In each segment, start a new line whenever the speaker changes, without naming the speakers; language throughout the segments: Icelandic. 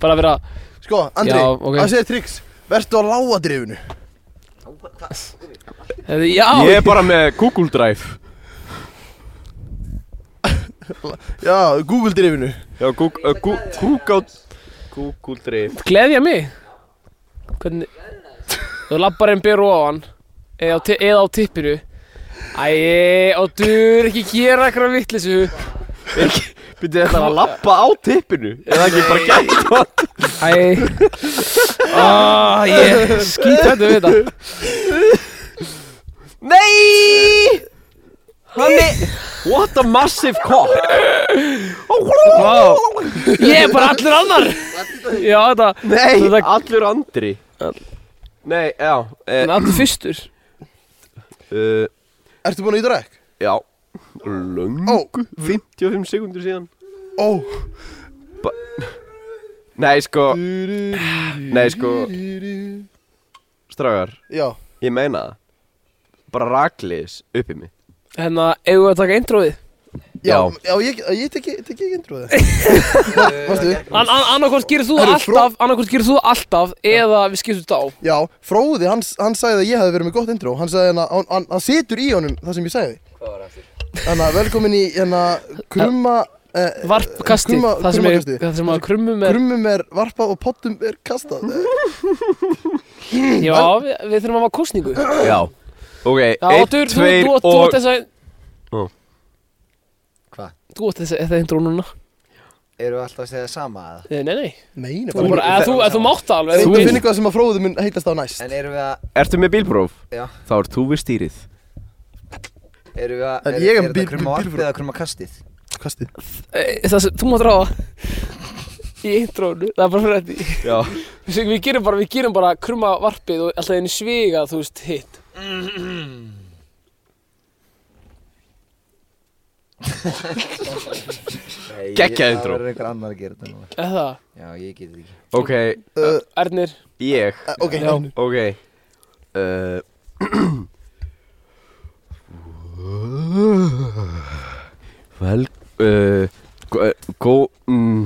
bara vera
Sko, Andri,
Já,
það
ok.
segir triks Vertu á lágadrifinu
Hefði- eh, Já,
Ég er bara með Google Drive
Já, Google-drifinu
Já, Google, uh, Gu- Google Google Drive
gleðja mig Hvernig Þú lappar einn byrju ofan eða á, ti- eða á tippinu Æ, og dur ekki gera eitthvað vittlisu
Býtti þetta að lappa á tippinu Eða ekki bara gætt á
Æ ah, Ég skýt þetta við þetta
Nei Hann er What a massive cock
Vá. Ég er bara allir annar Já, þetta
Nei,
Þetta-
allur andri Nei, já
En
eh,
allir fyrstur
uh,
Ertu búin að íta rekk?
Já Lung
Ó.
55 sekundur síðan
Ó
Nei, sko Nei, sko Strágar,
Já,
ég meina það Bara raklis upp í mig
Hérna, eigum við að taka introið
já,
Já.
já ég, ég teki, teki ekki indrúið Vastu,
An an Annarkvort gerir þú
Herru,
alltaf Annarkvort gerir þú alltaf Eða við skiptum þetta á
já, Fróði, hann, hann sagði að ég hefði verið með gott indrú Hann sagði hérna, hann, hann, hann situr í honum það sem ég sagði Þannig að velkomin í hérna krumma eh,
Varpkasti
krumma-
Það sem, er,
krummakasti.
það sem að krummum er Mhm.
Krummum er varpað og pottum er kastað Eh,
Já, við, við þurfum að hafa kostningu Já,
Já Ok,
þú,
1,
þú, þú,
2
þú, þú átt
og
þess að
Hvað?
Þú átt þess að þetta intro núna
Eru alltaf að segja sama að
Nei, nei, nei
Nei, nei,
Þú, bara, eða, þú, eða, þú mátt það alveg
Þú
þú
finn eitthvað sem að Fróði mun heitast á næst
En eru við að,
Ertu með bílpróf?
Já.
Þá ert þú við stýrið
eru við að
En
Er,
ég er
er
bí-
þetta krumma
bí-
varpið eða krumma kastið?
Kastið
Eh, Það sem, þú mátt ráða Í intrónu, það er bara fyrir þetta
Já
Við, við gerum bara, við gerum bara krumma varpið og alltaf einu sviga, þú veist, hitt
Nei, ég-
Geggjað intro.
Það verður einhver annar að gera þetta núna
Eða,
Já, ég geti þetta ekki
Ok,
uh,
Ernir
ég
eh, Ok,
Já.
Ok uh, Vel uh, gó- Gó mm,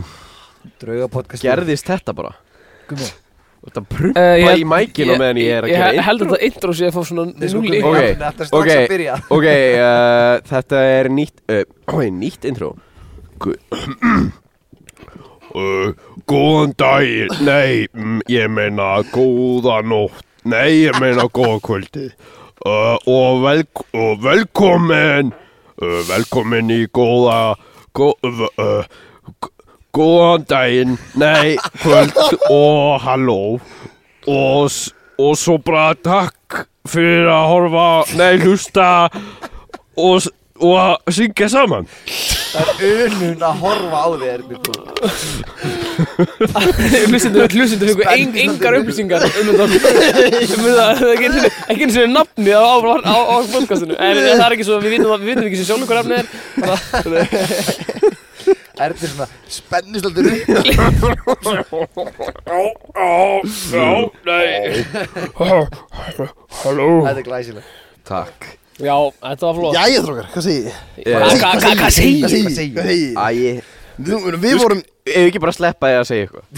Draugapodcast
Gerðist þetta bara
Gummi
Þetta prumpa
Eh, ég-
í mækinu meðan ég er að gera
Ég
inn
held að þetta intro sé að fá svona
sko,
núli
Ok,
Það er alltaf strax
ok.
að byrja
Ok, uh, þetta er nýtt uh, oh, Nýtt intro Gu-
Uh, góðan daginn, nei, mm, ég meina góða nótt, nei, ég meina góða kvöldi uh, og, velk og velkomin, uh, velkomin í góða, gó, uh, g- góðan daginn, nei, kvöld og halló og, s- og svo bara takk fyrir að horfa, nei, hlusta og, s- og að syngja saman.
Það er unun að horfa á þig Erni Brú
Hlustendur, hlustendur fengu ein, engar upplýsingar um þetta Um það, ekki einu sinni- ekki eins og nafnið á, á, á, á podcastinu En það er ekki svo, við vitum, það- við vitum ekki sem sjálf hver efni er
Erni er svona Spennist alltaf upp
Já, já, já, nei Halló
Þetta er glæsileg
Takk
Já, þetta var flott
Jæja þrókar, hvað segir ég?
Eh,
Hvað- hvað- Hvað segir ég?
Hvað segir
segir
ég? Hvað segir ég?
Æ, ég-
Nú, Við vorum
ef ekki bara sleppa ég að segja eitthvað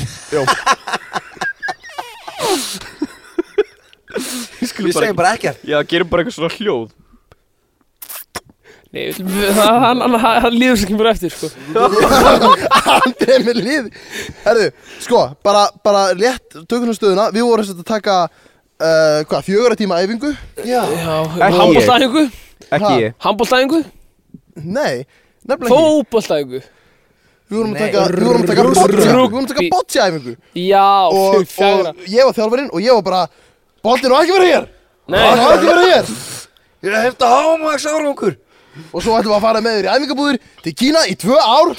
Við segjum bara ekkert
Já, gerum bara eitthvað svona hljóð
Nei, við- við- það- hann- hann- hann hann líður sem kemur eftir, sko
Andrið með lið Herðu, sko, bara, bara rétt tökum við stöðuna Við vorum sem sagt að taka uh, Hvað, fjögurra tíma æfingu?
Já
Já,
Ekki
handbóltæðingu
Ekki
Ha?
ég
Handbóltæðingu
Nei, nefnilega ekki
Fótbóltæðingu
Við vorum að
Nei.
taka, við vorum að taka boccia Við vorum að taka
Rugby.
boccia æfingu
Já,
og,
fjagra
og ég var þjálfarinn og ég var bara Bóttin á ekki verið hér! Hann á
Nei,
ekki verið hér!
Ég hef þetta hámags árangur
Og svo ætlum við að fara með þér í æfingabúðir til Kína í tvö ár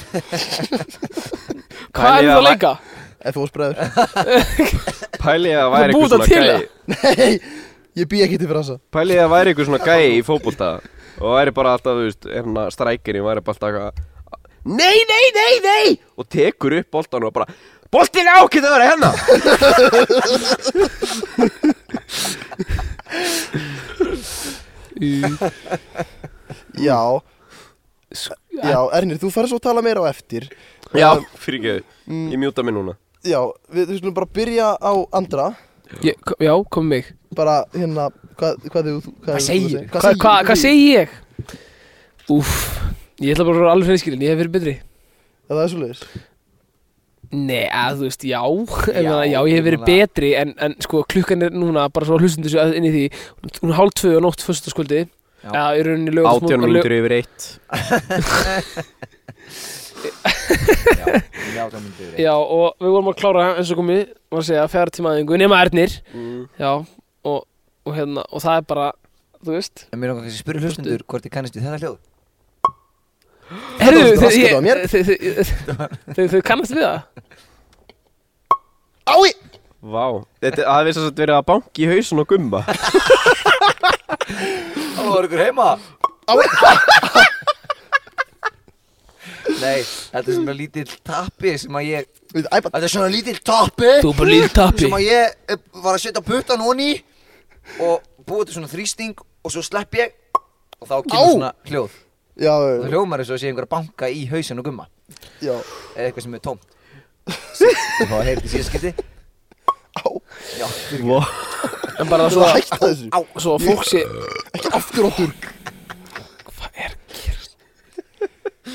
hvað er
Pæli
það að
væ-
leika?
Ef þú ósbreður
Pæli að væri
búið það
eitthvað svona
til
gæi
það?
Nei, ég bý ekki til fyrir þessa
Pæli að væri eitthvað svona gæi í fótbolta Og væri bara alltaf, þú veist, hérna strækirinn væri bara alltaf eitthvað Nei, nei, nei, nei Og tekur upp boltan og bara Boltin á, getur það verið hérna
Já, já, Ernir, þú færð svo að tala meira á eftir
Um,
Mm. Já, fyrir ekki Ég mjúta mig núna
já, við, við skulum bara byrja á Andra
Ég, ko- já, kom mig
Bara hérna, hvað, hvað hefur þú
Hvað
hefur þú að
segir?
segja?
Hvað, hvað, hvað, segi ég? Úff, ég ætla bara að vera alveg hreinskilin, ég hef verið betri
Ef Það er svoleiðis
Nei, að þú veist, já Já,
Já,
já ég hef
ég
verið
meina-
betri en, en sko, klukkan er núna bara svo hlustundu sér inn í því Hún er hálf tvö og nótt föstaskvöldi
Já.
Já, í rauninni lögum
Átján mínútur yfir eitt
Já, það myndi við
Já, og við vorum að klára eins og komið var að segja, fjara tíma aðingu, nema Ernir
Mm.
Já, og, og hérna, og það er bara, þú veist
En mér langar kannski að spyrja hlustendur hvort þið kannast við þetta hljóð
Herðu,
var
þið,
raskandi á mér.
ég- þið, þið, þið, þið kannast við það?
Ái!
Vá Þetta það hefði svo að verið að banki í hausun og gumma
Ó, var ykkur heima? Nei, þetta er svona lítill tappi sem að ég
Við- Æ, bara,
Þetta er svona lítill tappi
Þú er bara lítill tappi.
Sem að ég eh, var að setja puttan honi Og búið til svona þrýsting Og svo slepp ég Og þá kemur
Á.
svona hljóð
já,
Og það hljómar eins og sé einhver að banka í hausin og gumma
já
Eða eitthvað sem er tómt Og þá heyrði síðan skipti
Á,
Já, fyrir
En bara
svo
svo að,
hætta þessu
Á.
svo að fólk sé
Ekki aftur áttur
Hvað er
að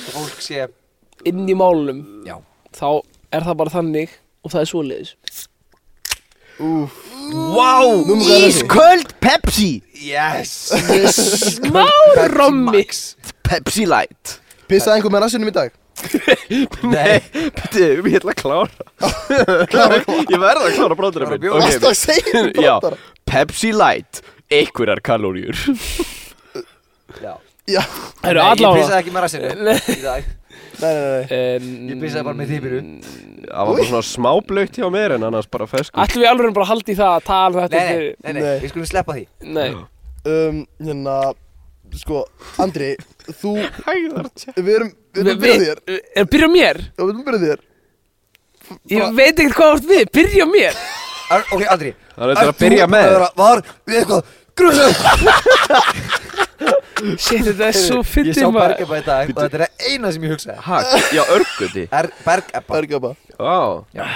fólk sé
inn í málunum
Já
Þá er það bara þannig og það er svoleiðis
Vá
Númer hvað er þessi?
Ísköld Pepsi
Yes
Smá rommi
Pepsi Light
Pissaði einhver með rassinum í dag?
Nei Býttu, ég ætla að klára Ég verða að klára bróðurinn minn
Klára
Varstu
Ok,
að segja um
Já
brandara?
Pepsi Light Einhverjar kalóriur
Já
Já,
Það eru
Nei, Ég
allavega
pissaði ekki með rassinu
Nei.
í dag
nei, nei, nei
En-
Ég pissaði bara með þýpiru
Mm,
Það var bara svona smáblaukt hjá mér en annars bara fesku
Ætlum við alveg bara að halda í það að tala um
Nei,
þetta
nei,
fyrir-
nei, nei,
Nei.
við skulum sleppa því
Nei,
um, Hérna, sko, Andri Þú,
Hæðar
við erum,
við,
við erum byrjað
við,
þér
er byrja á mér
Já, við erum byrjað þér
Ég veit ekkert hvað vart við, byrja á mér
Ar, Ok, Andri
Það er að byrja með þér
Var við eitthvað Grusum
Shit, þetta er svo
Ég sá
fyndið maður
bergeppa í dag Og þetta er það eina sem ég hugsaði
Hak, já, örguti
Er bergeppa
Bergaba
Vá
Já.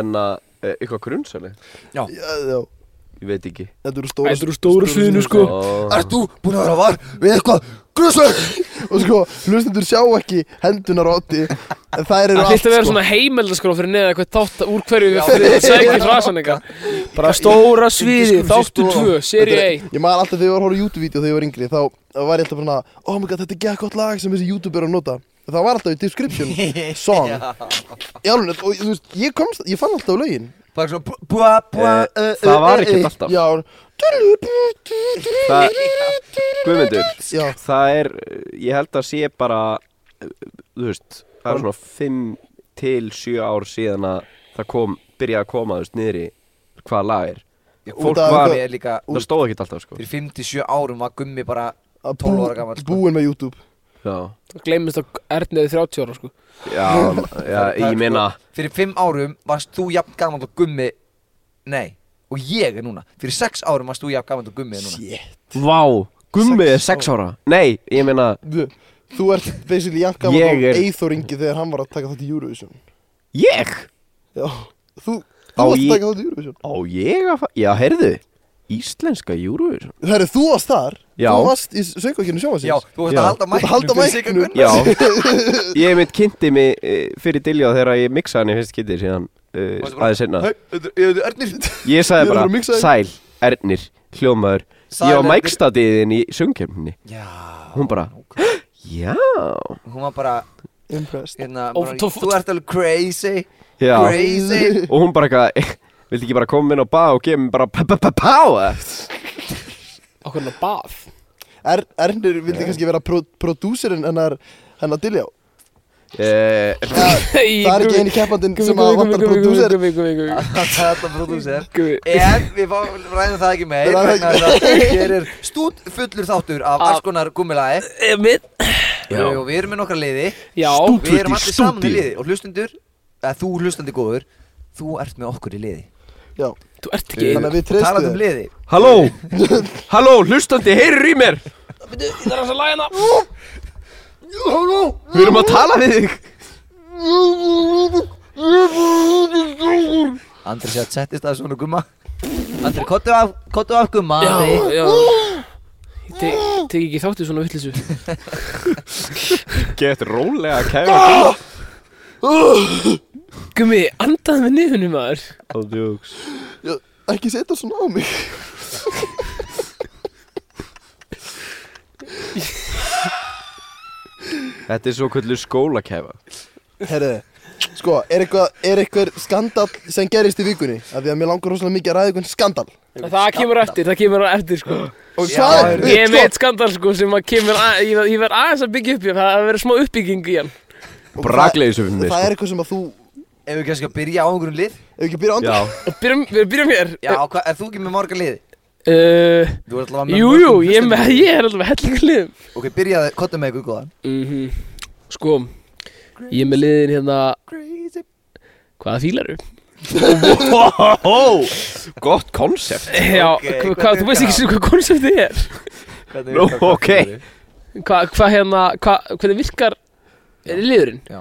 En að, e, eitthvað grunnsæli
Já, já
Ég veit ekki
Þetta eru stóra
Þetta eru stóra sviðinu, sko.
Ó,
Ert þú búin að vera var við eitthvað Grusum
Og sko, hlustendur sjá ekki hendunar á Otti En þær eru
Það
allt
þýtti að vera
sko
svona heimeldaskrá fyrir neða eitthvað þátt úr hverju
Já,
við fyrir
já,
að segja
já.
ekki frasanleika Bara stóra sviði,
Undirskriftir
þáttu
stofa.
2, seri
sko- Þetta er-
1
Ég maður alltaf þegar ég var að horfa á YouTube-vídeó þegar ég var yngri Þá þá var ég alltaf svona Oh my god, þetta er gett gott lag sem þessi YouTube er að nota Það var alltaf í description Song Já, alveg, og þú veist, ég komst Ég fann alltaf lögin
Bara svona bú- Búa, búa
Eh, það var ekkert alltaf.
Já
Það, Guðmundur
Já,
Það er, ég held að sé bara eh, Þú veist, það er svona 5 til 7 ár síðan að það kom, byrjaði að koma, þú veist, niður í hvað lag er Fólk
af
var,
Ég er líka
það stóð ekki alltaf, sko
Fyrir 57 árum var gummi bara
að
12 ára gamall, sko.
Búin með YouTube
Já,
Það gleymist að Erniði 30 ára sko
já, já
Það er sko-
ég meina
Fyrir 5 árum varst þú jafn gaman og gummi Nei Og ég er núna Fyrir 6 árum varst þú jafn gaman og gummi er núna
Shit
Vá, Gummi er
Sex
6 ára Nei, ég meina,
Þú- Þú ert basically jakka
Ég er-
Eithor Ingi þegar hann var að taka þátt í Eurovision
ég
Já, þú
Á,
Þú varst
ég-
að taka þátt í Eurovision
Á ég að fara, já, heyrðu Íslenska Eurovision
Herru, þú varst þar
Já.
Þú varst í söngvakinu
Já,
sjómasins
Já.
þú veist að halda mæknum
halda
fyrir Sigga
mæknum.
Gunnars.
Já, ég mitt kynnti mig eh, fyrir Dilljá þegar ég miksaði hann í fyrst kynnti síðan uh,
Varstu bara-
aðeins senna
Hei, þetta er- þetta er Ernir
Ég
Ég
sagði
er
bara,
að mixa þig.
sæl, Ernir, hljómaður
Sæl,
Ég var
Ernir."
mækstadiðin í söngkjöfninni
Já
Hún bara, já,
Hún var bara
Impressed
hérna,
Og
bara,
tó-
Þú ert alveg crazy
já
Crazy
Og hún bara eitthvað, vildi ekki bara koma inn á bað og gefa mér bara p-p-p-páa
Okkur hann að bað
er, Ernir vildi kannski vera pro prodúserinn hennar hennar Diljá
Ég
Það er ekki eini keppandinn sem að vantar Ah. prodúser
prodúser
Þetta prodúser
Gummi.
En við fá, ræðum það ekki meir
Við ræðum
vegna
það
þess að Hér er stút fullur þáttur af
Af-
alls konar gummilagi
Eh,
Já.
Og við erum með nokkra liði
Já,
Við erum
í
allir saman í
stúdíu.
liði Og hlustundur, eða þú hlustandi góður Þú ert með okkur í liði
Já,
þú ert ekki
þannig
einu
að við
Talandi
treystu
um liði
Halló, halló, hlustandi, heyrur í mér
Það er hans að laga hana
Ah.
Við erum að tala við þig
þér
Andri sé að settist að svona gumma Andri, kottu af, kottu af gumma
Já,
Andri.
já Ég te- tek ekki þátt í svona vittlisu
Get rólega kæfa
Ah! Gumi, andaðu með niðunum maður
Ándjóks
Ekki setja svona á mig
Þetta er svo kvöldu skólakæfa
Herðu, sko, er eitthvað, er eitthvað skandal sem gerist í vikunni? Af því að mér langar rosalega mikið að ræða eitthvað skandal
Það kemur eftir, það kemur á eftir sko
Og hvað er,
Ég er
sko,
með eitt skandal sko sem að kemur að, ég, ég verð aðeins að byggja upp í hann, það verður smá uppbygging í hann
og
Bragleysum
það, það er eitthvað sem að þú,
Ef við kannski að byrja á einhverjum lið
ef ekki byrja á andra
sko. Já
Byrjum, við byrjum hér
Já, hva, er þú ekki með marga lið?
uh,
Þú er alltaf með
Jú,
mörgum
jú, ég, er
hlustendum.
með, ég er alveg hellingur liðum
Ok, byrjaði, kottu með eitthvað góðan
mm
Mhm.
Sko, ég er með liðin hérna Hvaða fílaru?
Wow, gott konsept
Já,
Ok,
hva,
hvað
hvað,
er
þú veist ekki sem hvað konceptið er
Hvernig
Nú,
virkar
ok.
kottu með þig?
Hvað, hvað hérna, hvað, hvernig virkar
Já.
liðurinn?
Já.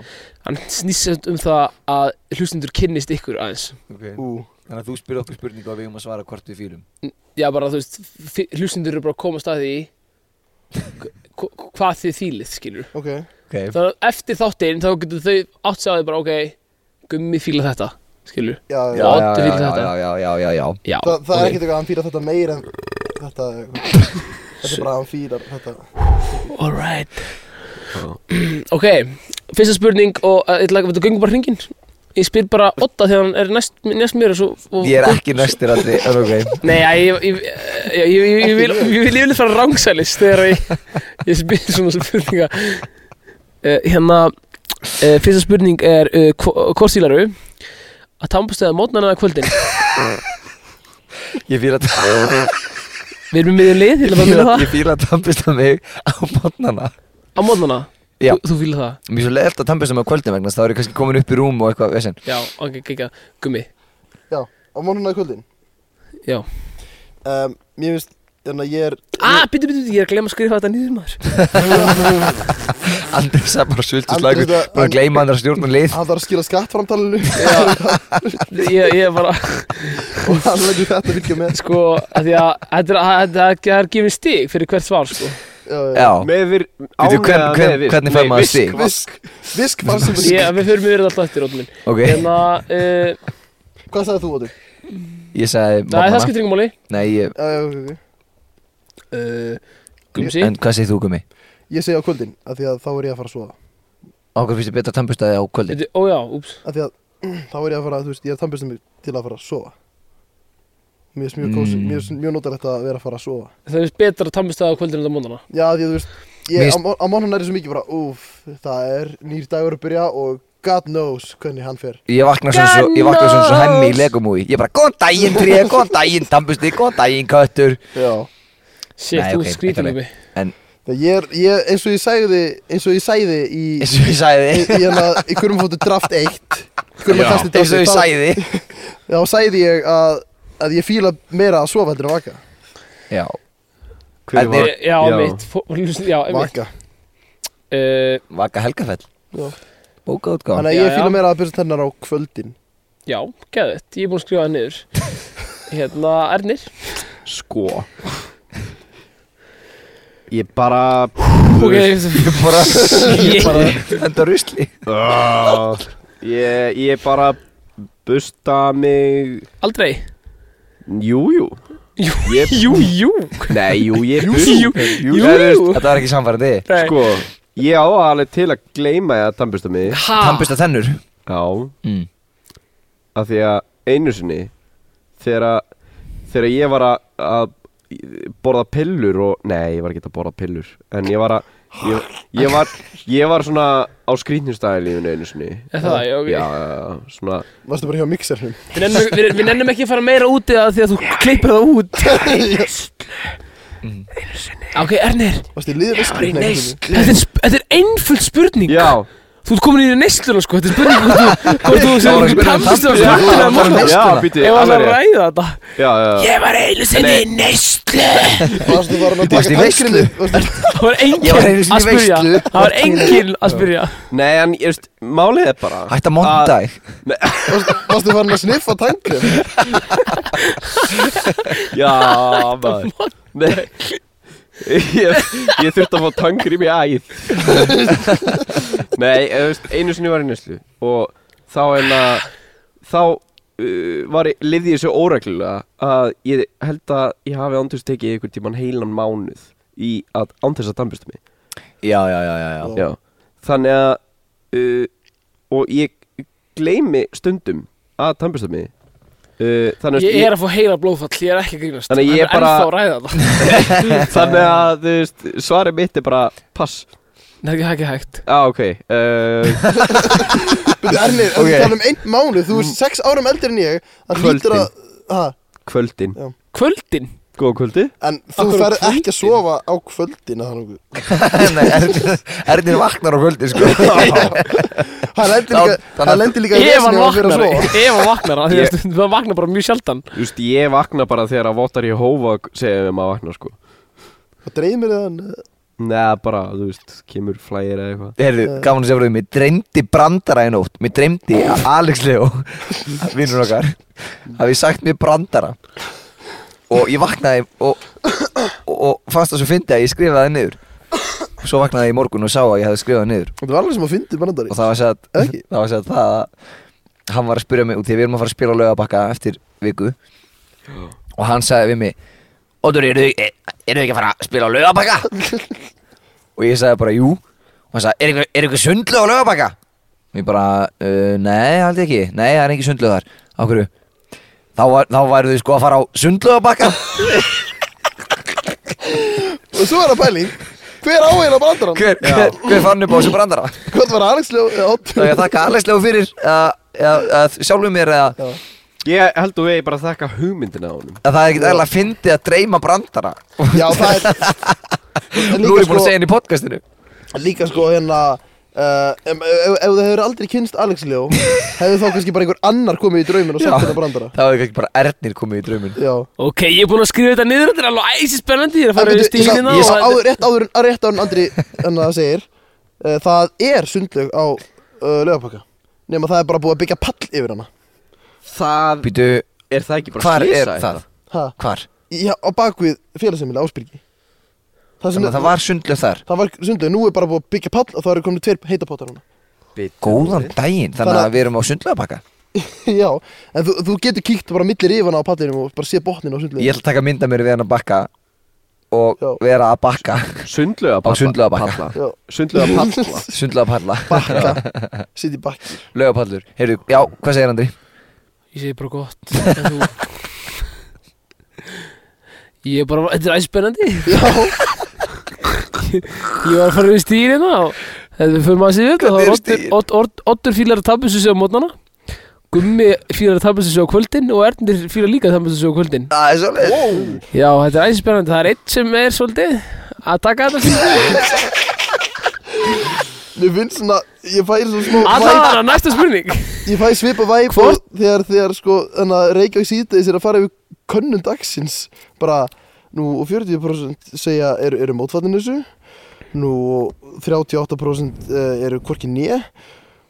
Hann snýst um það að hlustundur kynnist ykkur aðeins
Ok.
Ú,
Þannig að þú spyrir okkur spurningu og við um að svara hvort við fýlum
Já, bara þú veist, hlustundur eru bara að komast að því hva- hva- Hvað þið þýlið, skilur
ok
okay.
Þannig að eftir þáttinn þá getur þau átt sig á því bara ok, gummi fíla þetta, skilur.
Já, já,
Já, Oddur fílar
já,
þetta.
já, já, já, já, já.
Já,
Þa, það er
ok.
ekkert eitthvað að hann fýrar þetta meir en þetta Þetta er bara að hann fýrar þetta
Alright. ok, fyrsta spurning og uh, ég ætla að þetta gengur bara hringin. Ég spyr bara Otta þegar hann er næst, næst mér og svo... Og,
Ég er ekki næstir aldrei en ok.
Nei, já, ég, ég, ég, ég, ég, ég vil ég vil yfirleitt fara rángsælis þegar ég, ég spyr svona spurninga. Uh, hérna, uh, fyrsta spurning er uh, hvort sílaru að tampastu það mótnan eða kvöldin?
Ég fýla þetta
Við erum með lið, ég ætla bara að mynda
Ég
það.
fýla að tampist á mig á mótnana
Á mótnana?
Já.
Þú, þú fýlar það?
Mér er svo leiðilt að tampast á mig á kvöldin vegna þess að þá er ég kannski komin upp í rúm og eitthvað vesen.
Já, ok, ekki, gummi
Já, á mánuna í kvöldin
Já
um, Mér finnst, þannig að ég er
Ah, bitur, bitur, ég er að glemma að skrifa þetta niður maður
Andri sagði bara sultu
Andri,
slagur
þetta-
Bara að gleyma andra stjórnum lið
Hann þarf að skila skattframtalinu
Ég, ég er bara,
Og hann leggur þetta fylgja með
sko, að því að Þetta er- að- þetta er- það er gefið stig fyrir hvert svar, sko
Já, já
Já
Meðvir
Veitu, hvern- hvern- hvernig fær maður stig?
Visk, visk fannst sem
Ég,
visk
við förum yfir þetta alltaf eftir, Ótmin
Ok
Hérna, uh,
Hvað sagði þú, Otur?
Ég
það
sagði
er það
morgnana
skiptir ykkur máli
Nei, ég
Já, já, ok, ok
uh, Gumsi
En hvað segir þú Gumi?
Ég segi á kvöldin, af því að þá er ég að fara að sofa
Ákveð finnst þið betra tampustæði á kvöldin
Bitur, Ó já, úps
Af því að þá er ég að fara, þú veist, ég er tannbjörnstum til að fara að sofa Mér finnst mjög
Mm.
kósi, mér finnst mjög notalegt að vera að fara að sofa
Það er betra að tampast það á kvöldinu en á mótnana
Já, því að þú veist,
Mér
ég,
finnst-
á, á mánun er ég svo mikið bara, úf, það er nýr dagur að byrja og God knows hvernig hann fer.
Ég vakna svona svo Ég vakna svona svo hemmi í legumúi Ég bara Góðan daginn tré Góðan daginn tampusti Góðan daginn köttur
Já.
Shit,
Nei,
þú
ok,
okay, skrýtir
þetta er-
gummi
Það ég er, ég, eins og ég sagði, eins og ég sagði í,
Eins og ég sagði
í, í hana, í hverjum fóttu draft 1, hverjum að
Já.
kasti draft
Eins og ég
1,
sagði
þá, þá sagði ég að, að ég fíla meira að sofa heldur en vaka.
Já
Hver
Hvernig-
var
Eh, Já,
Já.
mitt, fó- hlust- já, mitt
Vaka.
uh,
Vaka Helgafell
Já.
Bóka
Þannig að
Já,
ég
já.
fíla meira að byrja tennar á kvöldin.
Já, geðvett, ég er búinn að skrifa það niður Hérna, Ernir
Sko Ég bara
Ok,
Ég bara Ég bara Þetta rusli
Ah,
Ég, ég bara busta mig
aldrei
Jú, jú
Jú,
Ég-
jú, jú
Nei, jú, ég
Jú,
busta
jú, jú,
Nei, þú veist,
jú.
Þetta var ekki samfærandi
Nei.
Sko, ég á það alveg til að gleyma ég að tannbusta mig
Ha?
Tampusta þennur
Já,
mm.
af því að einu sinni Þegar, að- þegar ég var að, að borða pillur og Nei, ég var ekki að borða pillur En ég var að Ég, ég, var, ég var svona á skrýtnistæði lífinu einu sinni
Er það, já, ok.
Já, já, já, svona
Varstu bara hjá mixernum?
Við nennum, við, við nennum ekki að fara meira út í það því að þú klippir það út Ok, Ernir
Mm.
Varstu í liðið
Þetta er, sp- þetta er einföld spurning
Já,
Þú ert komin í neysluna sko, þetta er spurning hvort þú- hvort þú sem
Það var spurning um
pantist á
pabbi.
skattinu að
Það var
morgun
neysluna.
Ég
Já, býti,
var alltaf að
alveg rétt.
ræða þetta
Já, já, já.
Ég var einu sinni í neyslu
Varstu farin að
varst í
taka
veislu.
taggrindu? Varstu-
Það var
Ég var
enginn
einu sinni
að
í
spyrja
veislu.
Það var enginn að spyrja
Nei, en, ég veist, málið er bara
Hætt að monta þig
varstu- Varstu farin að sniffa taggrind?
Já, maður Nei Ég, ég þurfti að fá tangrím í æð Nei, eða, veist, einu sinni var í neslu Og þá en að Þá uh, var ég, lifði ég svo óreglulega Að ég held að ég hafi án þess að tekið einhvern tímann heilan mánuð Í að án þess að dambustu mig
Já, já, já, já, já.
Já.
Já, þannig að uh, Og ég gleymi stundum að dambustu mig uh, Þannig
Ég er að fá heila blóðfall, ég er ekki að grínast
Þannig að ég
Hann er
bara-
ennþá að ræða þetta
Þannig að, þú veist, svarið mitt er bara pass
Nei, það er ekki hægt
Já, ah, ok uh,
Erni, ef
Ok. Mm.
við tala um einn mánu, þú ert sex árum eldri en ég Það
Kvöldin.
hlýtur að, ha,
Kvöldin
Kvöldin
Góða kvöldi
en þú
Af hverju
ferð ekki að
kvöldin?
sofa á kvöldin eða þannig.
Nei, Ernin- Ernin vaknar á kvöldi sko.
Hann lendir
Já,
líka,
þannig
hann
að-
lendir líka
Ef
í veseni
hann
ef hann fer að
vaknar,
sofa.
ef hann vaknar af því að
Ég-
stundum- Það vaknar bara mjög sjaldan
Þú veist, ég vakna bara þegar að votar ég hófa segja við maður vakna, sko
Og dreymir þig eh, hann
Nei, bara, þú veist, kemur flægir eða eitthvað
Heyrðu, gaman að segja frá því, mér dreymdi brandara í nótt Mér dreymdi að Alex Leo Vinnur okkar Hafi sagt mér brandara Og ég vaknaði og, og, og fannst það svo fyndi að ég skrifaði það niður Svo vaknaði ég í morgun og sá að ég hefði skrifað það niður
Það var alveg sem að fyndi brandari
Og það var sagt,
Ekki?
það, var sagt það að Hann var að spyrja mig út Því að við erum að fara að spila á laugabakka eftir viku Og hann sagði við mig Óttur, eru þau e- eru þau ekki að fara að spila á laugabakka? og ég sagði bara jú og hann sagði, er eitthvað, er eitthvað sundlu á laugabakka? og ég bara, uh, nei, held ég ekki nei, það er ekki sundlu þar, á hverju þá, var, þá væru þau sko að fara á sundlu á bakka
Og svo er það pæling Hver á eina brandaran?
hver, hver, hver fann upp á þessu brandara
Hvað var Alex Ljó
þá ég þakka alleslega fyrir að, að, að sjálfu mér að,
Ég held þú vegi bara að þakka hugmyndina á honum
að það er ekkert eðla að fyndi að dreyma brandara
Já, það er En
nú er ég búin að segja henni í podcastinu
Líka sko hérna Uh, um, ef, ef ef þau hefur aldrei kynst Alex Ljó hefðu þá kannski bara einhver annar komið í draumin og
Já.
sagt þetta brandara
þá er ekki bara erðnir komið í draumin
Já
Ok, ég er búinn að skrifa þetta niður Þetta er alveg æsi spennandi Ég er að fara
En bíddu,
yfir
ég sá-
hérna
stílina
Ég sá
og-
áður, rétt áður, en- rétt áður en Andri en það segir uh, Það er sundlög á uh, lögapakka Nefn það er bara búið að byggja pall yfir hana
Það
býtu,
er það ekki bara
hvar er
slysað
það?
eitthvað?
ha,
hvar?
Já, á bakvið félagsemmili ásbyrgi Það,
þannig að það var sundlu þar
það var sundlög, nú er bara búið að byggja pall og það eru komin tveir heita pátar hana
Bittu.
góðan daginn, þannig
Þannig
að
að-
við erum á sundlu
Já, en þú, þú getur kíkt bara millir rifana á pallinum og bara sé botnin á sundlög
Ég ætla að taka mynda mér við hann að bakka og
Já.
vera að bakka
Sundlauga
Á sundlaugabakka.
palla.
Já,
Sundlauga palla
sundlega palla,
bakka, sitt í bakki
lögapallur Heyrðu, já, hvað segir Andri?
Ég segi bara gott en þú... Ég er bara, þetta er æspennandi
Já,
Ég var að fara við stíðina og þetta fyrir maður að segja þetta
Hvernig
Það
eru
var Oddur-
stigin?
Odd- Odd- Oddur fílar að tabbinsu sig á mótnana Gummi fílar að tabbinsu sig á kvöldin og Ernir fílar líka að tabbinsu sig á kvöldin
Það er svolítið
Já, þetta er æspennandi, það er einn sem er svolítið að taka þetta fyrir
mér finnst svona, ég fæ svona smá
Alltaf
væp-
hana, næsta spurning
Ég fæ svipa væp
Hvort-
og þegar, þegar sko, þannig að Reykjavík síðdeis er að fara yfir könnun dagsins bara, nú og 40% segja eru, eru mótfallin þessu nú og 38% eh, eru hvorki nýja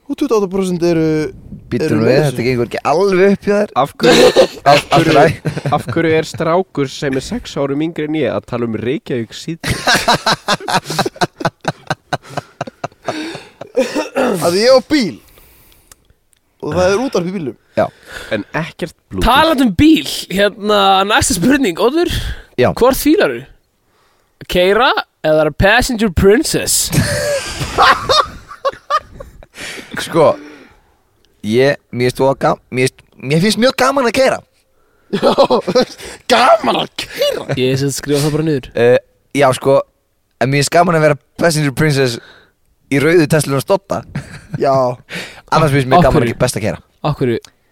og 28% eru
Býtum
Erum
við,
við þessu?
þetta gengur ekki alveg upp hjá þér
Af hverju, af,
Allt
hverju,
ræ
af hverju er strákur sem er sex árum yngri en ég að tala um Reykjavík síðan?
að ég á bíl og það er útarp í bílum
En ekkert blútur
Talað um bíl, hérna, næsta spurning, Oddur
Já.
Hvort fílar þú? Keira eða er Passenger Princess?
Sko, ég, mér finnst þú að gam mér, finnst- mér finnst mjög gaman að keira
Gaman að kæra
Ég sem skrifa það bara niður
uh, Já, sko, en mér finnst gaman að vera Passenger Princess í rauðu Tesla og stotta
Já,
Annars finnst
Af
mér gaman
hverju?
að best að keira
Okkur,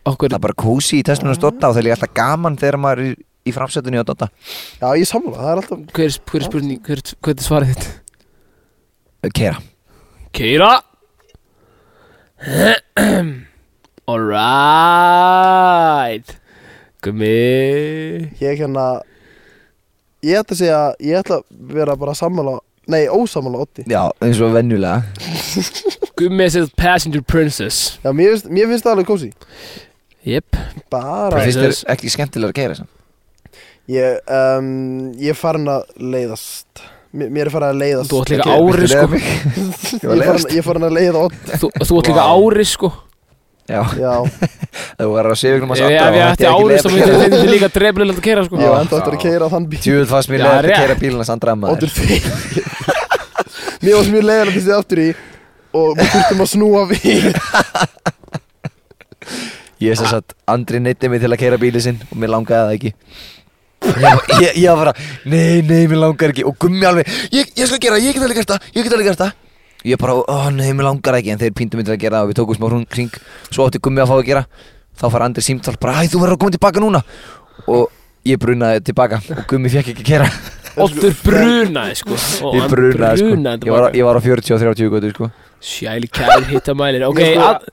okkur
Það er bara kósi í Tesla og stotta og það er líka alltaf gaman þegar maður er í- í framsætunni á dotta
já ég samla, það er alltaf
Hver, hver er
Eh,
spurning, hver, hver er svarið þitt?
Keira
Keira Alright Gummi
Ég hérna Ég ætla að segja, ég ætla að vera bara sammála Nei, ósammála Otti
Já, eins og venjulega
Gummi er sett Passenger Princess
Já, mér finnst, mér finnst það alveg kósi
Jep
Bara
Það
Princess.
finnst þér ekki skemmtilega að gera þess
Ég, um, ég er farin að leiðast Mér, mér er farin að leiðast
Þú átt líka
Ok,
ári sko
Ég er farin, ég er farin að leiða Otti
Þú, þú átt líka ári sko
Já,
Já,
þú verður að séu ykkur um
Ef
að
ég- ef ég ætti ári þá myndi þetta líka drefnilegt að kera sko
ég var enda eftir að keira þann bíl
Tjúvel fannst mér
Já,
leiðið að
rétt.
kera bílina Sandra að
Otur
maður
fyrir Mér var mjög leiðan að fyrst ég aftur í Og við þurftum að snúa við
Ég er sem sagt, Andri neytti mig til að kera bílið sinn Og mér langaði það ekki Ég, ég, ég var bara, nei, nei, mér langar ekki Og gummi alveg, ég, ég skal gera, það, ég get alveg gert það Ég get alveg gert það Ég bara, ó nei, mér langar ekki En þeir píndu mig til að gera það og við tókum smá hrung kring Svo átti gummi að fá að gera Þá fara Andri símtál, bara, æ, þú verður að koma tilbaka núna Og ég brunaði tilbaka Og gummi fekk ekki að kera
Otur brunaði sko og
Ég
hann
brunaði, sko
brunaði
Ég var, ég var á 40 og 30 götu, sko
Sjæli kæl hittamælin Ok,
Ég sko-
að,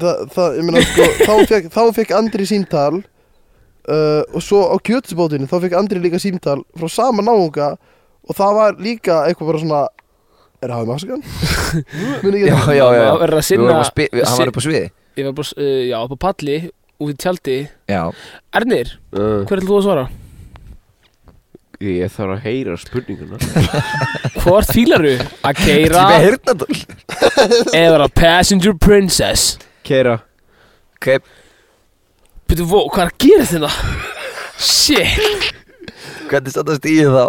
Þa, það, ég meina, sko, þá, fekk, þá fekk Andri símtal uh, og svo á kjötsbótinu þá fekk Andri líka símtal frá sama náunga og það var líka eitthvað bara svona er það hafið maskan? Muni
Já,
ekki
já, já, já.
Maður verður að
Við vorum
sinna-
að spi- við- Hann
sin-
var upp á sviði
ég var bara, uh, já, upp á palli Út í tjaldi
Já,
Ernir,
Uh,
hver er þú að svara?
ég þarf að heyra spurninguna
Hvort fílaru? Að keira
Ertu með heyrnartól?
eða að passenger princess
Keira
Ok,
Býttu, vó, hvað er að gera þetta? Shit
hvernig standast í þá?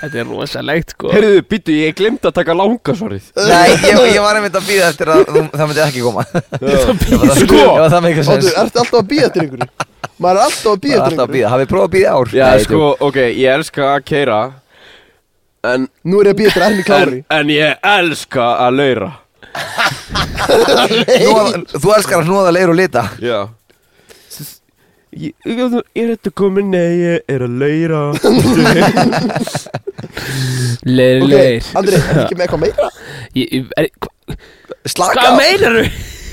Þetta er rosalegt, sko
Heyrðu, býttu, ég glemd að taka langa svarið
Nei, ég, ég var einmitt að býða eftir að þú, það myndi ekki koma Ef að það-
Sko!
Ef að það með eitthvað sens
Óttu, ertu alltaf að býja eftir einhverju? Maður er alltaf að
Það er
býja eftir
alltaf að
einhverju
býða, hafið prófað að býða í ár?
Já,
Nei,
sko, ok, ég elska að keira En,
Nú er ég að býja eftir erni
en,
klári
en ég elska að laura
þú- hnoða- Þú elskar að hnóða leir og lita
Já S- Ég ég- ég er þetta komin, nei, ég er að laura
Leir,
Ok,
leir
Andri, ertu ekki með eitthvað meira?
Ég- ég- er- hva-
Slaka
Hvað
á.
meinaru?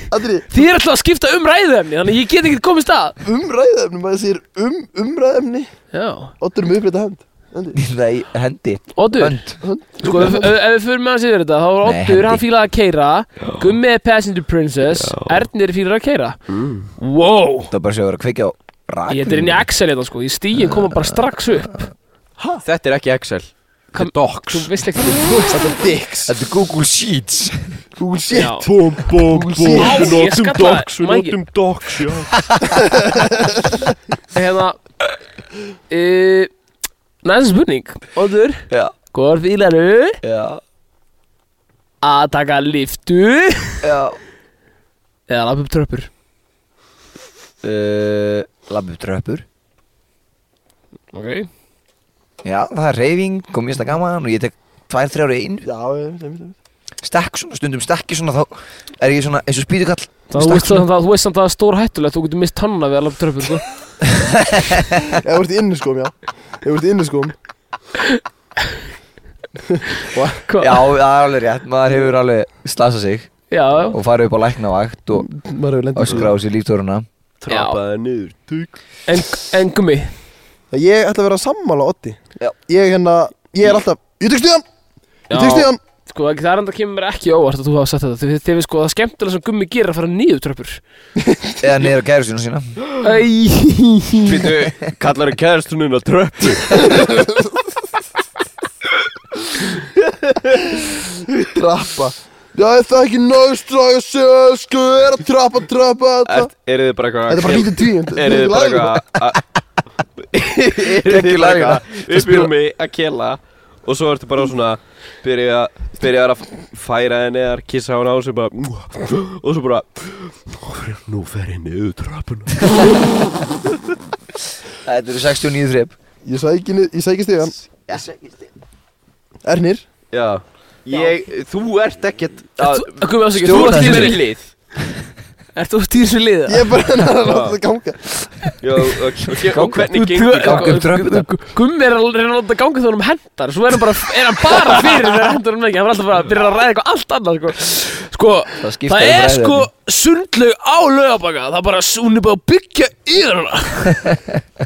Andri,
Þið er alltaf að skipta um ræðefni Þannig að ég get ekki komið stað
umræðefni, maður sér um umræðefni
Já,
Óttur með uppleita hend Andri,
Nei, hendi
Oddur
Önd
Sko, ef, ef ef við förum með hans yfir þetta Þá var
Nei,
Oddur,
hendi.
hann fílaði að keira Gummi er passenger princess Ernir fílar að keira Wow
Það er bara að segja að vera að kveikja á rakinu
Ég þetta er inn í Excel þetta, sko Í stíin koma bara strax upp
Þetta er ekki Excel Þetta
Kam-
er Docs
Þú veist ekki þú veist
þetta er dicks
Þetta er Google Sheets
Google
Já.
shit
Bum, bum, bum,
Á,
við
ég
notum
skallaði,
dogs, við
Maggi.
notum dogs, já
Hérna uh, Næsta spurning Oddur
Já
Hvor fílaru
Já
að taka liftu
Já
Eða lappa upp tröppur
uh, Labbu tröppur
Ok
Já, það er reyfing, kom mjög gaman og ég tek tvær, þrjár í einu
Já, ég veit, ég veit, ég veit
Stekk svona, stundum stekki svona þá er ég svona eins og spýtukall
Það þú veist samt að þú veist samt að það er stór hættulegt Þú getur mist tanna við að lappa upp tröppur sko.
Ef þú ert í inniskóm, já Ef þú ert í inniskóm
Hva-
Já, það er alveg rétt, maður hefur alveg slasað sig
Já, já
og farið upp á læknavakt og
Maður hefur lendið
öskra á sér líftóruna
Trappaði niður Tugg
En, en gummi
Það ég ætla að vera sammála Otti
Já.
Ég hérna, ég er alltaf Ég tek stíðan, ég tek stíðan
Sko það er enda kemur mér ekki á óvart að þú hafa sagt þetta Þegar við sko það er skemmtilega sem gummi gerir að fara niður tröppur
eða niður á gærusinu sína
Æ
Býttu, kallar að kæðastununa tröppu
Trappa Já, ég það ekki nógst Það ég sé, sko, er að trappa, trappa Þetta
Er þið bara eitthvað
Þetta er bara lítið tvíund
Er þið bara eitthvað að- Er þið
Tekið
bara
lagina.
eitthvað upp í rúmi að kela Og svo ertu bara svona Byrja, byrja að færa henni eða kissa á hana á sig bara Og svo bara Nú fer ég niður trappuna
Þetta eru 69 þreip
Ég sæki, ni- ég sæki stíðan Ernir
Já Ég, þú ert ekkert að
Gummi ásækja, þú
stjórna
ert í
þessu
þessu
lið
Ert þú ert í þessu liða?
Ég er bara hérna að láta það ganga
Já, og, og, og hvernig
Þú-
gengur
þú-
ganga upp tröppurnar?
Gu- Gu- Gummi er að reyna að láta ganga þegar hann hendar Svo er hann bara, er hann bara fyrir þegar hendar hann ekki Hann er alltaf bara að byrja að ræða eitthvað allt annað sko. Sko,
Það skipta
það
um
er
ræðuefni.
sko sundlaug á laugabaka Það er bara, hún er bara að byggja yfir hana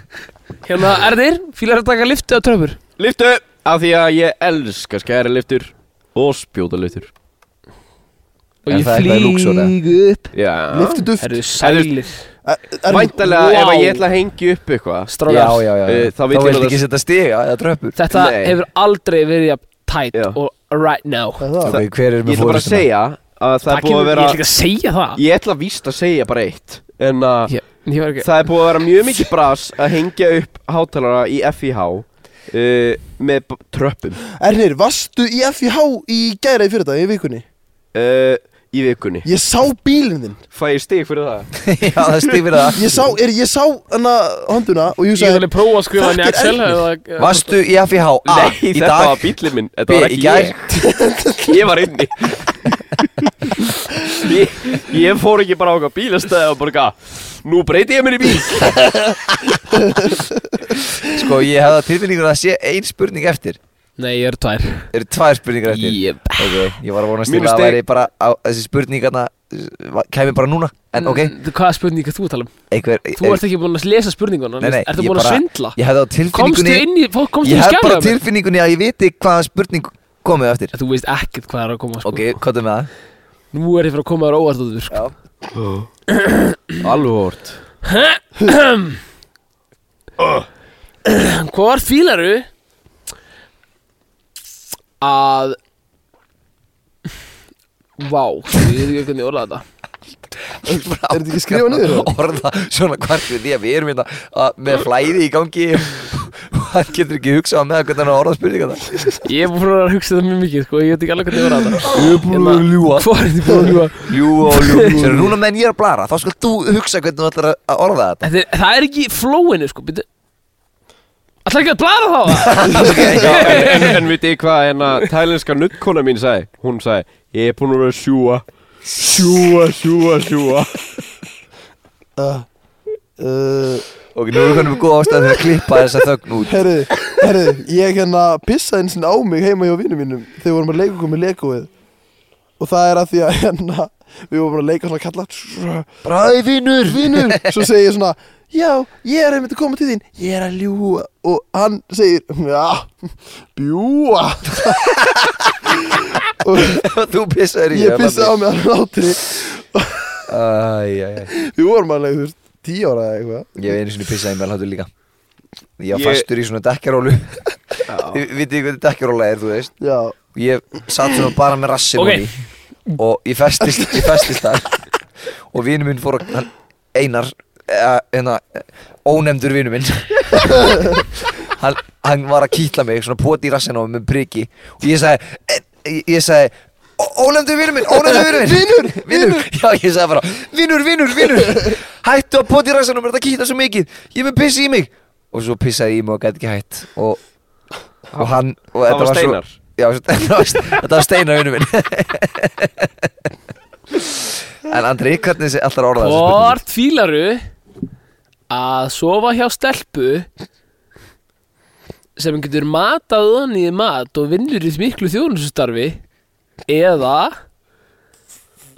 Hérna, Erðir, fílar að taka lifti á tröfur
Lyftu Af því að ég elska skæri lyftur Og spjóta lyftur
Og
Er
ég
það eitthvað í lúxor, eða?
flýg upp
Já
Lyftu duft
Herðu, sælir
Væntalega ef
Vá.
að ég ætla að hengja upp eitthvað
Já,
Strágar,
já, já,
Eh,
já.
þá
Þá
vill ég
vil
nota-
ekki setja stiga eða tröppur
þetta
Nei.
hefur aldrei verið jafn tætt
Já.
og right now
Ok, hver er
Ég ætla bara
með
að
fórustuna?
segja að það er búið
kemur-
að
Ég
vera
ætla ekki að segja það
Ég ætla víst að segja bara eitt En að
Ég, ég var ekki
það er búið að vera mjög mikið bras Að hengja upp hátalara í FIH uh, Með b- tröppum
Ernir, varstu í FIH í gæra í fyrir dag, í vikunni?
uh, Í vikunni
Ég sá bílinn þinn
Fæ ég stig fyrir það?
Já, það stifir það
Ég sá, er, ég sá hana honduna og ég
Ég ætla
sagði
að prófa að skrifa hann í
Þetta er
Excel
erfitt.
eða-
Varstu í FIH A
Nei,
Ah, í
þetta
dag
var bíllinn minn Þetta
B
var
í
ekki
gær
ég Ég var inni ég, ég fór ekki bara á okkar bílastæði og bara eitthvað Nú breyti ég mér í bíl
Sko, ég hefði á tilfinningu að það sé ein spurning eftir
Nei, ég er tvær
Eru tvær spurningar eftir
Jep.
Ok, ég var að vonast til
Mínus
að það
stig.
væri bara á, Þessi spurningarna kæmi bara núna En ok,
Mm, Hvaða spurning er þú að tala um?
einhver
Þú ert ekki búin að lesa spurninguna
Nei, nei,
Ertu
ég
búin að
bara-
svindla?
Ég hefði á
Komstu
tilfinningunni
inn í, fó- komstu
Ég
í
hef bara
skæla
tilfinningunni að ég viti hvaða spurning komið eftir
Þú veist ekkert hvað er að koma sko.
Ok, kottum með það
Nú er ég fyrir að koma þér óvart út úr sko.
Já.
Alveg hort
Hvar fílaru að Vá, ég veit ekki hvernig ég orða þetta
Er þetta ekki skrifað niður, eða?
Orða svona hvart við því að við erum hérna að- með flæði í gangi og hann getur ekki hugsað með hvernig hann orða spurninga það
Ég er búin að hugsa það mjög mikið sko, ég veit ekki alveg hvernig ég orða þetta Ég er
búin að ljúga.
Hvað er þið búin að ljúa?
Ljú og ljú Sér Hérna, núna meðan ég er að blara þá skal þú hugsa hvernig þú ætlar að orða þetta
Þetta er, það er ekki í flóinu sko, byrju Ætla ekki að blara þá það?
Já, en, en, en veit ég hvað en að tælenska nuttkona mín sagði Hún sagði, ég er búin að vera að sjúa Sjúa, sjúa, sjúa
uh, uh,
Ok, nú erum við konum góð ástæð fyrir að klippa þessa þögn út
Herri, herri, ég hérna pissaði eins og á mig heima hjá vinnum mínum þegar við vorum að leika okkur með leikóið og það er að því að hérna við vorum að leika svona kalla Bræði vinnur, vinnur Svo segi ég svona, já, ég er einmitt að koma til þín Ég er að ljúa Og hann segir, já, bjúa Og
Þú pissaður í
ég pissaði á mig að látri
Æjæjæ
Við vorum alveg, þú veist, tíu ára eða eitthvað
Ég hef einu sinni pissaði með hlátur líka Ég var
Ég-
fastur í svona dekkjarólu Þið vitið hvernig dekkjaróla er, þú veist
Já,
Ég satt svona bara með rassin
Ok.
okay. Og ég festist, ég festist þar Og vinur minn fór að hann, Einar eh, hérna, eh, Ónefndur vinur minn hann, hann var að kýtla mig Svona poti í rassin á mig með priki Og ég sagði eh, Ég, ég sagði "Ó- Ónefndur vinur minn, ónefndur vinur minn Vinur, vinur Já, ég sagði bara Vinur, vinur, vinur Hættu að poti í rassin á mig, þetta kýtla svo mikið Ég er með pissi í mig Og svo pissaði ég í mig og gæti ekki hætt Og, og hann og
Það
þetta
var
svo-
steinar
Já, þetta var- þetta var steinar vinnu minn En Andri, hvernig þessi alltaf orða þessu spurningu?
Hvort fílaru að sofa hjá stelpu sem getur matað hann í mat og vinnur í miklu þjóðnustarfi eða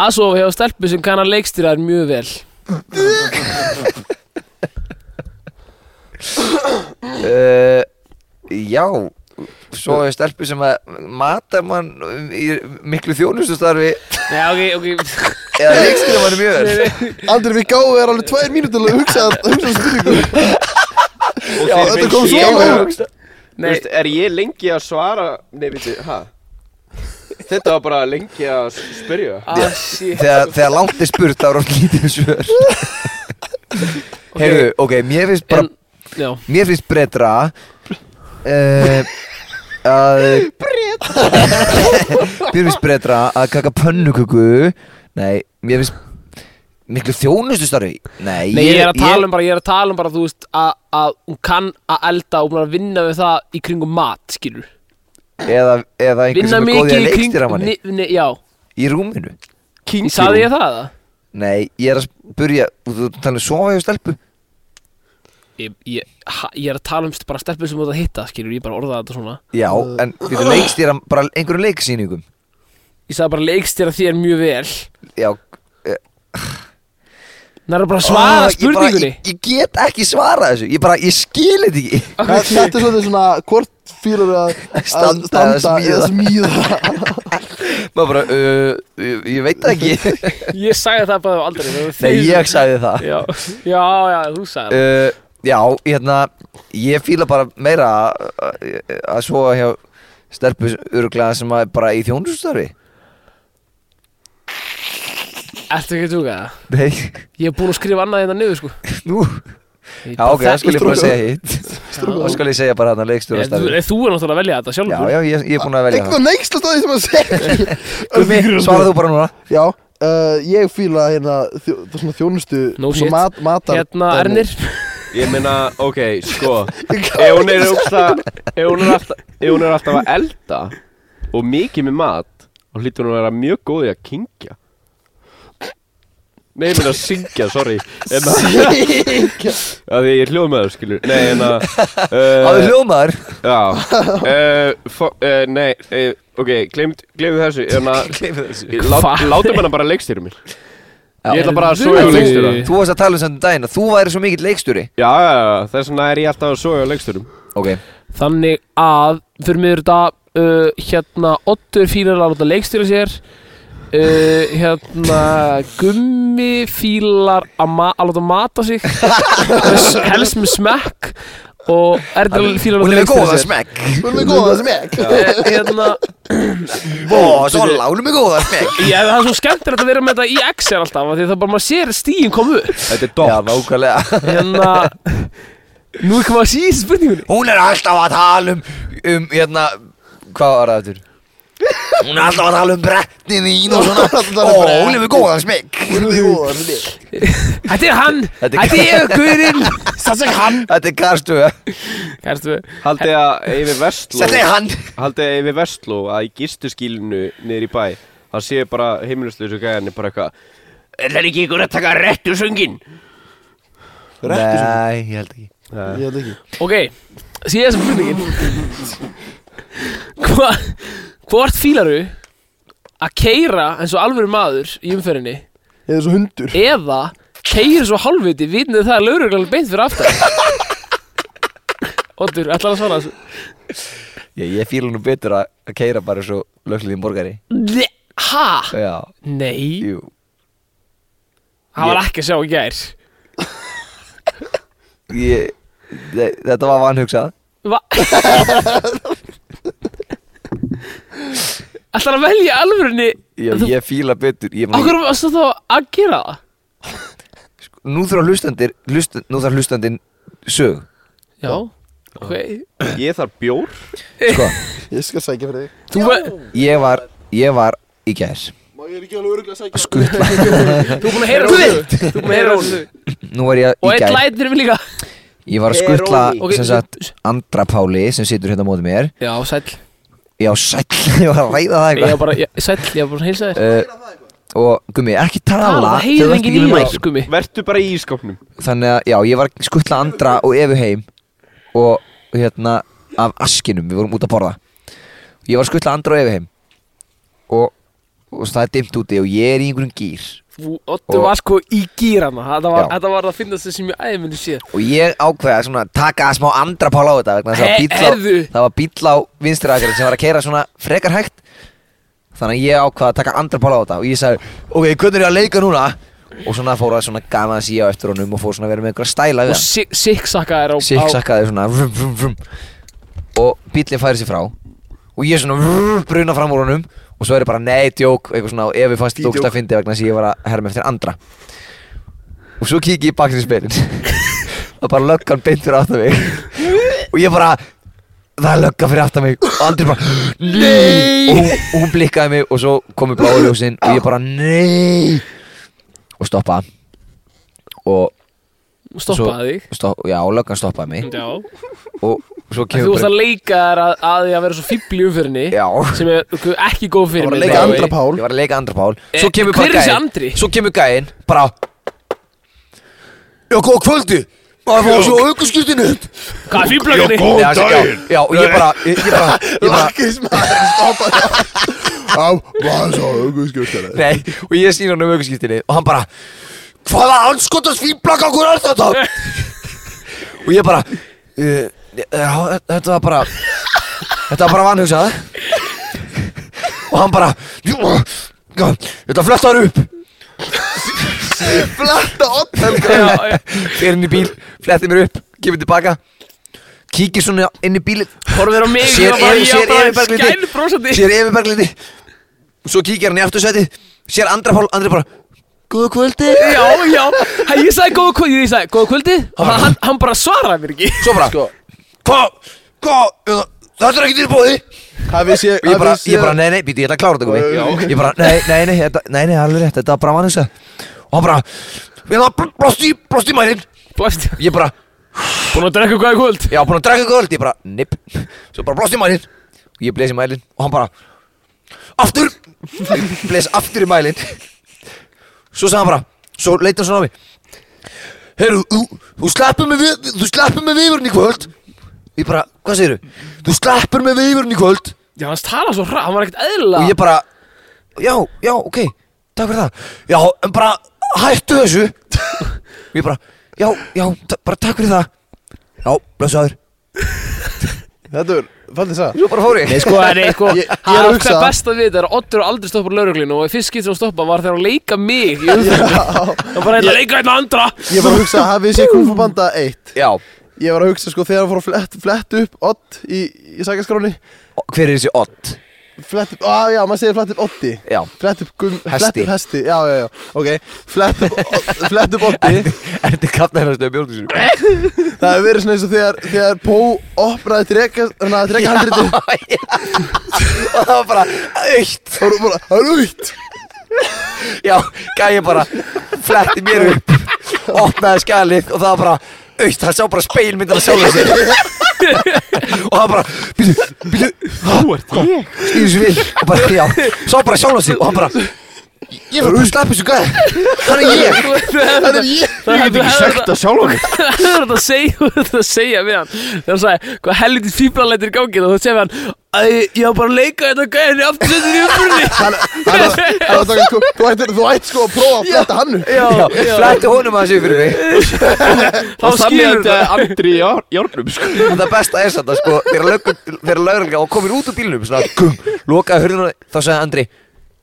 að sofa hjá stelpu sem kannar leikstýrar mjög vel
Uh, já, svo er stelpu sem að matar mann í miklu þjónustustarfi
Já, ok, ok
eða leikstir mann mjög vel
Andri við gáðum þér alveg tvær mínútur til að hugsa, hugsa spurningu
Já,
þetta kom svo á óvart.
Þú veist, er ég lengi að svara Nei, veit ég, hæ? Þetta var bara lengi að spyrja
ah, shit
Þegar, þegar langt er spurt þá er hann lítið um svör Heyrðu, ok, mér finnst bara
En, já
Mér finnst bretra uh, að Mér finnst bretra að kaka pönnuköku Nei, mér finnst miklu þjónustu starfi Nei,
Nei, ég er að tala um bara, ég er að tala um bara, þú veist, að, að hún kann að elda og hún er að vinna við það í kringum mat, skilur.
Eða, eða einhver
Vinna
sem er góðið
mikið
að
í
leikstýra
kringum,
manni
ni, ni, já,
Í rúminu
ég saði ég það það?
Nei, ég er að spurja Þú talar um sofa hjá stelpu
Ég, ég, ha, ég er að tala um st- bara stelpur sem þú ert að hitta, skilur, ég bara orðaði þetta svona.
Já, en við leikstýra bara einhverjum leiksýningum
Ég sagði bara leikstjara þér mjög vel
Já,
Það er bara að svara
Ó, ég bara-
spurningunni
ég, ég get ekki svarað þessu Ég bara, ég skil þetta ekki
Þetta þetta er svolítið svona hvort fýlur að að
Standa eða smíða.
eða smíða
Maður bara, uh, ég, ég veit það ekki
ég, sagði það bara aldrei það var
Nei,
þið-
ég sagði það
já, já, já, þú sagði það
uh, Já, hérna Ég fíla bara meira að- að að sofa hjá stelpu öruglega sem að er bara í þjónustarfi
Ertu ekki að tjúka það?
Nei,
Ég er búinn að skrifa annað hérna niður sko
nú
Ég
Já,
bara
ok, það skal ég bara segja hitt
Strúka.
Það skal ég segja bara hann að
Ég- Þú
leikstjórastarfi
en þú er náttúrulega að velja þetta
Já,
sjálfur
já, ég, ég er búin að velja
Eitthvað neykst að staði sem að segja
það Svara þú bara núna
Já, uh, ég fýla hérna þjó, það svona þjónustu
No shit.
svona mat, matar
Hérna,
dæmi.
um-
Ernir
Ég meina, ok, sko Ef hún er ógsta Ef hún er alltaf Ef hún er alltaf að elda Og mikið með mat Þá hlýtur hún að vera mjög góð í að kingja Nei, ég meina að syngja, sorry En að Að því ég er hljóðmaður, skilur Nei, en að
Það
uh,
er hljómaður
Já uh, fó, uh, Nei, uh, ok, gleymd Gleymd þessu En að
Gleymi þessu.
lá-
Hva?
Látum hana bara leikstýrum mér
Já.
Ég ætla bara að soga
Heyrðu.
á leikstýrum
Þú varst að tala um sem daginn að þú væri svo mikill leikstjóri
Já, já, já, þess vegna er ég alltaf að soga á leikstýrum
Ok,
Þannig að Fyrir miður þetta uh, Hérna Ottur fílar að láta leikstýra sér uh, Hérna Gummi fílar að, ma að láta mata sig Með s- Helst með smekk Og Ernir fílar að
hún
láta
er með
leikstýra
góða
sér
smekk
Hún er góð að smekk
Eh, Hérna
Ó, Sola, hún er með góða smekk
Já, það er svo skemmtilegt að vera með þetta í Excel alltaf af Því að það bara maður sér stíin kom upp
Þetta er
Já,
dock
nákvæmlega
Hérna Nú er komað að síða spurningunni
Hún er alltaf að tala um, um hérna, hvað var það aftur? Hún er alltaf að tala um brettni mín og svona
Alltaf að tala
Ó,
um
hún er með góðan smekk
Hún er góð að smekk
Þetta er hann
Þetta er-
Þetta er guðurinn Þetta er hann
Þetta er karstuða
Hérstu
Haldið að Eyvi Vestló
Þetta er hann
Haldið að Eyvi Vestló að í gistuskílinu niður í bæ Það sé bara heimilusleysu gæðinni bara eitthvað Er það ekki ykkur að taka réttu söngin?
Nei, ég held ekki
Ég held ekki
Ok Síðan spurningin Hva, Hvort fílaru Að keira eins og alvöru maður Í umferðinni
Ég er svo
E-
hundur
Eða keira svo halvviti Vitnið það er lauruglega beint fyrir aftan Oddur, ætlar að svara þessu
Ég, ég fíla nú betur að, að keira bara svo lögslíðin borgari
Ne- Ha?
Já,
Nei
jú
Það var ekki að sjá í gær
ég, þe- Þetta var vanhugsað
Va? Ætlar að velja alvörunni
Ég,
Þú-
ég fíla betur ég,
Akkur varstu þá að gera það?
Nú þarf hlustandir hlust, Nú þarf hlustandin sög
Já Ok
Ég þarf bjór
Sko,
Ég skal sækja fyrir þig
Þú, ve-
ég var, ég var í gæs
Má ég er ekki alveg öruglega að sækja
Skutla
þú er búin að heyra
Þú
þessu. Þú er búin að heyra þessu.
Nú var ég
Og
í
eitt
gæs
lætir við líka
Ég var að skutla
Ok,
sem sagt Andra Páli sem situr hérna á móti mér
Já, sæll
Já, sæll, ég var að ræða
Ég
það
var
eitthvað
bara, ég- sæll, ég var bara að heilsa þér
uh, Og gummi, ekki tala
Það
þegar þú
heyrir enginn
ert ekki
í
með
þér,
mæk.
gummi
Vertu bara í ískapnum
Þannig að, já, ég var að skutla Andra og Efu heim Og hérna, af askinum, við vorum út að borða Ég var að skutla Andra og Efu heim Og, og það er dimmt úti og ég er í einhverjum gýr
Þú, Ottu var sko í gýrana Þetta var,
Já.
þetta var að finna þessu sem ég æði minni séð
Og ég ákveða svona að taka smá andra pál á þetta vegna þess
He-
að bíll á,
heyrðu.
það var bíll á vinstri akkurinn sem var að keira svona frekar hægt Þannig að ég ákveða að taka andra pál á þetta og ég sagði Ok, hvernig er ég að leika núna? Og svona fór að svona gama að síja á eftir honum og fór svona að vera með einhverja stæla
Og
við hann
si- siksakka er á á-
Siksakkaði svona vrum, vrum, vrum. Og bíllinn færi sér frá Og ég svona vrum, bruna fram úr honum Og svo er ég bara nei, djók Eitthvað svona og ef við fannst djókst að fyndi vegna þess að ég var að herma eftir andra Og svo kík ég í baksinspilin Og bara löggan beint fyrir aftan mig Og ég bara Það er lögga fyrir aftan mig Og andri bara Nei Og hún, og hún blikkaði mig Og svo komu bláljósin Og ég bara nei Og stoppa Og
Stoppaði þig
stopp, Já, löggan stoppaði mig
Já
og svo
Þú
kemur
varst að leika þér að, að því að vera svo fíbl í umfyrinni
Já.
Sem er ekki góð fyrir
var að
mig
leika
by the way.
Andra Pál.
Ég var að leika andra pál
Eh,
Svo kemur
hver
bara
er þessi
gæinn
Andri?
Svo kemur gæinn Bara Já, góða kvöldi Maður fór að sjá aukurskiptinu
Hvað er fíblaginni?
Góðan
Já, já,
daginn.
já, og ég bara Ég, ég bara Ég bara
Lakkis maður að stoppa af vasaauguskjöldari
Nei, og ég sýn honum aukurskiptinni og hann bara Hvaða anskotast fínblakk okkur er þetta? og ég bara "Eh, já, Þetta var bara Þetta var bara vanhugsað Og hann bara "Jú, já, Þetta flettaður upp
Fletta oddhelgar
Já, já.
Fer inn í bíl, fletti mér upp, kemur tilbaka Kíkir svona inn í bílið
Horfir á mig
Sér
ég bara-
Evu-
ég
sér
bara
Evu Berglindi.
skælbrosandi.
Sér Efi Berglindi Svo kíkir hann í aftursæti Sér Andra Pál, Andri bara Góða kvöldi
Já, já, Hæ, ég sagði góða kvöldi, ég sagði góða kvöldi og hann, hann- hann bara svaraði mér ekki
Svo bara Hvað, hvað, þetta er ekki tilbúið
Hafið sé
Og ég bara, ég bara, nei, nei, býtu, ég ætla að klára þetta
Já, já,
komi
ok.
Ég bara, nei, nei, nei, þetta, nei, nei, alveg rétt, þetta var bara mannins Og hann bara, við erum að blóst í, blóst í mælinn
Blast,
Ég bara,
búin að drekka góða kvöld
ég var búinn að draka kvöld, ég bara, nipp Svo bara blóst í mælinn Og ég blés í mælinn og hann bara Aftur, ég blés aftur í mælinn Svo sagði hann bara, svo leit hann svona á mig Heyrðu, þú, þú sleppur með, við- þú sleppur með viðvörn í kvöld Ég bara, hvað segirðu? Þú sleppur með viðvörn í kvöld
Já, hann talaði svo hra, hann var ekkert eðla
og ég bara já, já, ok, takk fyrir það já, en bara hættu þessu og ég bara já, já, ta- bara takk fyrir það já, blessaður
Þetta er fallið sag
svo bara fór ég
Nei, sko, nei, sko
Ég- ég er
Það
að
er
hugsa-
það best að við þetta er að Oddur er aldrei stoppað lauruglinu og fyrst skipt sem hann stoppa var þegar hann leika mig í umferðinni. Hann bara eitthvað leika eitthvað andra
Ég var að hugsa að hafið sé Kung Fu Panda 1
já, og
Ég var að hugsa sko þegar hann fór að flett, flett upp odd í, í sagaskráni
hver er þessi odd
Flett upp, á já, maður segir flett upp oddi
já,
Flett upp gum, flett
Hesti.
upp hesti, já, já, já, ok Flett upp, odd- flett upp oddi
er þetta kallar hérna stöðu bjórnum sinu
Það hefur verið svona eins og þegar, þegar Pó opnaði treka, hann að treka handriti
og það var bara aukt,
og hún bara, hann út
já, gæði bara fletti mér upp opnaði skalið og það var bara aukt, hann sá bara speilmyndar að sjálfa sig og hann bara býtu, býtu, þú ert ég snýðu svo við og bara, já, sá bara sjálf á sig og hann bara ég var bara að slappa þessu gæð hann er ég
Það er ég
Það hefði
Ég sagt það sjálf hann
þetta að segja þú hefðir átt að segja við hann þegar hann sagði hvað helviti fíblalættir í gangi og þá segði hann að ég ég var bara að leika þetta gæðin í afturlöndinni í
Hann, hann, hann,
umfyrinni
hann, hann, hann, þú ættir, þú ætt sko að prófa að fletta hann upp
Já, já,
fletti honum að þessu fyrir mig
þá skilur
Þannig að andri í jár- járnum sko
og það besta er þetta sko þegar löggan- þegar lögregla og komir út úr bílunum svona gum, lokaði hurðina þá sagði Andri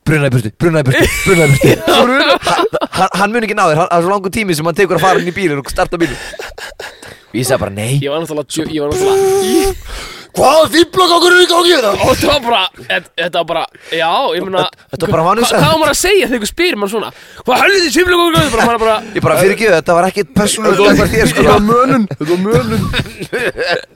brunaði burtu, brunaði burtu, brunaði burtu Ha- hann, hann mun ekki ná þér, hann- það er svo langur tími sem hann tekur að fara inn í bílun og starta bílun og ég sagði bara nei
Ég var náttúrulega, djö- ég var náttúrulega
hvaða fýblokk okkur er í gangi hérna? þetta
Og það var bara, þetta- þetta var bara, já, ég meina
Þetta var bara vanur
Hvað
sagt.
hvað á maður að segja þegar ykkur spyr mann svona Hvað helviti fíblalættir í gangi bara, maður er bara
Ég bara fyrir ekki þetta var ekkert persónulega eitthvað þér sko
Þetta var mönun, þetta var mönun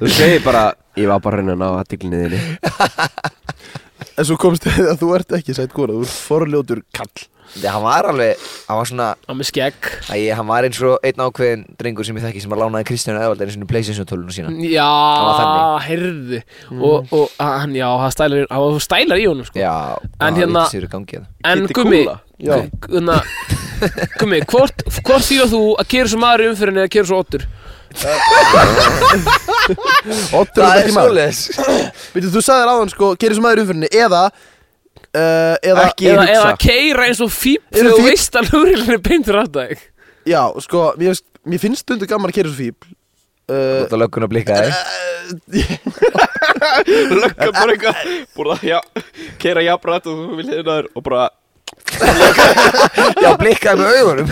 Þú segir bara Ég var bara að reyna að ná aðtiklinni þinni
En svo komst þið að þú ert ekki sætt góra, þú ert forljótur kall
Nei, hann var alveg, hann var svona,
Hann með skegg
æ, hann var eins og einn ákveðin drengur sem ég þekki sem að lánaði Kristján Eðvald einu sinni Playstation töluna sína var
Já,
þannig. Mm.
herði Og, og hann, já, hann stælar, hann stælar í honum sko
Já,
En hérna-
Sér gangið
En
Kiddi
gummi,
Kúla.
Já.
gummi, gummi, hvort, hvort þýra þú að kera svo maður í umfyrinni eða kera svo ottur?
Oddur er ekki maður Veitir, þú sagðir áðan sko, gerir sem maður í umfyrinni eða uh, eða,
Ekki
Eða,
hugsa.
eða keira eins og fíp
Eins
þegar
og
þú
fífl.
veist að lúrilin er beintur að það
Já, sko, mér, finnst- mér finnst stundu gaman að gerir svo fíbl uh,
Þetta löggun að blikka þig
Lökka bara eitthvað Bara já Kera jafnrætt og þú vil hérna þér Og bara
Já, blikkaði með augunum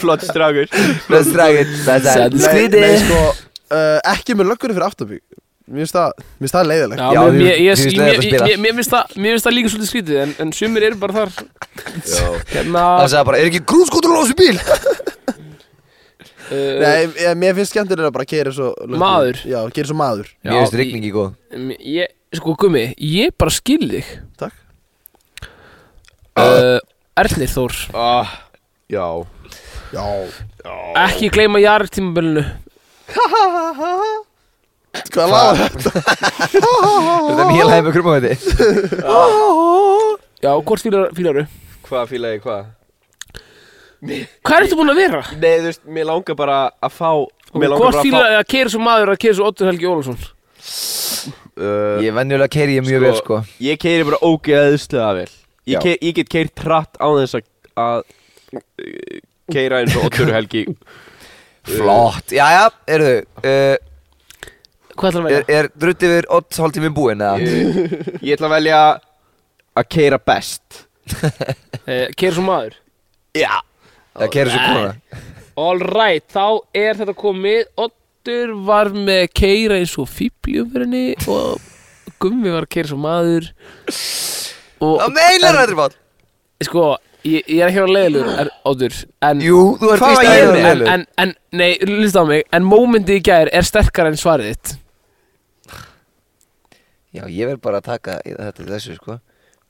Flott strákur
Bless dragin, bless
Sæll.
dragin
nei,
skrítið.
nei, sko, uh, ekki með löggunni fyrir aftabík Mér finnst það, mér finnst það leiðilegt
Já,
Já,
mér-
því-
mér- ég-
því finnst
ég-
leiðilegt að
mér-
spila.
mér- mér finnst það- Mér finnst það líka svolítið skrítið en, en sumir eru bara þar Hérna
Það sagði bara, er ekki grúnskótur á þessu bíl?
uh,
Nei, ég, mér finnst skemmtilega bara að gera svo löggunni.
Maður.
Já, gera svo maður
Mér finnst rigningi góð
m- ég, Sko gummi, ég bara skil þig
Takk
uh, Ernir Þór
ah, Já
Já
Ekki gleyma jarir tímabölinu
Hvað laga þetta?
Þetta er mjög læg með krummavæti
Já, hvort fílar, fílaru?
Hvað fíla ég hvað?
Hvað ertu búin að vera?
Nei þú veist Mér langar bara að fá
Hvort fílar að keira svo maður að keira svo Oddur Helgi Ólafsson?
fá uh,
Ég venjulega keiri ég mjög
Sko-
vel sko
Ég keiri bara ógeðslega vel
Já.
Ég, keir, ég get keirt tratt á þess að- að keira eins og Otturu Helgi
Flott, jæja, eru þau uh,
Hvað ætlar að
Er,
velja?
er drutt yfir 8 hálftími búinn eða?
ég, ég ætla að velja að keira best
Uh, Keir svo maður
Já
Það keiri svo kona
All right, þá er þetta komið Oddur var með keira eins og fíbljöfurinni og Gummi var keira eins og maður og
Það meilar þetta bát
sko, ég, ég er ekki að vera leiðilegur er- Oddur, en
Jú, þú ert
Hvað
víst
var ég
aðeins
en,
með?
leiðilegur.
en, en, nei, lísta á mig en mómyndi í gær er sterkar en svarið þitt
Já, ég verð bara að taka í- þetta þessu sko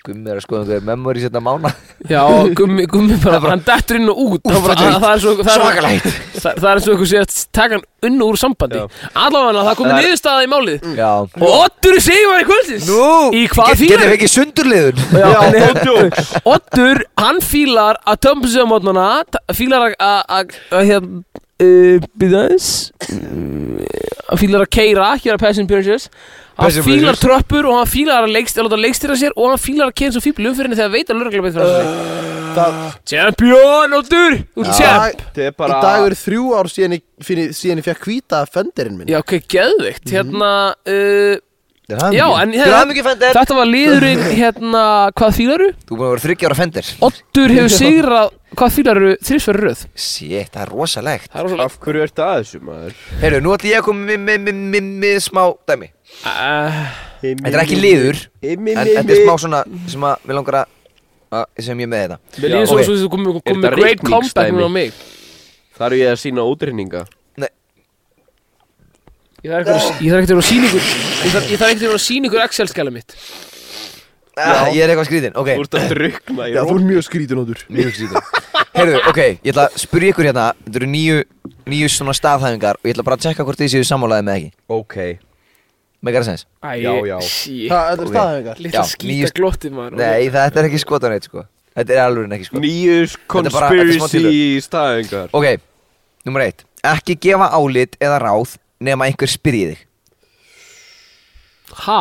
Gummi er að skoða þau memory setna mána
já, og Gummi, gummi bara,
bara-
hann dettur inn og út það,
bara
það, það er svo það er-
Svakalegt
það, það er eins og einhver sé að taka hann unn úr sambandi allavega það komið
Það er-
niðurstaða í málið
Já
og Oddur segir maður í kvöldsins í hvað
Get- Getum
fílar
við ekki sundurliðun?
Já, en-
djóks
Oddur, hann fílar að tömpa sig á mótnana fílar að- að- að að hérna uh, byrjaðis Mm, hann fílar að keira ekki vera Passion Princess hann
Passion
fílar
Princess.
tröppur og hann fílar að, leikst, að láta leikstýra sér og hann fílar að keira eins og fíbl umfyrinni þegar veit að lörgla beitt frá
Eh.
sig
Það-
Champion, Oddur Þú ert champ
Dag-
Þetta er
Í
bara
dag eru þrjú ár síðan ég, fyrir, síðan ég fekk hvíta fenderinn minn
Já, ok, geðvikt Hérna,
Mhm.
uh, já, en
Þú
hérna,
hafði mikið fendir
þetta var liðurinn hérna, hvað fílaru?
Þú búin að vera 30 ára fendir
Oddur hefur sigrað, hvað fílaru þrísverður röð
Sétt, það er rosalegt
Það er rosalega
Af hverju ertu að þessu maður?
Heyrðu, nú ætlum ég að koma með, með, með, með, með smá
uh,
dæmi Ah. Þetta er ekki liður
En
En þetta er smá svona sem að við langar að að- sem ég er með hérna. þetta
Mér líður svo
ok.
eins og þú komið
Er
kom með
þetta
great
rigningsdæmi?
comeback núna á mig
Það eru ég að sína útrýninga
Ég þarf ekkert- ég þarf ekkert að vera að sína ykkur Ég þarf ég þarf ekkert að vera að sína ykkur Excel-skjæla mitt
Ah, Ég er eitthvað skrýtin, ok
Þú ert að drukna í
Já, þú
rók
er mjög skrítin átur
Mjög skrýtin Heyrðu, ok, ég ætla að spyrja ykkur hérna Þetta eru nýju, nýju svona staðhæfingar Og ég ætla bara að tjekka hvort þið séu sammálaðið með ekki
Ok
Megar það sens?
Æ,
Já, já.
shit
Það þetta er
Ok.
staðhengar
Lítið
Já,
skýta
nýjust-
glottið maður
Nei, þetta er ekki skotan eitt sko Þetta er alveg ekki skotan
Nýju
Þetta er bara- þetta er smá
conspiracy staðingar
Ok, nummer eitt Ekki gefa álit eða ráð nema einhver spyrji þig
Ha?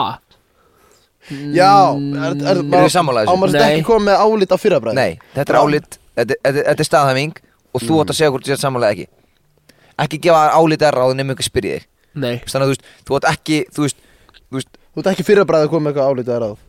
Já, er, er,
Eru þið sammála þessu?
Á maður þetta
Nei.
ekki komið með álit á fyrrabræði
Nei, þetta er álit, þetta, þetta, þetta er staðhæfing Og þú átt að segja hvort þú sér sammálaðið ekki Ekki gefa álit eða ráð nema einhver spyrji þig
Nei
Þannig að þú veist, þú átt ekki, þú veist, þú veist
Þú ert ekki fyrrabræði að koma með eitthvað álit að ráð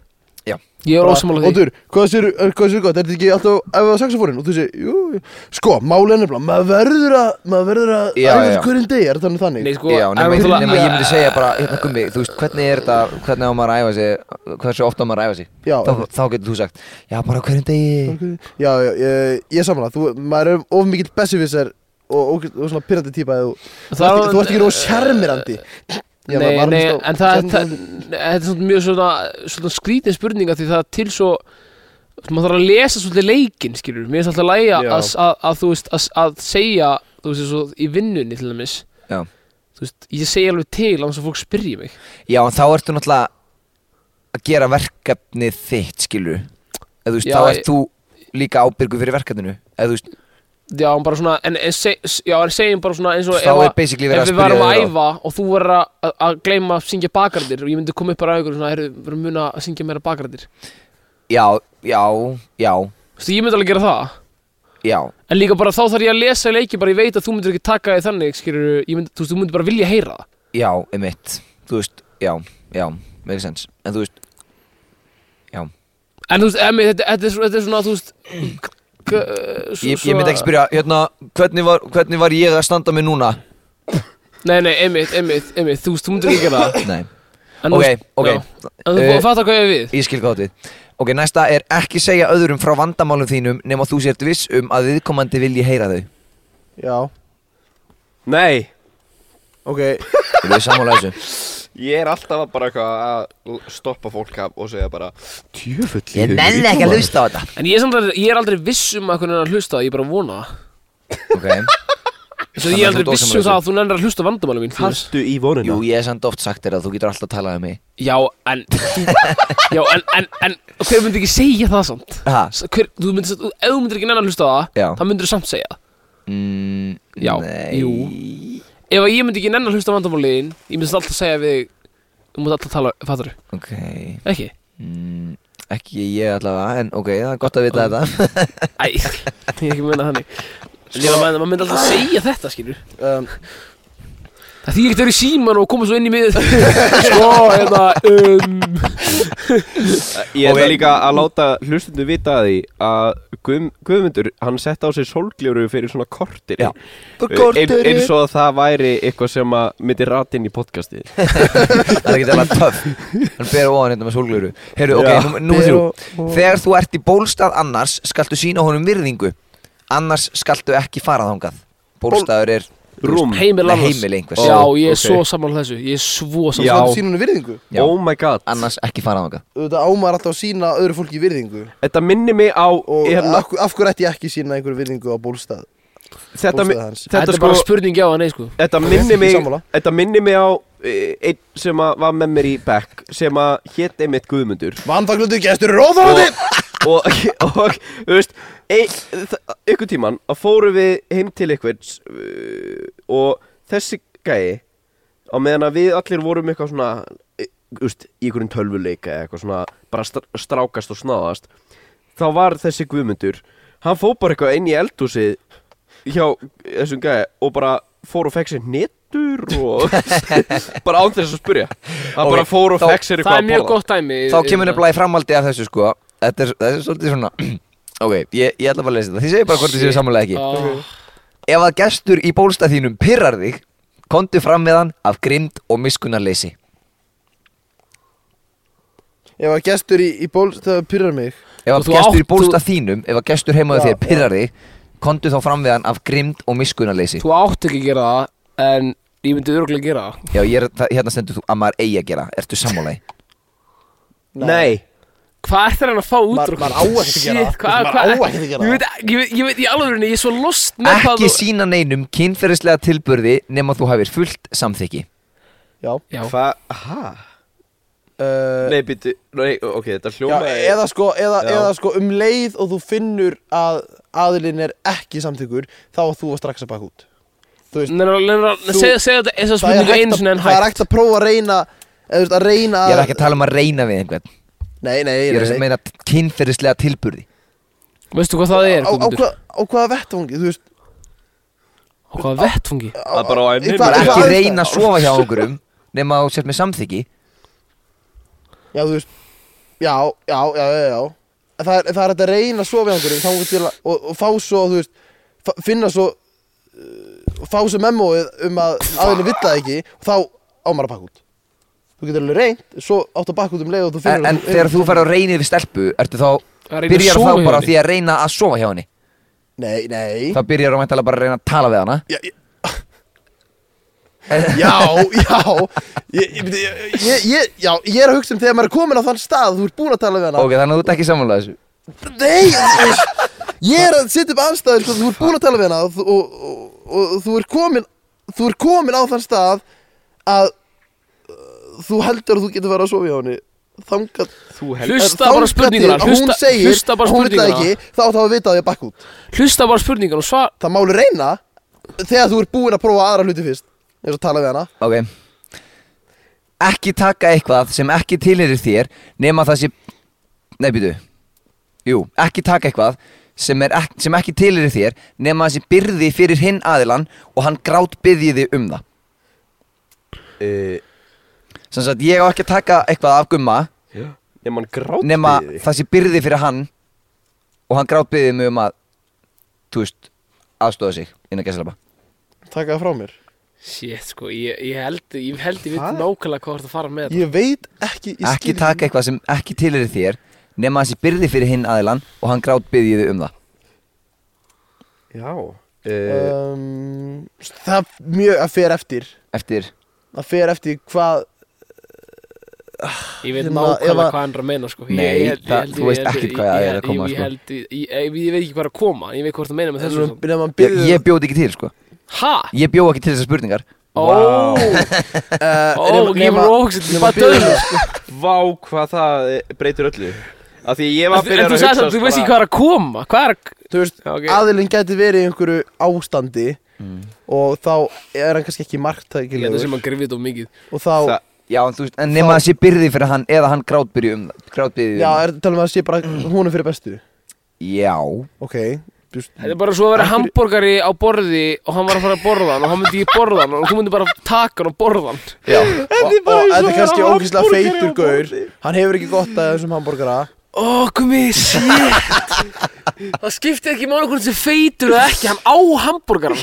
Ég er ósamála því
Óttur, hvað sér, er, hvað sér gott, er þetta ekki alltaf ef það saxofónin? Og þú segir, jú, jú. sko, málið er nefnilega, maður verður að, maður verður að
Já, já, já.
æfa hverjum degi, er það þannig þannig?
Nei, sko
Já, nema,
en
ég,
náttúrulega-
nema ég myndi segja bara, hérna gummi, þú veist, hvernig er þetta, hvernig á maður að æfa sig, hversu ofta á maður að æfa sig?
Já.
Þá, þá getur þú sagt, já, bara á hverjum degi.
Já, já, ég, ég samla, þú, maður er of mikill besserwisser og, og, og svona pirrandi típa eða þú, þú ert ekki- þú ert ekki nóg sjarmirandi Já,
eh, Nei,
maður-
nei,
maður hlust á-
en það,
sjarmirandi-
það þetta er svona mjög svona, svona skrítin spurninga því það er til svo maður þarf að lesa svolítið leikinn, skilur mér er alltaf lægja
Já.
að, að, að þú veist að, að segja, þú veist, svo, í vinnunni til dæmis,
Já.
þú veist, ég segja alveg til án þess að fólk spyrji mig
Já, en þá ertu náttúrulega að gera verkefnið þitt, skilur. Eða þú veist,
Já,
þá
ég-
ert þú líka ábyrgu fyrir verkefninu. Eða þú veist,
já, en bara svona, en, en, seg, já, en segjum bara svona eins og
Þá
Sko, ef,
er
að-
basically verið að
ef við
spyrja
varum að
þig ráð.
æfa og þú verður að- að- að gleyma að syngja bakgræðir og ég myndi koma upp bara að ykkur svona, erum við muna að syngja meira bakgræðir
já, já, já,
þú veist, ég myndi alveg gera það
já.
En líka bara þá þarf ég að lesa leiki bara ég veit að þú myndir ekki taka því þannig skilur, mynd, þú veist, þú myndir bara vilja heyra það
Já, emitt. Þú veist, já, já, með sens. En þú veist, já.
En þú veist, emi, þetta, þetta, er, svo- þetta er svona, þú veist k- eh, svo-
Ég, ég myndi ekki
svona-
spyrja, hérna, hvernig var, hvernig var ég að standa mig núna?
Nei, nei, emi, emi, emi, þú veist, þú myndir ekki gera það
Nei.
En þú
Ok,
veist-
ok.
já. En þú
Eh,
uh, fattar hvað ég á við
Ég skil hvað þú átt við Ok, næsta er ekki segja öðrum frá vandamálum þínum nema þú sért viss um að viðkomandi vilji heyra þau
Já,
Nei
ok,
Eru þau sammála þessu?
Ég er alltaf bara eitthvað að stoppa fólk af og segja bara Tjöfull
hlusta á þetta
En ég er, samt, aldrei- ég er aldrei viss um að hvernig er að hlusta það, ég er bara að vona það
Ok,
Þess að
Þannig
ég er
að þú ert
aldrei viss
ósammála
um það að þú nennir að hlusta vandamáli mín þú veist.
Haltu í vonina
jú ég er samt oft sagt þér að þú getur alltaf að tala um mig
Já, en Já, en, en, en Hver myndi ekki segja það samt?
Ha?
S- Hver, þú myndir, þú- ef þú myndir ekki nennan að hlusta á það
Já.
þá myndir þú samt segja það
Mm,
Já,
nei
jú. Ef að ég myndi ekki nennan að hlusta vandamáliðin Ég myndi samt alltaf segja við þig, Þú mútt alltaf tala, fattar þú?
Ok
Ekki?
mm, Ekki ég allavega, en ok, það er gott að vita þetta
Æ, ég er ekki að meina þannig En ég var að meina, maður myndi alltaf segja þetta, skilur
um,
Það þýr ekkert að vera í síman og koma svo inn í miðið Sko, hérna, um
Ég
Og
ætla
við-
líka að láta hlustundu vita að því að Guðm, Guðmundur, hann sett á sig sólgljúru fyrir svona kortir
Já.
eins og að það væri eitthvað sem að myndi rata inn í podcastið
Það er ekki alveg töff Hann ber ofan hérna með sólglöru Heyrðu,
Já.
ok, nú
Ber
þrjú Þegar þú ert í bólstað annars skaltu sína honum virðingu Annars skaltu ekki fara þangað Bólstaður er
Rúm
Heimil
Nei,
annars
heimili einhvers.
Já,
Ó,
ég er
ok.
svo sammála þessu Ég er svo
Já.
sammála
Þetta sýnum við virðingu
Já.
Oh my god
Annars ekki fara þangað
Þetta ámar alltaf að sína öðru fólki virðingu
Þetta minni mig á
Og
hérna,
af, hver- af hverju ætti ég ekki að sína einhverju virðingu á bólstað
þetta, mi-
bólstað hans.
Þetta
þetta,
er
sko,
bara spurning já og nei, sko
þetta
Ok,
minni
ég
mig
sammála.
Þetta minni mig á eh, einn sem að var með mér í Beck sem að hét einmitt Guðmundur
Vanfaglutu gestur er
Sko-
óþólandi
og, og, og þú veist ein, þa- ykkur tíman að fórum við heim til ykkvers uh, og þessi gæi á meðan að við allir vorum eitthvað svona eh, þú veist, í einhverjum tölvuleika eða eitthvað svona bara str strákast og snáðast þá var þessi guðmundur hann fór bara eitthvað inn í eldhúsið hjá þessum gæi og bara fór og fekk sér netur og bara án þess að spyrja hann
Ok,
bara fór og
þá-
fekk
Það er
sér eitthvað
mjög
að borða
gott dæmi
Þá kemur nefnilega í framhaldi af þessu sko Þetta er, þetta er svolítið svona Ok, ég, ég ætla bara að lesa þetta Þið segir bara hvort þið séu samanlega ekki
ekki
Ef að gestur í bólstað þínum pyrrar þig Kondu fram með hann af grind og miskunnarleysi
Ef að gestur í, í bólstað pyrrar mig
Ef
Og
að
þú
gestur
átt-
í bólstað þínum Ef að gestur heimaðu
Já,
þér pyrrar þig Kondu þá fram við hann af grind og miskunnarleysi
Þú átt ekki að gera það En ég myndi örgulega gera það
Já, ég er, það, hérna stendur þú að maður eigi að gera Ertu sammálaði?
Nei,
Hvað ert það hann að fá út
Maður-
úr
maður á ekkert að gera það.
hvað,
Maður
hvað,
á ekkert að gera
Ég
það.
veit, ég veit, ég veit í alvörunni, ég er svo lost með hvað
Ekki sína neinum kynferðislega tilburði nema þú hafir fullt samþykki
Já,
Já,
hvað, hæ?
uh,
Nei, býttu, nei, ok, þetta
já
hljóma
eða, sko, eða,
Já.
eða sko um leið og þú finnur að aðilinn er ekki samþykkur Þá á þú að strax að baka út Þú veist,
neina,
Þú-
segja segja þetta Þess að
það er
spurningu einu
hægt,
sinni
að,
en
það er
hægt
hægt að prófa að reyna eða, þú veist, að reyna
Ég er ekki að tala um að reyna við einhvern
Nei, nei,
Ég er að
nei, nei.
meina kynferðislega tilburði
Veistu hvað það er,
Á, á,
Guðmundur?
hvað, á hvaða vettvangi, þú veist
Á hvaða vettfungi?
á,
Það er bara á
í
enninu.
hvað-
Bara
í
ekki
hvaða
reyna að
aðstæður?
sofa hjá einhverjum nema þú sért með samþykki
Já, þú veist Já, já, já, já, já En Það er, það er hægt að reyna að sofa hjá einhverjum þangað til að- og, og fá svo, þú veist fa- finna svo uh, fá svo memóið um að aðeins vill það ekki og þá á maður að pakka út Þú getur alveg reynt, svo áttu að pakka út um leið og þú
En,
finnur
en þegar þú fer að reyna við stelpu Ertu þá,
Að reyna að
byrjar
sofa
þá
hjá
bara á
henni?
því að reyna að sofa hjá henni
Nei, nei
Það byrjar þú mæntalega bara að reyna að tala við hana
Já, já já, já ég, ég, ég, ég, já, ég er að hugsa um þegar maður er komin á þann stað Þú ert búin að tala við hana
Ok, þannig að þú ert ekki samanlega þessu
Nei, þú veist, ég er að setja upp aðstæður sko, Þú ert búin að tala við hana og, og, og, og þú ert komin Þú ert komin á þann stað Að uh, þú heldur að þú getur verið að sofa hjá henni Þangað
Þú heldur
Hlusta bara
þangað
spurninguna
til að Hún
Hlusta,
segir,
hlusta bara
hún vil það
spurninguna
ekki Þá þá að vita að ég bakk út
Hlusta bara spurninguna og svar
Það máli reyna Þegar þú ert búin að prófa aðra hluti fyrst eins og tala við hana
Ok Ekki taka eitthvað sem ekki tilherir þér Nema það sé Nei, býtu Jú, ekki taka eitthvað sem, er ek sem ekki tilherir þér Nema það sé byrði fyrir hinn aðilan Og hann grát byrði um það
uh,
Sanns að ég á ekki að taka eitthvað af gumma
Nefn hann grátt
Nema það sé byrði fyrir hann Og hann grát byrði mig um að Þú veist, aðstóða sig Innan gæslepa
Taka það frá mér
Shit, sko, ég, ég held Ég held ég veit
Hvað?
nákvæmlega hvað þú ert að fara með þetta.
Ég veit ekki ég
Ekki
skil-
taka eitthvað sem ekki tilherir þér Nema það sé byrði fyrir hinn aðilan Og hann grát byrði um það
Já uh,
um, Það er mjög að fer eftir
Eftir
Það fer eftir hvað
Ég veit
Hérna,
nákvæmlega
ef að-
hvað hann er að meina sko. Ég-
Nei,
ég held- ég
það-
held-
þú
ég
veist
held-
ekkert
ég-
hvað það er
ég-
að koma,
ég-
sko.
Ég held, ég, ég, ég veit ekki hvað er að koma Ég veit hvort það meina með þessu
Nefnum að
ég,
byrja
ég bjóð ekki til sko
Hæ?
Ég bjóð ekki til þessar spurningar
Ó,
Vá.
ó, ég var óhugsin Ég bara döðum
Vá hvað það eh, breytir öllu Af því ég var að
En
byrja að
þú
hugsa sko,
sagði
sko,
það, þú veist ekki
bara-
hvað er að koma Hvað er að
Þú veist,
Já, ok.
aðilinn gæti verið í einhverju
Mm.
ástandi og þá er hann kannski ekki
Ég held að
marktækilegur
sem að grifja þetta of mikið
og þá
Það-
Já, en, þú veist, en nema
Þá-
það sé byrði fyrir hann eða hann grátbyrði um það Grátbyrði um
Já, er, talum við að sé bara honum fyrir bestu
Já
Ok just,
Þetta er bara svo að vera hambúrgari á borði og hann var að fara að borða hann og hann myndi ekki borða hann og þú myndi bara taka hann og borða hann
Já
Og og þetta er kannski ógeðslega feitur gaur Hann hefur ekki gott að þessum hambúrgara
Ó, gumi, shit Það skiptir ekki máli hvort þessi feitur eða ekki, hann á hambúrgaran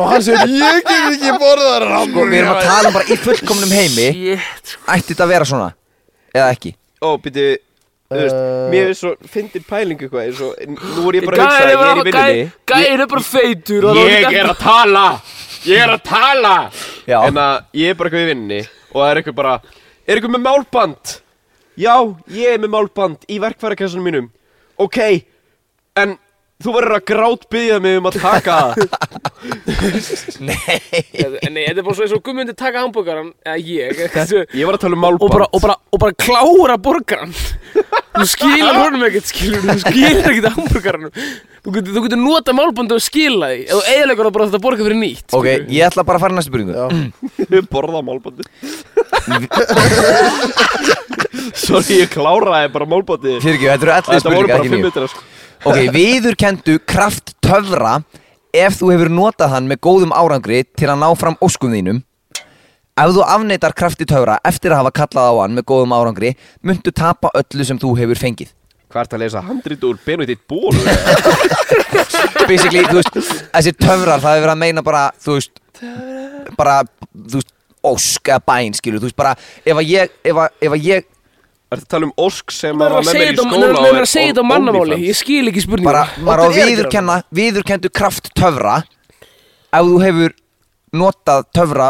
Og hann segir, ég get ekki borðað
Sko, við erum að
hambúrgara
tala bara í fullkomnum heimi
Shit sko.
Ætti þetta að vera svona? Eða ekki?
Ó, býtu, þú veist,
Eh.
mér er svo fyndin pæling eitthvað eins og, nú er ég bara að
Gæðir
hugsa, ég er í
bara,
vinnunni
gæðir bara feitur og það var ekki-
að tala Ég er að tala
Já
En að ég er bara eitthvað í vinnunni og það er eitthvað bara, er eitthvað með málband? Já, ég er með málband í verkfærakessunum mínum Ok, en þú verður að grátbyðja mig um að taka það
Þetta- Nei, þetta er bara svo eins og gumi myndi taka hambúrgaran eða ég eitthvað,
Ég var að tala um
og
málband
bara, og bara, og bara klára borgaran þú skilar honum ekkert skilur þú skilar ekkert hambúrgaranum þú getur, þú getur nota málbandi og skila því eða eðilegur það bara þetta borga fyrir nýtt
Ok, ég ætla bara að fara í næstu Mm, byrjungu
Borða málbandi Sorry, ég kláraði bara málbandi
Fyrir ekki, þetta eru
Þetta
allir
voru
spurningar,
bara
ekki
fimm
nýjum
metra sko
Ok, viðurkendu kraft töfra ef þú hefur notað hann með góðum árangri til að ná fram óskum þínum Ef þú afneitar krafti töfra eftir að hafa kallað á hann með góðum árangri muntu tapa öllu sem þú hefur fengið
Hvað ert að lesa handrit úr Benedikt Ból?
Basically, þú veist, þessi töfrar það hefur verið að meina bara, þú veist bara, þú veist, ósk eða bæn, skilur, þú veist, bara ef að ég, ef að, ef að ég
Ertu að tala um Ósk sem
Nei,
að
það
var með mér í skóla og
er að segja þetta á
on-
mannamáli,
OnlyFans?
ég skil ekki spurningum
bara, maður á
þetta er
að
ekki
viðurkenna viðurkendu kraft töfra ef þú hefur notað töfra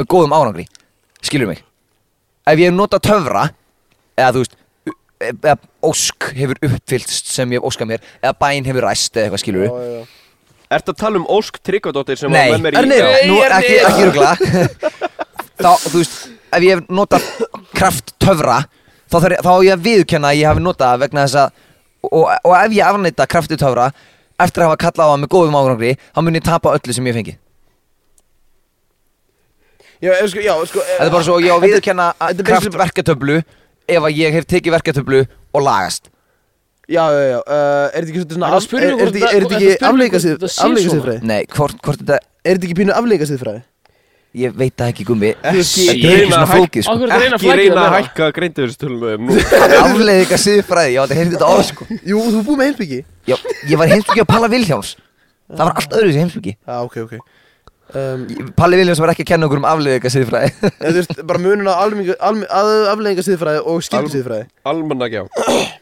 með góðum árangri skilur mig ef ég hef notað töfra eða þú veist u- eða ósk hefur uppfyllst sem ég hef óskað mér eða bæn hefur ræst eða eitthvað skilur við
Ertu að tala um Ósk Tryggvadóttir sem
nei,
var með mér í
nei,
Nei,
nú,
Erni.
ekki, ekki rugla þá, þú veist ef ég hef notað kraft töfra þá, þarf, ég- þá á ég að viðurkenna að ég hef notað það vegna þess að og, og ef ég afnæta krafti töfra eftir að hafa kallað á það með góðum árangri þá mun ég tapa öllu sem ég fengi
Já, eh, sko, já, sko eh,
þetta er bara svo, ég á að viðurkenna að
þetta er
kraft
basically-
verkatöflu ef að ég hef tekið verkatöflu og lagast
Já, já, já, uh, er þetta ekki svolítið
Hann
svona
er að
af-
spyrja
er-
hvort
Er þetta
þetta-
ekki- er þetta
hvort
ekki
þetta spurning um
afleika
hvort þetta sé svona?
siðfræði?
nei, hvort, hvort þetta,
Er þetta ekki pínu afleika siðfræði?
ég veit það ekki gummi þetta
Ekki
er ekki
reyna
svona
að hæ-
flókið sko.
Akkur er að reyna að
Ekki
flækja
reyna að
það
hækka greindiðurstölum nú
afleðið eitthvað siðfræði, ég átti að heyrði þetta á sko.
Jú, þú er búið með heimsbyggi
Já, ég var heimsbyggi á Palla Vilhjáms það var allt öðru sem
Já,
heimsbyggi
Ah, ok, ok um,
Palli Viljáms var ekki að kenna okkur um afleðið eitthvað siðfræði
Þú veist, bara munun á almenningu- alm- að- afleiðinga siðfræði og skildu siðfræði
Almannak já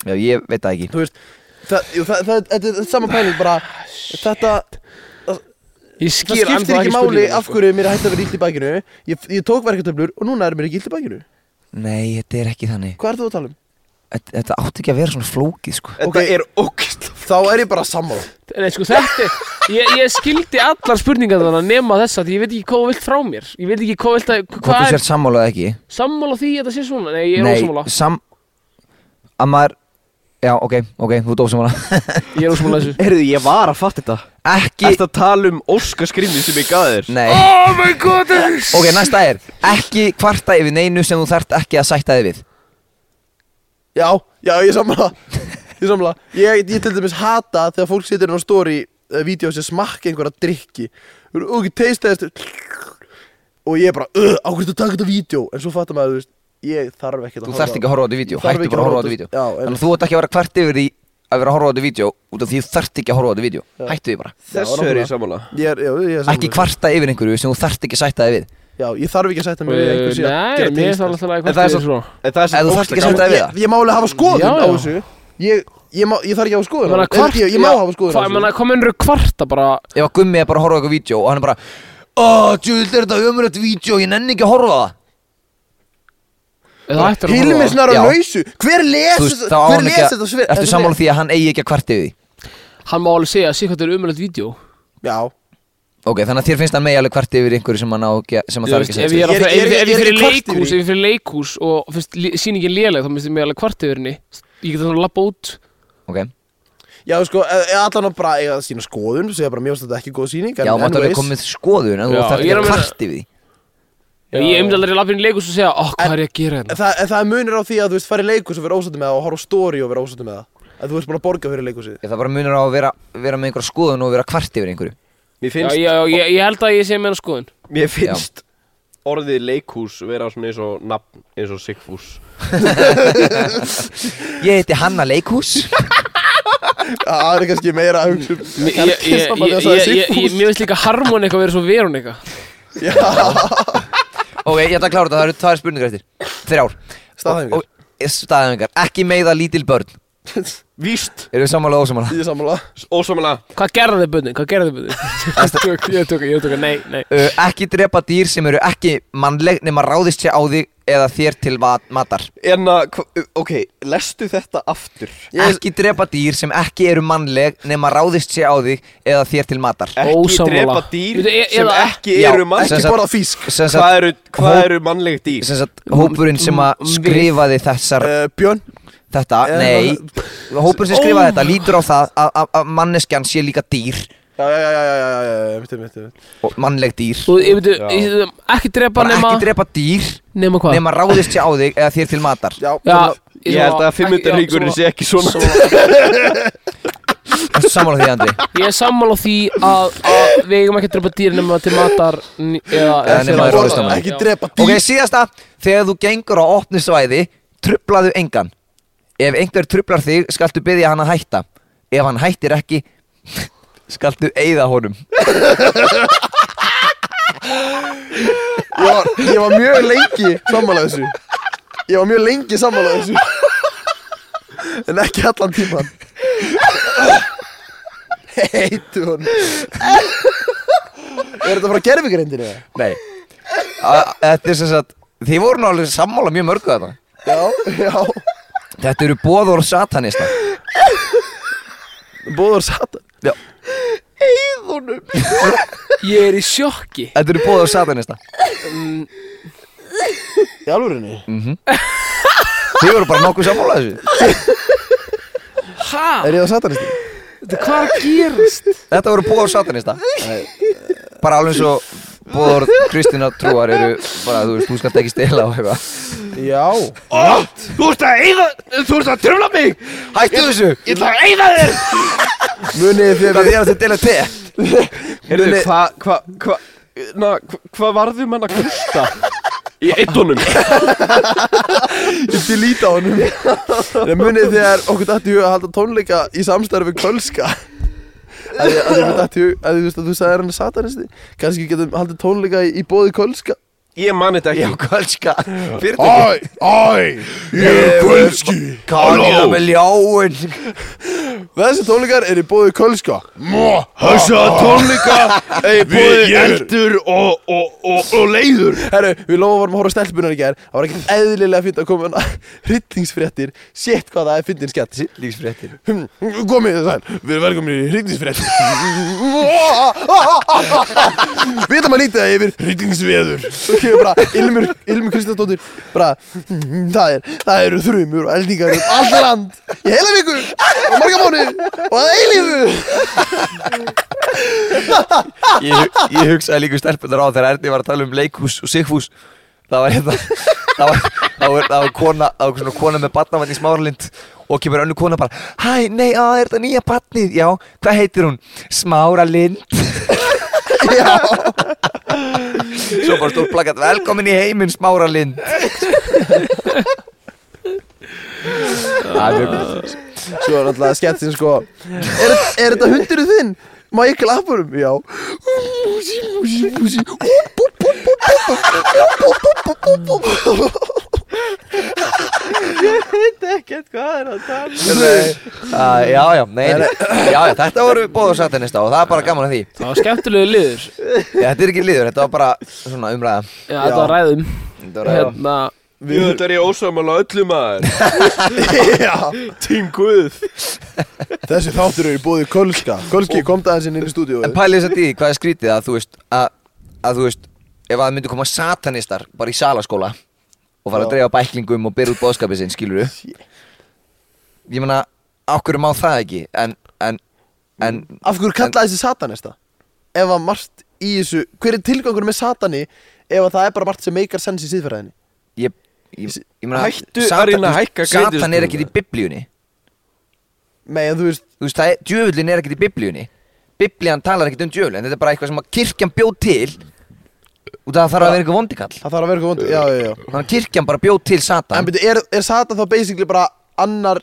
já, ég veit það ekki
Þú veist, það, jú, það, það, þetta er sama pæling bara Þetta,
Ég
það
skil
skiptir
ennþá
ekki máli
spurninguna,
af
sko.
hverju mér er hægt að vera illt í bækinu Ég, ég tók verketöflur og núna er mér ekki illt í bækinu
nei, þetta er ekki þannig
Hvað er þú að tala um?
þetta, þetta átti ekki að vera svona flókið sko
Þetta
Ok.
er ógæsla
Þá er ég bara sammála
Nei, sko, þetta Ég, ég skildi allar spurningar þannig nema þessa því Ég veit ekki hvað þú vilt frá mér Ég veit ekki hvað þú vilt að
hvort þú
Hvað er
sér sammálað ekki
sammála því að þetta sé svona? Nei, ég er ósammála
nei, sam að maður já, ok, ok, þú ert ósammála
Ég er ósammála þessu
Herðu, ég var að fatta þetta
ekki,
Ertu að tala um óskaskrimni sem ég gaf þér?
nei
Oh my god þetta
ok, næsta er, ekki kvarta yfir neinu sem þú þart ekki að sætta þig við
Já, já, ég er sammála Ég er sammála Ég, ég til dæmis hata þegar fólk situr inn á story uh, Vídeó sem smakka einhverja drikki Og ekki teista þess Og ég er bara, uh, á hverju ertu að taka þetta vídeó En svo fattar maður, þú veist, ég þarf ekki
þú þart ekki að horfa á þetta vídeo,
Ég þarf
hættu
ekki
bara að
að horfa
horfa á
á
þetta
þetta-
vídeo
Já, einmitt.
þannig að þú ert ekki að vera kvart yfir því að vera að horfa á þetta vídeo út af því þú þart ekki að horfa á þetta vídeo hættu því bara,
Þessu er ég sammála
Ég er, já, ég er sammála
ekki kvarta yfir einhverju sem þú þart ekki að sætta þig við
Já, ég þarf ekki að setja mig við einhver sé að
Eh, Nei,
gera
mér er það alltaf að
teista
En það
hvað er
er svo-
svona
En það er
Ef
sem
þú þarft ekki að
óskaskrimni
sætta þig við
ég,
það
ég má alveg hafa skoðun
Já,
á
já.
þessu ég, ég, má, ég þarf ekki að hafa skoðun á
Menna,
þessu.
kvart,
Ég, ég, ég má hafa skoðun á
Hvað, menna,
þessu
hvað mennur kvarta bara
ef að gummi er bara að horfa á eitthvað vídeo og hann er bara Ó, djúvill er þetta ömurlegt vídeo, ég nenni ekki að horfa á það
eða ættir að horfa á
Hilmi
það?
snar á
Já.
lausu Hver les
Þú veist, þá
þetta-
á
hver
hann
les
ekki
þetta
að, ertu sammála því að hann eigi ekki að kvarta yfir því
Hann má alveg segja að sé hvað þetta er umrætt vídeo
Já
Ok, þannig að þér finnst hann megi alveg kvarta yfir einhverju sem hann á ekki að- sem hann
Ég
þarf
veist,
ekki að
Ef
segja
ég er
Ég er- ég er- ég er
fyrir
ekki kvart yfir
leikhús
því.
Ef ég er fyrir leikhús og finnst lí- sýningin léleg þá minnst ég mig alveg kvart yfir henni Ég get þannig að labba út
Ok,
Já, sko, e- allan að bara eiga sína skoðun Segja bara, mér finnst þetta ekki góð sýning en
já, máttu alveg
anyways,
komið skoðun en þú
Já, ég
þarf ekki
er að
að
meina-
kvarta yfir því
Já, ég myndi aldrei lappin í leikus og segja, ó, hvað er ég að gera hérna?
það, en það munir á því að þú veist fara í leikus og vera ósáttu með það og horfa á story og vera ósáttu með það að þú veist búin að borga fyrir leikusið
Ég, það bara munur á að vera, vera með einhverja skoðun og vera kvart yfir einhverju
Mér
Já,
finnst,
já, ég, ég held að ég sé með hann skoðun.
mér finnst orðið leikhús vera svona eins og nafn, eins og Sigfús
Ég heiti Hanna Leikhús
það er kannski meira að hugsa um
Ég- ég- ég- ég- ég- ég- ég- ég- Mér finnst líka harmon eitthvað verið svo verun eitthvað.
Ok, ég ætla að klára þetta, það eru tvær spurningar eftir Þrjár
Staðhæfingar.
Og- og- Staðhæfingar, ekki meiða lítil börn
Víst,
Eru við sammála og ósammála?
ég er sammála
ósamlega
Hvað gerða þið bönni? Hvað gerða þið bönni? Ég tók, ég tók, ég tók, nei, nei.
Uh, ekki drepa dýr sem eru ekki mannleg nema ráðist sér á þig eða þér til va- matar
En að, hva- ok, lestu þetta aftur
Ekki drepa dýr sem ekki eru mannleg nema ráðist sér á þig eða þér til matar
Ekki
Ósammála.
drepa dýr
Veitu, e-
sem
eða-
ekki
Já,
eru
sem
mann
sagt-
borða físk
Sem
Hvað
sagt,
eru, hvað eru mannleg dýr?
sem sagt hópurinn sem að skrifaði þessar
uh, Björn
þetta,
Mm, eh, oh.
nei Hópurinn sem skrifaði þetta lítur á það að- að að manneskjan sé líka dýr
já já já já já já já já mitt mitt mitt
og mannleg dýr
Þú, ég veitu,
Já.
ég veitu, ekki drepa
Bara
nema,
ekki drepa dýr
nema hvað?
nema ráðist sér á þig eða þér til matar
já
Já,
Ég held að 500 ríkurinn sé ekki svona
Ertu sammála því Andri?
Ég er sammála því að, að við eigum ekki að drepa dýr nema til matar n- eða
Eða nema
þegar-
að ráðast á mann.
ekki drepa
Ok,
dýr
síðasta Þegar þú gengur á opnu svæði Trublaðu engan Ef einhver trublar þig, skaltu byggja hann að hætta Ef hann hættir ekki Skaltu eyða honum
ég var, ég var mjög lengi sammála þessu ég var mjög lengi sammála þessu en ekki allan tíman heitu hann er þetta frá gerfingrindinu eða?
Nei A- Þetta er sem sagt Þið voru nú alveg sammála mjög mörgu þetta
já, já
Þetta eru bóður satanista
bóður satan
Já.
Ég er í sjokki
Þetta eru bóður satanista
í alvörunni
Þið voru bara nokkuð sammála þessu
Hæ?
er ég á satanisti
Hvað er að gerast?
Þetta voru bóður satanista Bara alveg eins og bóður Kristina trúar eru bara þú veist, þú skalt ekki stela og eitthvað
já
Ó, þú ert að eyða, þú ert að tröfla mig
Hættu þessu!
Ég ætla að eyða þér
munið þið
Það er að þetta deila te
Heyrðu, hvað, hvað, hvað Na, hva- hvað varðum hann að kusta? Í eittunum
Ég til líta á honum Nei, munið þegar okkur dætt í hug að halda tónleika í samstarfi við Kölska að ég, að ég dætt í hug að þú veist að þú sagðir hann er satanisti kannski getum haldið tónleika í, í bóði Kölska
Ég man þetta ekki
Já, kölska Fyrirtæki
Æ, æ, ég er kvölski
Kanina með ljáin
Þessi tónleikar er í bóði Kölska
Hörsa tónleika Ei, búið eldur og, og, og, og leiður
Herru, við lofum varum að horfa á stelpunar í gær það var ekkert eðlilega fint að koma hana hryllingsfréttir, sétt hvað það er fyndin skemmt
Lífsfréttir
Hm, komið þið sæl, við erum velkomin í hryllingsfréttir Við ætlum að lítið það yfir
Hryllingsveður
Svo kemur bara Ilmur, Ilmur Kristjánsdóttir bara, "Mm, það, er, það eru þrumur og eldingar um alltaf land í heila viku og marga mánu og að eilífu
ég, hu- ég hugsaði líka stelpunar á þegar Erni var að tala um leikhús og sigfús Það var hérna Það var, það var, það var kona Það var svona kona með batnavann í smáralind Og kemur önnu kona bara Hæ, nei, á, er þetta nýja batnið? Já, hvað heitir hún? Smáralind
Já,
Svo bara stór plakat Velkomin í heiminn, Smáralind Það er mjög gott
svo er alltaf skettin sko Er, er þetta hundurinn þinn? Má ég klappa um? Já Músi, músi, músi
Nei, uh, já, já, nei, nei. já, já, þetta voru bóður satanista og það er bara gaman að því
Það var skemmtilegu liður Já,
Þetta er ekki liður, þetta var bara svona umræða
þetta var ræðum
Þetta var hérna.
Hérna
Jú, þetta er ég ósamála öllum aður
Já,
Tím Guð
þessi þáttur eru í bóði Kölska Kölski, kom það inn í stúdíóið
En pælið þess að því, hvað er skrítið að þú veist að, að þú veist, ef að það myndi koma satanistar bara í salaskóla og fara að dreifa bæklingum og byrja út bóðskapið sinn, skilur du Ég meina, ákveður má það ekki en, en, en
Af hverju kallaði þessi satanista? Ef að margt í þessu Hver er tilgangur með satani ef að það er bara margt sem meikar sens í síðferðinni
ég, ég, ég meina,
Hættu að reyna að hækka
Satan er
gildistökuna.
ekkert í biblíunni
Nei, en þú veist,
Þú veist, það er, djöfullin er ekkert í biblíunni Biblían talar ekkert um djöfullin Þetta er bara eitthvað sem að kirkjan bjóð til Út af það þarf að vera eitthvað vondikall
það þarf að vera eitthvað vond Já, já, já
Þannig að kirkjan bara bjóð til
En
Satan
byrju, er, er Satan þá basically bara annar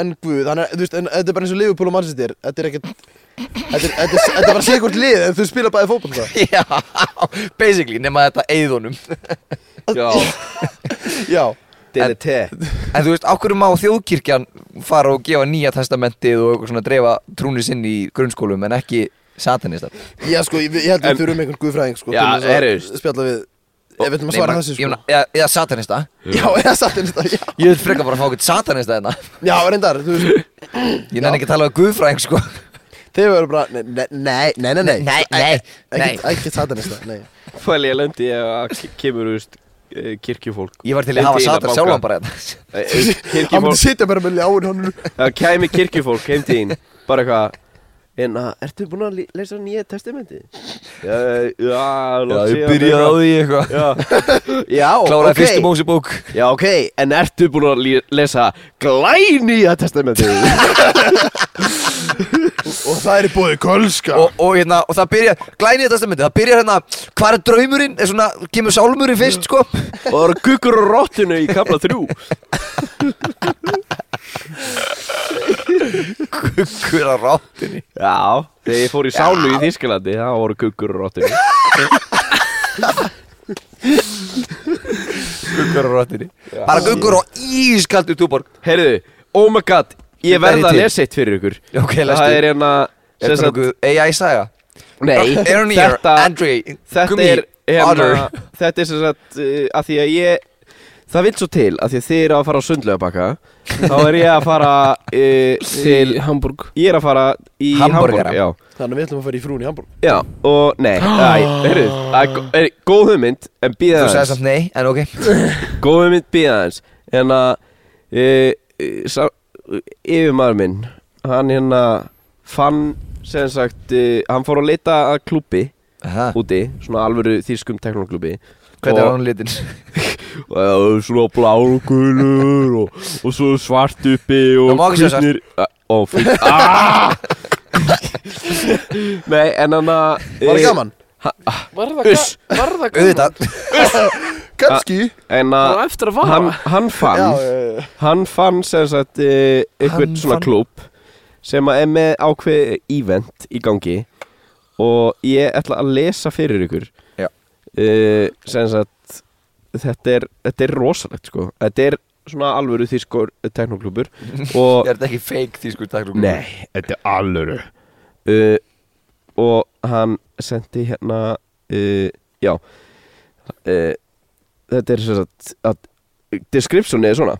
en Guð Þannig, að, þú veist, en þetta er bara eins og Liverpool og Manchester Þetta er ekkert Þetta er, þetta er, þetta er bara sékvort lið en þau spila bæði fótbolta
Já, basically, nema þetta eigðunum
Já,
Já,
DDT
En þú veist, ákveður má þjóðkirkjan fara og gefa nýja testamentið og eitthvað svona dreifa trúni sinn í grunnskólum en ekki satanistar
já, sko, ég, ég held
En-
við þurfum einhvern Guðfræðing sko,
Já,
til þess að
heyrðu.
Spjalla við, ef við ætlum að
Nei,
svara
ma-
þessu
ég
sko
meina, Eða, eða satanista
Já, eða Satan þetta, já
Ég vil frekar bara fá eitthvað satanista hérna
Já, reyndar, þú veist,
Ég nenni ekki að tala um guðfræðing sko
þeir eru bara Nei, nei, nei, nei, nei
Nei, nei, nei.
Ekkert- Ekkert satanista, nei
Fæli ég lendi ég að ke- kemur úst, kirkjufólk
Ég var til að hafa
Lendi í
satan
að
sjálfan
banka.
bara hérna
Eh, þú veist,
Hann myndi
Kirkjufólk
sitja bara með ljáin honum
Það kæmi kirkjufólk heim til þín Bara eitthvað En að, ertu búin að lí- lesa nýja testamenti? Já, já, langt síðan,
hérna.
eitthvað.
því eitthvað
Já,
Kláraði
ok.
fyrstu mósibók
Já, ok, en ertu búin að lí- lesa glænýja testamenti?
Og það er í bóði kölska
og, og, hérna, og það byrja, glænið þetta myndi Það byrja hérna, hvað er draumurinn? Er svona, kemur sálmurinn fyrst sko
og það eru kukkur og rottinu í kapla þrjú
Kukkur á ráttinni
Já, þegar ég fór í sálu í Þísklandi, það voru kukkur og rottinu
Kukkur á ráttinni Bara kukkur á ískaldu túborg
Heyrðu, oh my god, ég
Þetta er
verða að
til.
lesa eitt fyrir ykkur
Já, ok, lestu.
Það er hérna
Er
sem
þetta
sagt-
nokkuð AI saga?
Nei,
Ernie,
þetta,
Andrei,
þetta
Gumi,
er
Otter.
hérna, Þetta er sem sagt uh, að því að ég Það vil svo til að því að þið eru að fara á sundlaugabakka Þá er ég að fara uh, til
Til Hamburg
Ég er að fara í
Hamborgara.
Hamborg, já.
Þannig að við ætlum að fara í frún í Hamburg
já, og nei æ, Heyrðu, það er gó- er góð hugmynd En
Þú
býða
sagði samt nei, en ok
Góðum mynd býða aðeins En að e, e, sá- Yfirmaður minn Hann hérna fann sem sagt, e, hann fór að leita að klúbbi
Aha.
úti, svona alvöru þýskum teknoklúbbi
Hvernig
Og-
er hann litinn?
og það er svona blár og gulur og, og svo svart uppi og
Það má ekki sjá svart.
hvítir- Æ, og fyrir aaaah Ah! nei en hann að e,
Var það gaman?
Var það ga-
Uss.
var það gaman?
Auðvitað
Kanski
en
Það
að
var eftir að fara
hann, hann fann
Já, já, já.
hann fann sem sagt eh,
Hann
einhvern svona
fann-
klúb sem að er með ákveð event í gangi og ég ætla að lesa fyrir ykkur
Já.
Eh, sem sagt þetta er, þetta er rosalegt sko þetta er svona alvöru þýskur teknoklúbur og
Er þetta ekki fake því sko takk
Nei, þetta er alvöru uh, Og hann sendi hérna uh, Já uh, Þetta er sem sagt að Descriptionið er svona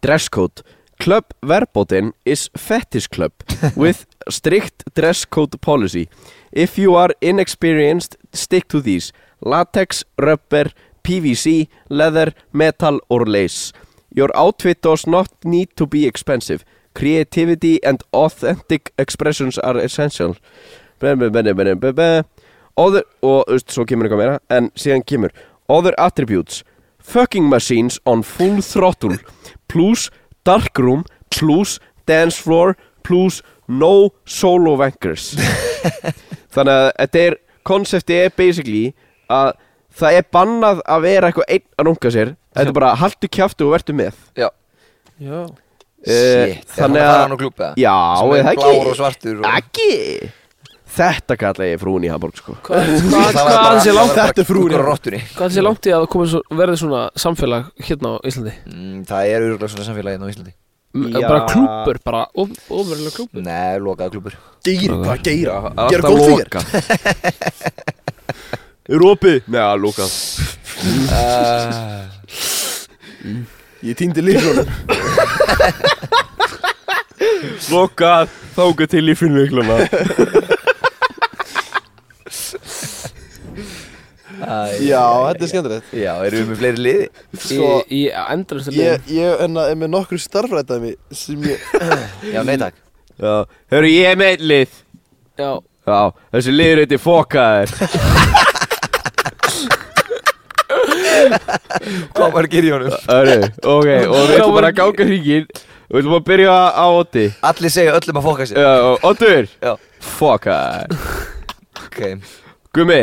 Dress code Club verboten is fetish club with strict dress code policy. If you are inexperienced, stick to these. Latex, rubber, PVC, leather, metal or lace. Your outfit does not need to be expensive. Creativity and authentic expressions are essential. Bæ, bæ, bæ, bæ, bæ, bæ. Other, og þú veist, svo kemur eitthvað meira, en síðan kemur Other attributes Fucking machines on full throttle Plus darkroom Plus dance floor Plus no solo wankers Þannig að þetta er Konceptið er basically að það er bannað að vera eitthvað einn að runga sér Þetta er bara haltu kjaftu og vertu með
Já
Já
Eh,
Shit,
þannig
þannig
að-
að hann á klúpa
Já,
Sem er
eða ekki
blár og svartur og-
Ekki Þetta kalla ég frún í Hamburg sko
Hvað hvað-
Það var
hvað
bara-
hann sé langt
það var bara
þetta er frúin.
Kukkur á rottunni
Hvað sé langt í að koma svo, verði svona samfélag hérna á Íslandi?
Mm, Það er öruglega svona samfélagið hérna á Íslandi
M- eh,
Já.
Bara klúpur, bara ofurlega klúpur
Nei, lokaða klúpur
Geir, hvað geir?
Það er
Gera
alltaf
góð fyrir
loka Er opið? Nei, að loka
Ég týndi lífrónum
Loka þáka til í finnvikluna
Já, þetta er skemmtilegt
Já, erum við með fleiri liði?
Í,
Sko,
í endalastu liðum.
ég, ég enna, er með nokkur starfrætaði mig sem ég
Já, nei takk
Já, hörru ég er með einn lið
Já,
Já, þessi liður eitthvað fokkaður
Hvað var að gera í honum?
Öru, ok, og við ætlum bara að ganga hringin og við ætlum að byrja á Otti
Allir segja öllum að fokka sér
uh, Ottur,
Já,
fuck það
ok
Gummi,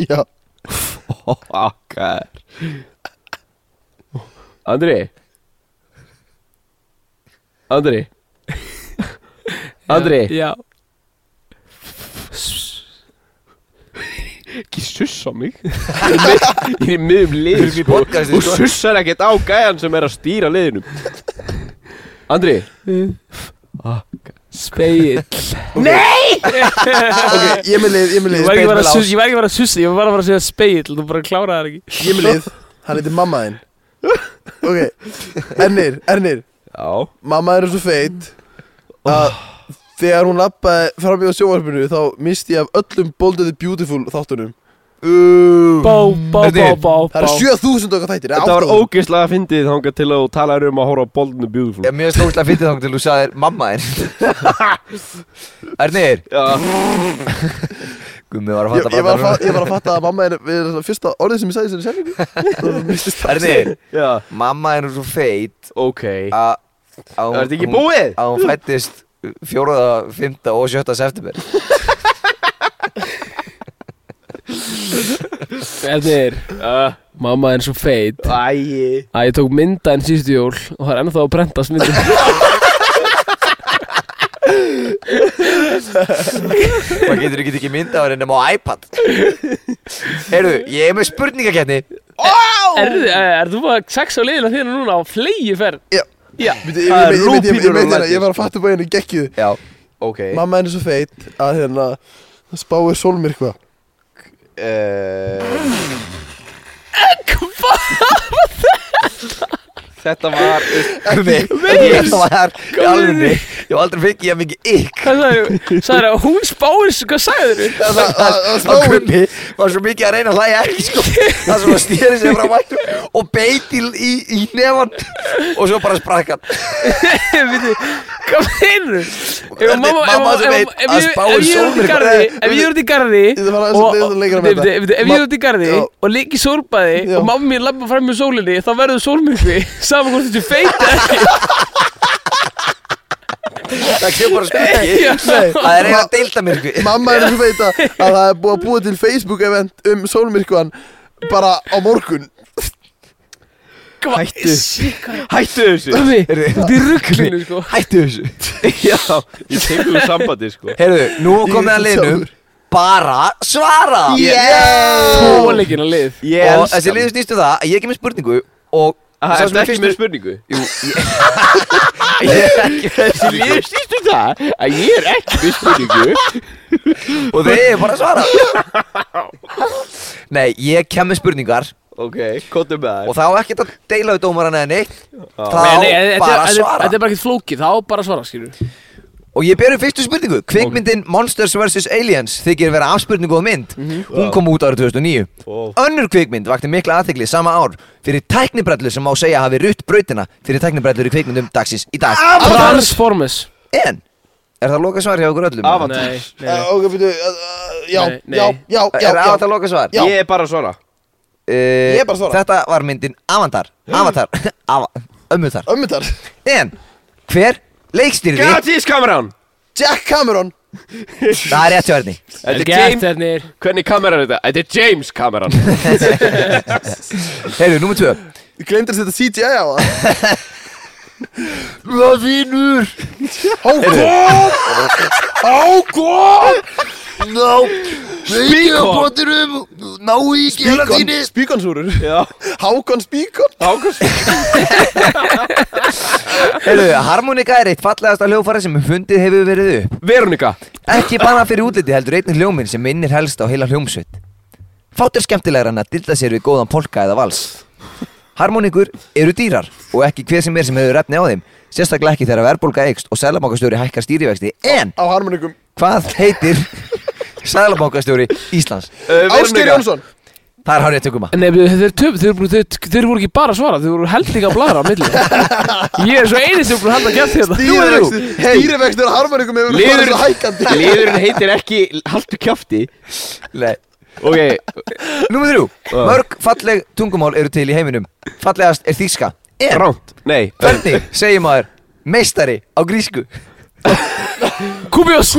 Já,
fuck það Andri Andri Andri
Já,
Ekki sussa mig Ég er í miðum lið
Við erum í
sko,
podcasti,
Og
sko.
sussar ekkert á gæjan sem er að stýra liðinu Andri
speill
ok, ég er með lið, ég er
Ég
með lið
var ekki bara að
Spegilás.
sus- ég var ekki bara að sussa, ég var bara að fara að segja speill Þú bara kláraði það ekki
Ég er með lið, hann heitir mamma þinn Ok, Ernir, Ernir
Já
Mamma er svo feit að þegar hún lappaði fram í á sjóvarpinu þá misti ég af öllum Bold and the Beautiful þáttunum
Bá, bá, bá,
Hvernig?
bá,
Mm. Það
bá
eru 7000 okkar þættir, eða
Þetta var
8000.
ógeðslega fyndið þangað til að þú talaði um að horfa á Boldinu Beautiful
Ég mér finnst ógæslega fyndið þá til þú sagðir mamma þér Ernir,
Já,
gummi var að
Ég,
fatta
ég, var að fa- ég var að fatta að mamma er við erum það fyrsta orðið sem ég sagði í þessari sendingu Það var mistist það.
Ernir,
já,
mamma er nú svo feit
ok
að að
Það er
hún-
þetta ekki
hún-
búið?
að hún fættist 4., 5. og 7. september
Ernir, mamma er svo feit
Æi
að ég tók mynda enn síðustu jól og það er ennþá að brendast myndin
maður getur ekki ekki mynda á henni nema á iPad Heyrðu, ég er með spurningakeppni
Er, er, er þú bara sex á liðina þínu núna á flegi ferð?
Já.
Já
Veitu, Ég ég-
Það er
ég- ég- ég- ég- ég-
lúpínur
ég-
og
ég- ég- ég var að fatta bara henni geggjuð
Já,
Ok
Mamma henni er svo feit að hérna það spáir sólmyrkva
uh... Þetta var
gummi, ég var í alveg ég var aldrei fengið að mikið ykk
Hvað sagði þú? Sagði þú að hún spáir svo, hvað sagði þú?
Það það- það
á
spáir
gummi var svo mikið að reyna að hlæja ekki sko það sem var stýrið sér frá mættum og beit í, í, í nefan og svo bara sprakk hann
Viti, hvað meinar þú? Ef
Hvernig
mamma,
mamma
ef,
sem
ef,
veit
ef,
að
ég-
spáir
ef ég er út í
sólmyrkva-
garði,
Nei,
ef ég er út í garði
Þetta var aðeins
og,
leiðan leikra
og,
með
viti,
þetta
viti, ef ég er út í garði
Já.
og ligg í sólbaði
Já.
og mamma mín labba fram með sólinni þá verður sólmyrkvi saman hvort þetta er feit eða ekki.
það kemur bara sprakki
Já.
það er reyna að deilda mér sko.
Mamma henni er svo feit að að það er búið að búa til Facebook event um sólmyrkvan bara á morgun
Hvað-
Hættu.
Shit, hvað-
Hættu þessu
Gummi,
Heyrðu.
þú ert í rugglinu sko
hættu þessu
Já, ég tekur þú sambandi sko
Heyrðu, nú
Ég
komið
er
að
svo
liðnum
sjálfur.
bara svara
Yeah.
Tóleikin að um lið
Ég
og
elska
þessi liður snýstu það að ég er ekki með spurningu og
Það
sá
er
sem
ekki
er
með
fyrstur-
spurningu
Jú, ég, ég er ekki með
Ég
spurningu
snýst um það að ég er ekki með spurningu
og þið er bara að svara Nei, ég kem með spurningar
Ok, kóttu með
og þá ekki að deila við dómaran eða neitt þá
Nei, nei, þetta er-
bara
þetta er-
svara
Þetta er bara ekkert flókið, þá bara að svara skilur
og ég berum fyrstu spurningu kvikmyndin Monsters vs. Aliens þykir vera afspurningu og mynd
Mhm.
hún kom út árið 2009
Wow.
önnur kvikmynd vakti mikla aðtegli sama ár fyrir tæknibrellur sem má segja hafi rutt brautina fyrir tæknibrellur í kvikmyndum dagsins í dag
Transformers
en er það loka svar hjá okkur öllum?
Avatar.
Nei, nei,
Eh,
nei.
Ok, byrju, eh, eh, já,
Nei, nei.
já, já, já,
er
já
Avatar loka svar?
Já.
Ég er bara svona
Eh,
Ég er bara að svara.
þetta var myndin Avatar Avatar Ava, ömmu þar
Ömmundar
en hver leikstýrði
Gratis kameran
Jack Cameron
það er rétt hjá hérni
Þetta er
Gert
James
hennir
Hvernig kameran er þetta? Þetta er James kameran
heyrðu, númer 2
Gleimdur þetta CGI á það
hvað vinnur?
Hákon Hákon
ná spíkon ná í
Spíkon Spíkonsúrur
Já
Hákon Spíkon
Ákvæmst
heyrðu, harmonika er eitt fallegasta hljófara sem fundið hefur verið upp
Veronika
ekki bara fyrir útliti heldur einnig hljóminn sem minnir helst á heila hljómsveit fátt er skemmtilegra en að dilda sér við góðan polka eða vals harmonikur eru dýrar og ekki hver sem er sem hefur efni á þeim sérstaklega ekki þegar verðbólga eikst og sælabankastjóri hækkar stýrivexti en
Á harmonikum
hvað heitir sælabankastjóri Íslands
uh,
Ásker Jónsson
það er hann rétt tökum að
Nei, þeir, þeir, töf, þeir, voru, þeir, þeir voru ekki bara að svara, þeir voru held líka að blara á milli Ég er svo einið sem er búin að halda gert hérna
Stýrivextir Stýrivextir á harmonikum hefur farið svo hækandi
Liðurinn heitir ekki Haltu kjafti
Nei.
Ok,
Númer þrjú
Já.
Mörg falleg tungumál eru til í heiminum Fallegast er þýska En
ránt Nei,
hvernig segir maður meistari á grísku
Kúbjós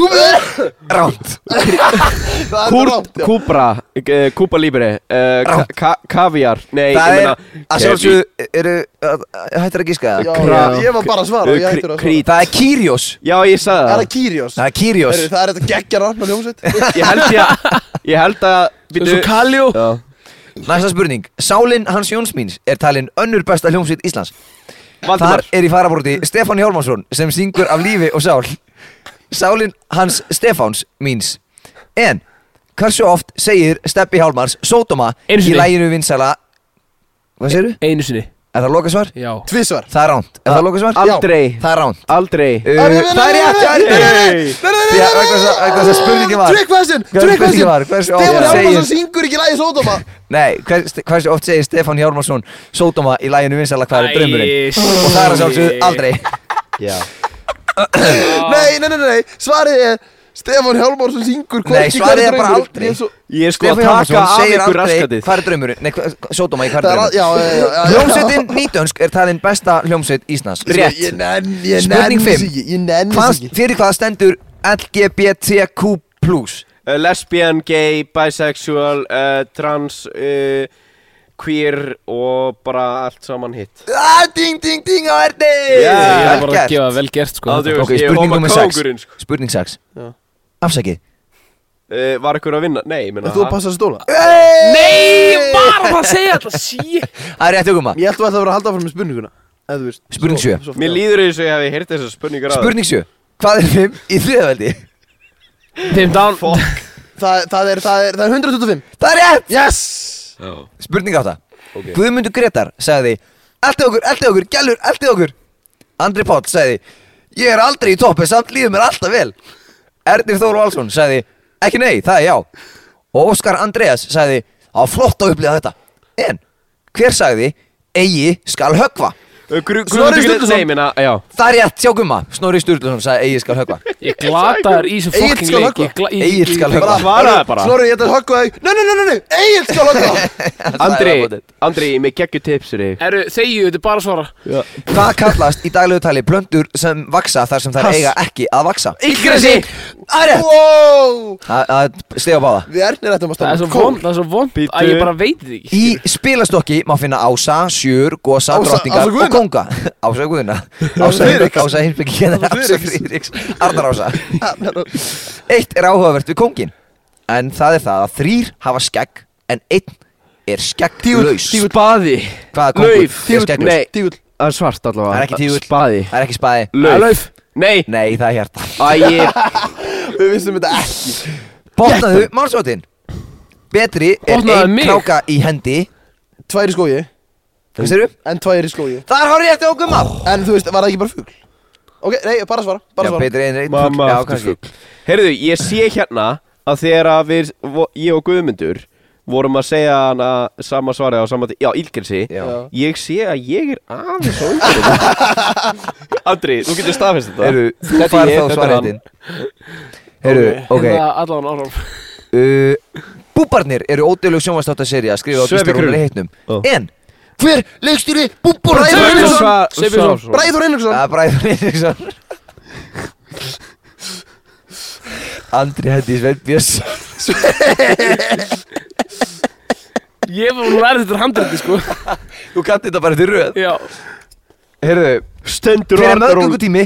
Ránt
Það er
Kúr,
rámt, já.
Kúbra, eh, Kúba Libre eh, ka,
Rangt.
ka, Kaviar, nei
Það
ég
er
meina,
að sjálfsögðu eru að- að- Hættir að gíska
Já,
það
já, ég var bara að svara og ég
Eh,
hættur að
krí-
svara
Það er Kyrios
Já, ég sagði
Er
það
það Kyrios?
Það er Kyrios
Heyrðu, Það er þetta geggjar rann á hljómsveit
Ég held ég, ég held að
Svo Kaljó
Já,
Næsta spurning Sálin Hans Jónsmíns er talin önnur besta hljómsveit Íslands Þar
Valdimar
er í faraborti Stefán Hjálmarsson sem syngur af lífi og sál Sálin hans Stefáns míns En hversu oft segir Steppi Hjálmars Sódoma
Einu
í
sinni.
læginu vinsala Hvað segirðu?
Einu sinni
Er það lokasvar?
Já
Tvísvar
Það er ránt Er það lokasvar?
Aldrei,
Það er ránt
aldrei
Uh, Það er rétt, það er rétt Því að vegna þess að- vegna þess að spurningin var
Trick question,
Hvað
trick
spurningin
question
var? Hversu oft
Stefán Hjálmarsson
segir-
syngur ekki lægi sódóma
Nei, hvers, hversu oft segir Stefán Hjálmarsson Sódoma í læginu vinsala hvað er draumurinn Og það er að sjálfsögðu aldrei
Já
Ah.
Nei, nei, nei, nei, svarið er Stefán Hjálmarsson syngur
Nei,
hvorki hver
svarið er bara
draumur.
aldrei.
Ég er svo-
Ég er sko
Stefán
að taka
Hjálmarsson
af
segir
ykkur
aldrei
raskatið
Hvað er draumurinn? Nei, sódoma í hvað er
Það er
draumurinn?
al- já, já, já, já, já.
Hljómsveitin nýtönsk er talin besta hljómsveit Íslands
Sko, Ég nenn, ég nenn
Spurning fimm.
ekki Ég nenn
Hvað,
ekki
Fyrir hvað stendur LGBTQ
Eh, Lesbian, gay, bisexual, eh, trans, eh, queer og bara allt saman hitt
ah, Ding ding ding á erni
Ég
Yeah.
er bara að gefa vel gert sko
Á, þú
Ok,
veist, ég er
spurning
hopa
nummer sex.
kóngurinn, sko.
Spurning 6
Já.
Afsakið
Eh, Var ykkur að vinna? Nei, ég meina
En Þú passar stóla
Nei, ég var að fara að segja alltaf Shit
Það er rétt hugum maður
Ég held þú ætlaði að vera að halda áfram með spurninguna ef þú veist.
Spurning
Svo-
sjö.
svo-
Mér
já.
líður eins og ég hefði heyrt þessar spurningar áður.
Spurning 7 Hvað er 5 í þriðaveldi?
Þeim dán
Fuck
Það það er, það er, það er 125
Það er rétt
Yes
Spurning 8 Guðmundur Gretar sagði Eldið okkur, eldið okkur, gælur, eldið okkur Andri Páll sagði Ég er aldrei í toppi, samt líður mér alltaf vel Ernir Þór Valsson sagði Ekki nei, það er já Og Óskar Andreas sagði Á flott að upplifa þetta En hver sagði Eigi skal höggva
Uh, Snorri
Sturluson.
Nei, ég meina, já
Það er rétt, sjá gumma Snorri Sturluson sagði Eigi skal höggva
Ég glataður í þessu
Egill
fucking
skal
leik
höggva.
Ég gla- ég-
Egill
ég-
skal höggva.
Bara-
Svaraðu bara.
Snorri, ég ætla að höggva þig Nei, nei, nei, nei, nei Egil skal höggva
Andri, Andri, ég með geggju tips fyrir þig
Herru, þegju, þetta er bara að svara
Hvað kallast í daglegu tali blöndur sem vaksa þar sem þær
Pass.
eiga ekki að vaksa?
Ílgresi
Það er rétt
Wow
Það- Það stiga báða
Við ernir ættum að
Það er
standa
svo vond, það er svo vond
Bíddu.
að ég bara veit þetta ekki
Í spilastokki má finna ása, sjör, gosa,
Ása-
drottningar
Ása Guðna.
og konga Ása Guðuna
Ása
Ása Hinrik,
Friðriks.
Ása Hinrik, Ása
Friðriks.
Friðriks Arnar Ása
vond
Eitt er áhugavert við kongin En það er það að þrýr hafa skegg En einn er skegglaus
Spaði
Hvaða kongur
Lauf
er skegglaus?
Nei, tígull Það er svart allavega
Það er ekki tígull.
Spaði
Það er ekki spaði
Lauf Nei
Nei, það er hjarta
Æi
Við vissum þetta ekki
Botnaðu málsóttin Betri er
Botnaðu
einn
mig.
kráka í hendi
Tvær í skógi
Hvað segirðu?
En tvær í skógi
Það er hárið eftir okkur maður
En þú veist, var það ekki bara fugl? Ok, nei, bara svara
Já,
Bara svara
Petri er einn
Mamma
Já,
aftur
kannski
fugl Heyrðu, ég sé hérna að þegar að við, vo- ég og Guðmundur vorum að segja hana sama svarið á sama tí, já, ílgelsi
Já.
Ég sé að ég er aðeins á umhverjum Andri, þú getur staðfest þetta
Heyrðu, þú
Þetta er
farð
ég,
þá
þetta er hann.
svarhættin Heyrðu, ok
Hérna allan áram
uh, Búbarnir eru ódeilu sjónvastáttaserja skrifa á
Sveppi
Ístarúnar
Krull.
í heitnum
Ó.
En
Hver leikstýri Búbor
Sveinbjörn
Bræður Einursson
Sva-
Sveinbjörn.
Svavarsson.
Bræður Einursson
Það er Bræður Eiríksson Andri hendi Sveinn Björns
Ég var nú verið þetta handriti sko
Þú kannt þetta bara til röð
Já
Heyrðu,
Stendur
hver
og
er
andar og-
meðgöngutími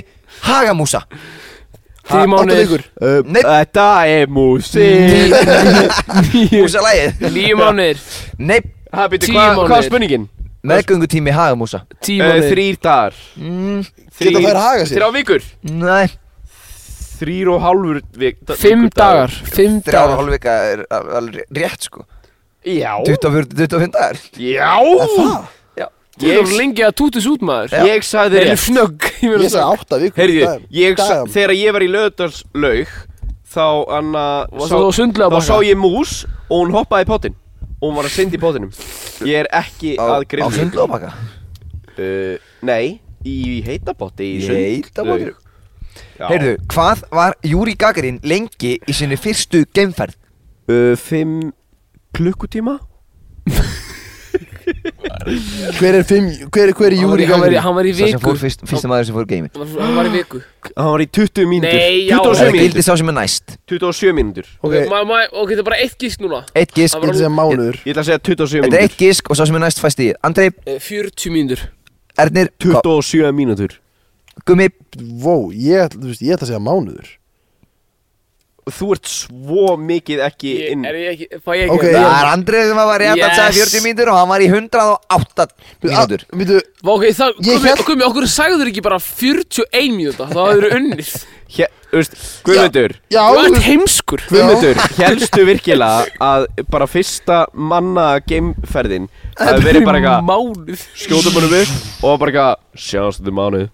Hagamúsa
Tíu
Átta
mánuðir
vikur
Uh,
Nei.
Þetta er músík
Músa lægið
Níu mánuðir
Nei,
Ha, býttu,
Tíu
hva-
mánuðir.
Hvað er spurningin?
meðgöngutími Hagamúsa
Tíu
Uh,
mánuðir
þrýr dagar
mm,
Geta þær hagað sér?
Þrjá vikur
Nei,
Þrýr og hálfur vik, da-
Fimm
vikur
dagar Fimm
þrjára
dagar
hálfvika er al- alveg rétt sko
Já
24, 25 dagar
Já
Þú
Ég,
erum lengi að tútis út maður
ég sagði
Þeir
þér
eru snögg Ég meina
Ég sagði átta vikur
Heyrðu, ég, sa-
Dæm
þegar ég var í löðdalslaug Þá anna
Svo þú sundlaug
Þá
baka.
sá ég mús og hún hoppaði í pottin Og hún var að synda í pottinum Ég er ekki
Á,
að
á
grinna
sundlóðbakka
uh, Nei, í heitapotti Í
Í
sundlaug.
heitapotti.
Já.
Heyrðu, hvað var Júri Gagarin lengi í sinni fyrstu geimferð?
uh, Fimm klukkutíma
Hver er fimm, hver, hver er
Hann var
júri
í- hann var í- Hann var í
Sá sem
viku
fór fyrst, fyrsta maður sem fór í geimi
Hann var í viku
Hann var í 20 mínútur
Nei, já.
Það
27
gildi
mínútur
sá sem er næst
27 mínútur
Ok,
Ok,
ég
Eh, ma- ma- ok, þetta er bara eitt gísk núna
Eitt gisk,
Hann
ætla að segja mánuður
Ég ætla að segja 27
þetta er
mínútur
eitt gisk og sá sem er næst fæst í Andrei,
Eh, 40 mínútur
Ernir, Ko-
27 mínútur
Gummi
Vó, ég, ætla- þú veist, ég ætla að segja mánuður
Þú ert svo mikið ekki
Ég-
inn
Er ég ekki, fæ ég
Ok,
ekki
ég-
Það
okay,
er Andrei sem var rétt að segja
Yes.
40 mínútur og hann var í 108 mínútur
Býtu,
ok, það,
Ég
gummi,
hélt-
gummi, okkur sagður ekki bara 41 mínúta Það hefur unnið
Hér, þú veist, Guðmundur
já
Þú
þú
ert
veist-
heimskur
Guðmundur, helstu virkilega að bara fyrsta manna geimferðin Það verið bara eitthvað
Mánuð
skjóta bara upp og bara eitthvað Sjáumst þetta mánuð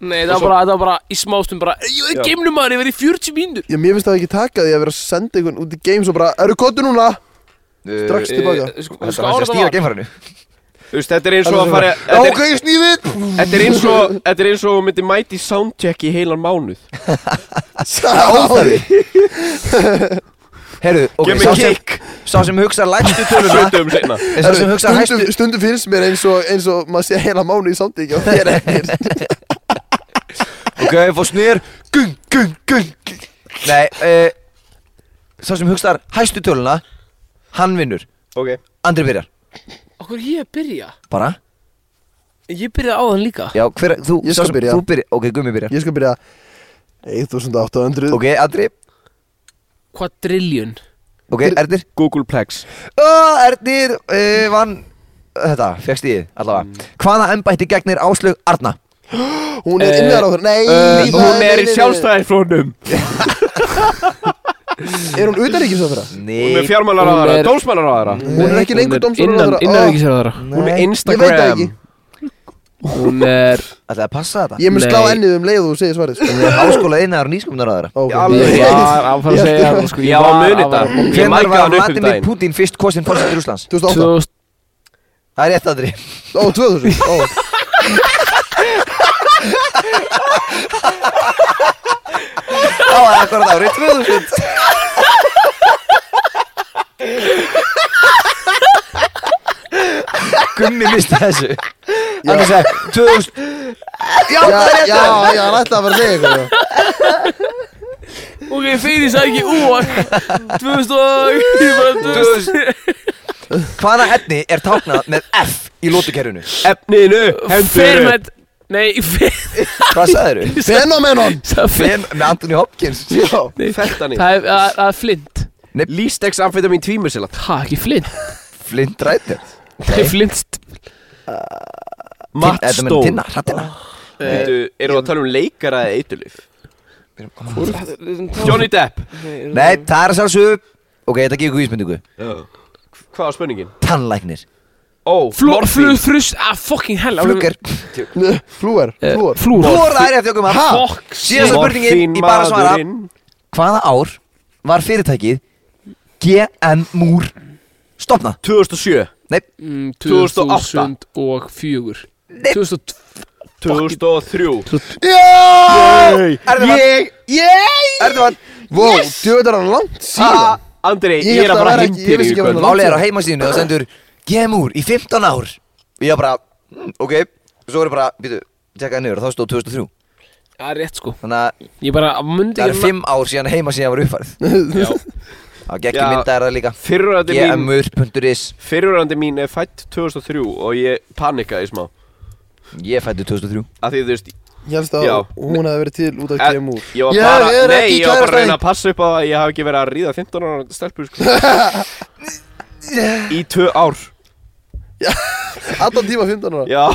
Nei, það var bara, það var bara í smástum bara Ég er
Já.
geimnum maður, ég verið í 40 mínútur
Já, mér finnst það ekki taka því að vera að senda einhvern út í games og bara Eru kottu núna? Strax
Eh,
tilbaka
sko-
Þetta
sko,
var hans
ára það
að stíga
var
geimfarinu
Þú veist, þetta er eins og að fara
Já,
Þetta
ok,
er,
snýðið
þetta er eins og Þetta er eins og þú myndir mæti soundcheck í heilan mánuð
Óþæði
Herru, ok,
Gef mig
sá sem,
kick
sá sem hugsa lægstu töluna
Sjöndum seinna
En sá sem hugsa hæstu
stundum, stundum finnst mér eins og, eins og maður sé heila mánu í samtíki og þér ekkert
Ok, fór snýr Gung, gung, gung gung. Nei, uh, sá sem hugsa hæstu töluna Hann vinnur
Ok
Andri byrjar
Okkur ég að byrja
Bara
Ég byrjaði á þann líka
Já, hver, þú,
Ég
sá
skal
sem-
byrja.
Þú byrjar, ok, Gummi byrjar
Ég skal byrja 1800
Ok, Andri,
Quadrillion
ok, Ernir
Googleplex
Ó, Ernir uh, vann Þetta, fegst ég allavega Hvaða embætti gegnir Áslög Arna?
Hún er
Eh,
innar á þér Nei,
uh,
nei,
Hún
nei, nei,
er í
nei.
sjálfstæðisflónum
Er hún utanríkisafæra?
Nei
Hún er fjármálaráðara,
Hún er-
dómsmálaráðara
Hún er ekki lengur
innan,
dómsmálaráðherra.
innan
Ó,
ekki sér aðra
Ég
Hún er
veit það
Instagram
ekki
Hún er
Ætlaði að passa þetta
Ég mun slá
Nei.
ennið um leið og þú segir svarið sko.
Hún er háskóla einnaður nýskumnaráðara
Ok.
Alveg.
Ég var að fara að segja það sko, ég
Já,
var
muni
að fara-
þetta. Ég
Hvenær
mækaði
var
hann upp um
Vladimir
daginn.
Putin fyrst kosin fórsett í Rússlands?
2008
2000
Það er rétt aðri
Ó, 2000 Ó,
Það var akkurat árið 2000 Gummi misti þessu Hann er segið 2000 Já,
já,
það er rétt
já,
aðri
já, hann ætlaði að vera að segja eitthvað sko.
Ok, fyrir sagði ekki úr 2000 og ég bara 2000
Hvaða efni er táknað með F í lótukerfinu?
Efninu Hendur upp.
Fermet Nei, fer-
Hvað sagðið þú?
Fenomenon
það fer-
Ben með Anthony Hopkins
Já
Fentanín
Það er- það- það er flint
Lístex amfetamin tvímusilat
Það er ekki flint
Flint Rættir
Það er flint
Þetta með
Mattstón
tinna, hrættina
Veitu, eru það að tala um leikara eða eitulif? Johnny Depp
Nei, það er að sjálfsögðu Ok, þetta gefur ísmyndingu
Hvað var spurningin?
Tannlæknir
Flúr,
Ó,
flúr,
morfín
frust Ah, fucking hell Eh,
Fluger
Flúar,
Eh,
flúar
Flúr
Hvor það er eftir okkur maður
Fuck
Síðasta spurningin í bara að svara Hvaða ár var fyrirtækið GM Múr stopnað?
2007
Nei,
Mm,
2008.
2004 2002
2003
Já!
Ég
Erdogan
Vó, djöður er hann
Ah!
langt síðan
Andri,
Ah. Ég
ég er
ætla
að
að
fara
vera
heim
ekki- ég
til
vissi
þig í
ekki að
kvöld
vera-
Málið er á heimasíðinu og sendur GM Múr í 15 ár Ég var bara, mm, ok Svo er ég bara, býtu, tjekkaði niður og þá stóð 2003
Það er rétt sko
Þannig að
Ég bara mundi
það er
ekki-
5 ár síðan heimasíðan var uppfærið Það gekk í
Já.
mynda er það líka
Fyrrverandi mín,
GMur.is
fyrrverandi mín er fætt 2003 og ég panikaði smá
Ég fættu 2003
Af því þú veist
Ég helst að
Já.
hún hefði verið til út af
Eh,
GMU
Ég var
Ég
bara,
er
nei,
ekki
ég var bara að
kærasta
reyna
þín.
að passa upp á að ég hafi ekki verið að ríða 15 ára stelpur sko Í tvö ár
Allan tíma 15 ára
Já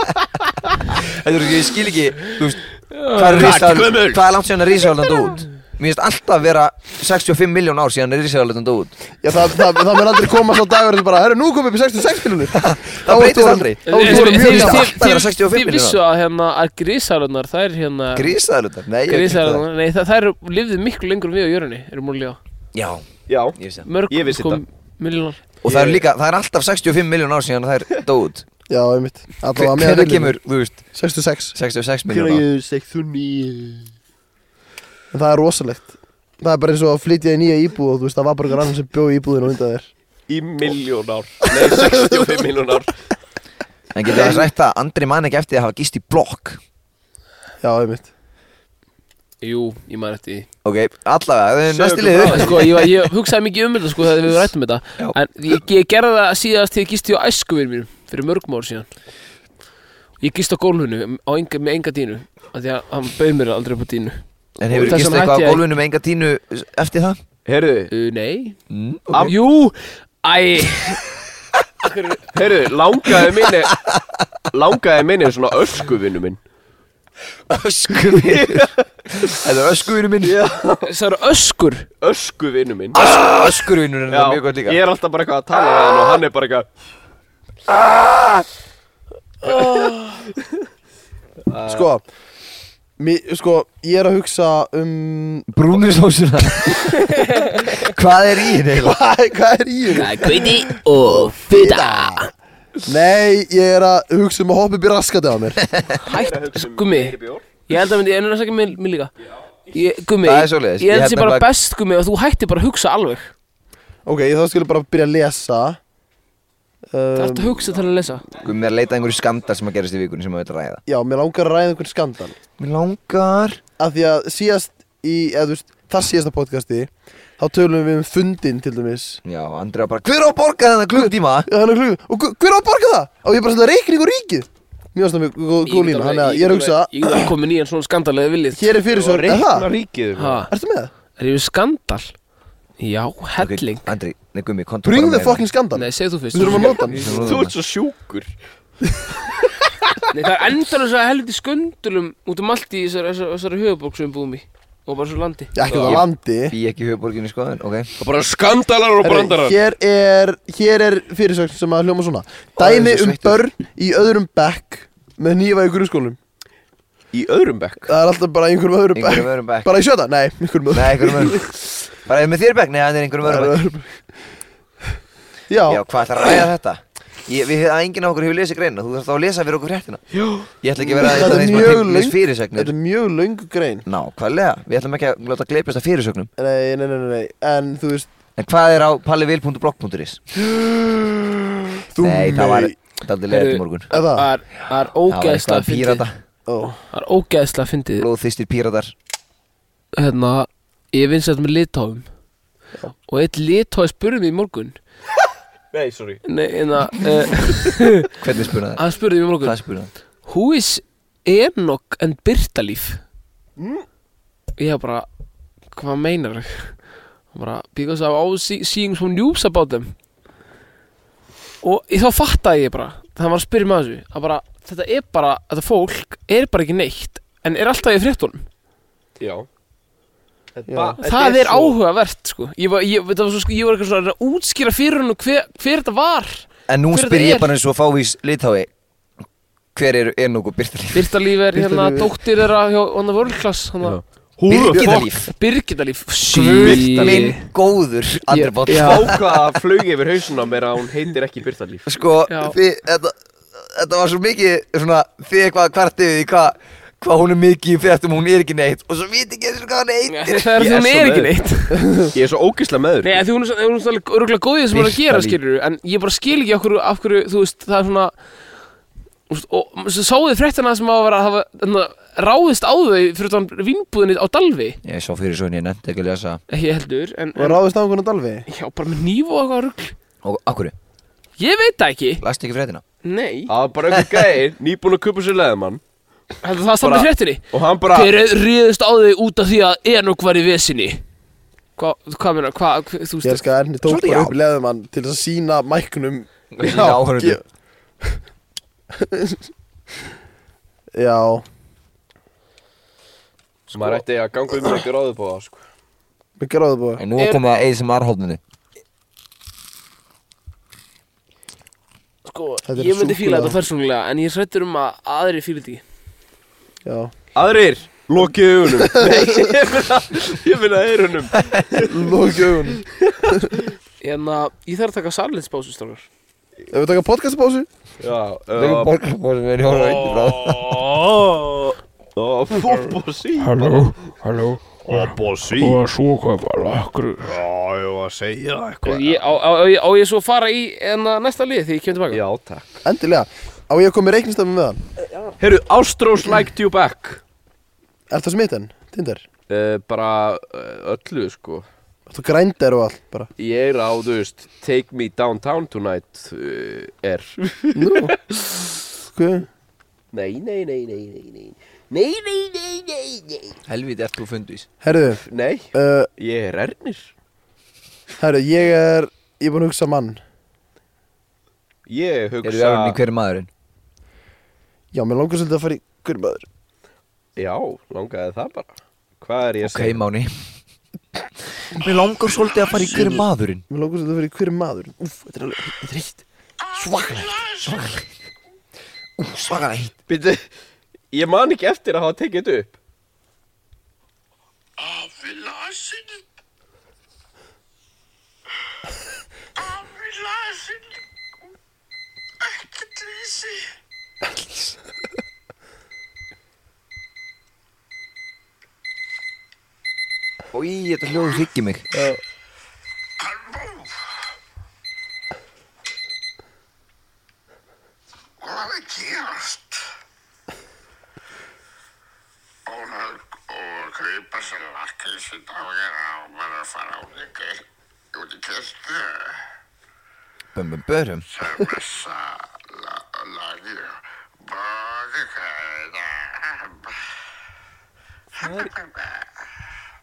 Þetta er ekki, ég skil ekki, þú veist Hvað er risaðan,
gömul.
hvað er langt síðan að risaðan dó út? Mér finnst alltaf vera 65 miljón ár síðan að risaðan dó út
Já, það, það, það mun aldrei koma svo dagur sem bara Herru, nú komum við upp í 66 miljonir Það
breytist aldrei.
Þá var þú
En-
voru
en-
mjög
en-
langt
en- alltaf vera 65
Þið vissu að hérna að grísalunar það er hérna
Grísaðan, nei ég vissi það.
Grísalunar, nei það, það eru lifðið miklu lengur en við á jörunni eru múlið á
Já,
Já
ég vissi það
Mörg
Ég vissi þetta.
miljónar
Og það er líka, það er alltaf 65 miljón ár síðan að það er dó út
Já, einmitt Alla var með
Hvernig kemur, þú veist,
66
66 miljón ár
ég segt þú nýju
En það er rosalegt Það er bara eins og að flytja í nýja íbúð og þú veist, það var bara einhver annar sem bjóði íbúðinu undan þér
Í miljón ár Nei, 65 miljón ár
En getur það sagt að Andri man ekki eftir að hafa gist í blokk
Já, einmitt
Jú, ég maður eftir því
Ok, allavega,
Segðu
næsti
okkur
liður
En sko, ég, var, ég hugsaði mikið um þetta sko þegar við rættum þetta
Já.
En ég, ég gerði það síðast þegar ég gisti á æskuvir mínum Fyrir mörgum ár síðan Ég gisti á gólfinu um, á enga, með enga dínu af Því að hann bauð mér aldrei upp á dínu
En hefur
Þessum
gist eitthvað
hætti
á
ég-
gólfinu með enga tínu eftir það?
Herðu,
uh, Nei
Mm.
Am Jú Æ
herðu, langaði minni Langaði minni svona öskuvinu minn
Öskuvinur Þetta er öskuvinur minn
Það eru öskur
Öskuvinu minn
Öskuvinur er
Já,
það mjög gott líka
ég er alltaf bara eitthvað að tala við hann og hann er bara eitthvað
Sko, mi, sko, ég er að hugsa um
Brúnusósuna Hvað er í henni eiginlega?
Hvað hvað er í henni?
Gauti og fyrta
Nei, ég er að hugsa um að hoppa upp í raskati á mér
Hætt Gummi Ég held að myndi Ég er að segja mér, mér líka ég, Gummi
Það er svoleiðis.
Ég
Ég
held að
hérna
held
sé bara
nefnilega-
best Gummi Og þú hættir bara að hugsa alveg
Ok, ég þá skulle bara byrja að lesa
Það er
um,
alltaf að hugsa til að lesa
Gummi er að leita að einhverju skandal sem að gerast í vikunni sem maður vil ræða
Já, mér langar að ræða einhvern skandal
Mér langar
Af því að síðast í, eða þú veist, þar síðasta podcasti Þá tölum við um fundin til dæmis
Já, Andri var bara Hver á að borga þennan klukkutíma?
Já, hann er klukku Og hver- hver á að borga það? Og ég er bara svona reikning og ríkið Mjög ástæðan mjög góð- góð
get
lína
alveg-
Þannig að ég er að hugsa
Ég get alveg komin í en svona skandalega viljið
Hér er fyrir svo Er það?
ríkið
Ha,
Ertu með það?
er ég við skandal? Já, helling
Ok, Andri, nei Gummi, kontum
Bring the fucking skandal
Nei,
Við
segð þú fyrst
þurfum að nota hann
Þú ert svo sjúkur
Nei, það er endanlega svo helviti skundulum út um allt í þessari, þessari, þessari höfuborg sem við búum í og bara svo landi
Já, ekki út á
Já.
landi
Bí ekki í höfuborginni sko en ok
Það er bara skandalar og
Herru,
brandarar
Hér er, hér er fyrirsögn sem að hljóma svona Dæmi
þessi
um
sveittur.
börn í öðrum bekk með nýfa í grunnskólum
Í öðrum bekk
Það er alltaf bara í einhverjum öðrum
Einhverjum
bekk
öðrum bekk
Bara í sjöta? Nei, einhverjum öðrum
Nei, einhverjum öðrum Bara er með þér bekk? Nei, hann er einhverjum
Það
öðrum
er
bekk
öðrum bekk. Já,
Já, hvað ætlar að ræða þetta? Ég, við, að enginn af okkur hefur lesið greina Þú þarfst þá að lesa fyrir okkur fréttina Já Ég ætla ekki að vera
Þetta
eitthvað
er
þeim sem að
mjög
tengd
löng-
les fyrirsegnir
þetta er mjög löng grein
Nákvæmlega, við ætlum ekki að láta gleipast að fyrirsögnum
Nei, nei, nei, nei, nei. en þú veist
En hvað er á pallivil.blog.is?
Þú
Nei, það var daldi leiðið
Heyrðu,
í morgun
Er það?
Það er- það er
Það var
ógeðslega
eitthvað
fyndið
pírata,
Ó,
Það er ógeðslega fyndið
blóðþýstir píratar
hérna, ég vins þetta með litáum og eitt litái spurði mig í morgun
Nei, sorry
Nei, hérna, uh,
Hvernig spurði það?
hann spurði mig í morgun
Hvað spurði það?
Who is Enoch and Byrtalíf? Ég hef bara, hvað meinar þau? bara, because I was see- seeing some news about them og ég þá fattaði ég bara það var að spyrja með þessu að bara, þetta er bara, þetta fólk er bara ekki neitt en er alltaf í fréttunum
Já
Já.
Ba-
það
þetta
er
svo-
áhugavert sko ég var, ég, þetta var, svo, sko, ég var eitthvað svona að reyna að útskýra fyrir hann hver, hver þetta var
En nú
Hver
spyr
þetta
ég
er?
bara eins og fávís litái Hver eru Enok og Byrtalíf?
Birtalíf er
Birta
hérna
Líf er-
dóttir þeirra hjá hann að vörlklass hann að
Byrtalíf
Birgitalíf
Minn góður Andri
Ég-
Bótt
já.
Vá hvað það flög yfir hausuna mér að hún heitir ekki Byrtalíf
Sko,
Já.
þið, þetta, þetta var svo mikið svona, þið eitthvað kvartið við því hvað hvað hún er mikið í fréttum og hún er ekki neitt og svo viti ekki eins og hvað hún heitir
það er
Ég
því
er
hún
svo
er ekki
leiður.
neitt
Ég er svo ógislega meður
Nei, af því hún er svo- hún er svona örgulega góðið sem hún er að gera
Birta Líf.
skilur en ég bara skil ekki okkur af hverju þú veist, það er svona þú veist, og svo sáðu fréttina sem að vera að hafa hérna, ráðist á þau fyrir þann vinnbúðinni á Dalvi
Ég sá fyrir svo henni, ég nefndi ekki að lesa
ekki heldur, en,
og
en
ráðist á einhvern á dalvi
já, bara með nýf og eitthvað rugl
Og akkurru,
ég veit það ekki,
last ekki fréttina
nei
Það var bara einhver gæi, nýbúin að kupa sér leðumann
heldur það að standa
Bara-
í fréttinni
Og hann bara
Þeir ríðust á þau út af því að Enok var í vesinni Hvað, hvað meina, hvað, hva, þú
Ég
veist
elska að Erni tók
Svolítið
bara
já.
upp leðumann til þess að sína mæknum
Sýna áhorfendum.
ég- Já,
Sko. Maður ætti að ganga um ekki ráðu på það sko.
mér gráðu búið
Og nú er
Er-
komið að eigið sem aðrhóðninu
Sko,
Þetta er
ég myndi fíla
súkkulaði.
þetta persónulega En ég er hræddur um að aðri fíla þetta ekki
Já
Aðrir, lokið augunum Nei, ég finna, ég finna eyrunum
Lóki augunum
En að ég þarf að taka salinspásu strákar
Ef við taka podcastpásu
Já,
Þegar
uh,
borgarbóðin er hjóra veitir frá
oh.
Upp og sí
Halló, halló Upp og sí Og svo hvað var akkur Já, ég var að segja það eitthvað
Ég, á, á, á, ég- á ég svo að fara í enna næsta lið þegar ég kemur tilbaka?
Já, takk
Endilega, á ég að koma með reikningstafum með hann
Herru, Ástrós liked you back
Er það smitt enn, Tinder?
uh, Bara uh, öllu, sko
Þú grændir og allt bara
Ég er á, þú veist, take me downtown tonight uh, Er
Nú Hvað?
Nei, nei, nei, nei, nei, nei Nei, nei, nei, nei, nei
Helviti, ert þú fundvís?
Herðu,
Nei,
uh,
ég er ernir
herðu, ég er Ég er búinn að hugsa mann
Ég
Eru við
hugsa
alveg hverju maðurinn?
Já, mér langar svolítið að fara í Hvernig maður?
Já, langaði það bara Hvað er ég að
Ok,
segja?
Máni Mér langar svolítið að fara í hverju maðurinn
Mér langar svolítið að fara í hvernig maður Úf, þetta er alveg
Þetta er heitt Svakalegt Svakalegt Ú, svakalegt heitt
Býtu, ég man ekki eftir að hafa tekið þetta upp
Í, þetta hljóður hryggir mig
Hvað er að gerast? Hún er að grípa sér lakkið sitt á hérna og verður að fara út í, kir- út í kirkju.
Bum, bum, börum
Það er messa lagið og bóði hérna.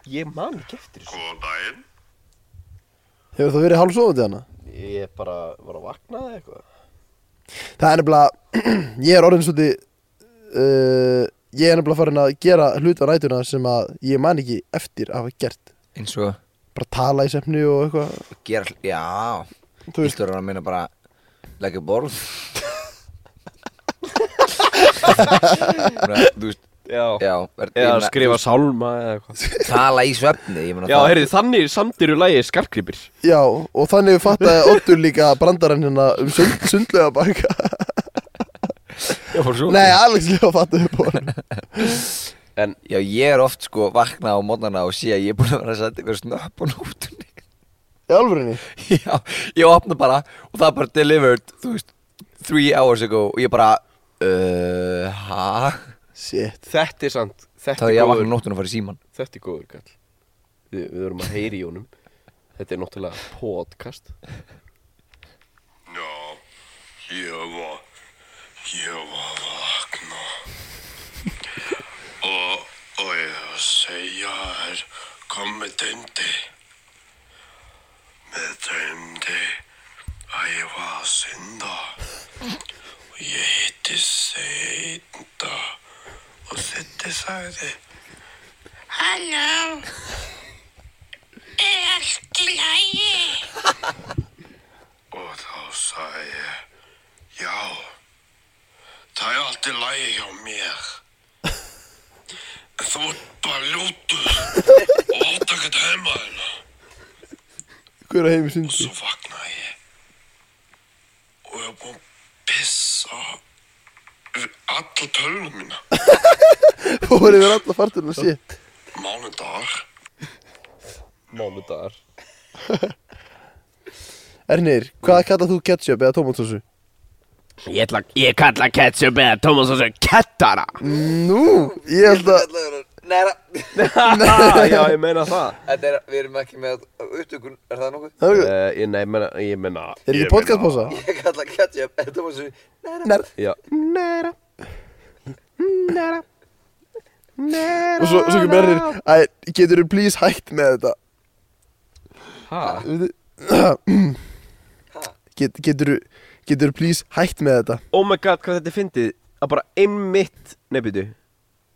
Ég man ekki eftir þessu
Góðan daginn.
Hefur þú verið hálfsofandi hana?
Ég bara var að vakna eða eitthvað
Það er nefnilega Ég er orðin svolítið uh, Ég er nefnilega farin að gera hluti á nætuna sem að ég man ekki eftir að hafa gert
Eins og
Bara tala í sefni og eitthvað
að gera hl- Já
Þú
Þú
veist,
veist að meina bara Leggja borð Bara, Þú veist
Já,
Já, er,
eða skrifa sálma eða eitthvað
Tala í svefni Ég meina
Já,
það-
heyrðu, þannig samt eru lægi skarkripir
já, og þannig fattaði Oddur líka brandarann hérna um sund, sundlega baka
Já, fór svo
Nei, Alex líka fattaði upp á hann
En,
Já, ég er oft sko vakna á mótnana og sé að ég er búin að vera að setja ykkur snöpp á nótunni
Í alvörinni
Já, ég opna bara og það er bara delivered, þú veist, three hours ago og ég bara, uh, ha?
Shit
þetta er sant
Þá
Þetta
er ég
er
að vakna
góður,
nóttunum að fara í síman.
þetta er góður kall Við, við erum að heyri í honum Þetta er náttúrulega podcast
Já, ég var, ég var að vakna og, og ég var að segja þér hvað með dæmdi. Með dæmdi að ég var að synda og ég hitti seinda og þetta sagði Halló, er allt í lagi? Og þá sagði ég, já, það er allt í lagi hjá mér. En þú ert bara ljótur og átt ekkert heima hérna.
Hver að heimi
Og
sundi
svo vaknaði ég og ég var búinn að pissa yfir alla tölunum mína.
Fór yfir alla farturinn og shit
Mánudagar,
Mánudagar
Ernir, hvað kallað þú ketchup eða tomatsósu?
Ég, ætla, ég kalla ketchup eða Thomas og svo kettara
Nú, ég held að
Neira,
Ah, Já, ég meina það
þetta er, við erum ekki með upptökun, er það nokkuð?
Það er-
uh, Ég, nei, meina, ég meina
Er ekki podcastpása?
Ég kalla ketchup, þetta var svo, neira.
Nær
Já,
Og svo, svo kemur Ernir Æ, getur þú please hætt með þetta?
ha
Get, getur þú please hætt með þetta?
Oh my god, hvað þetta er fyndið Að bara einmitt, nei byrju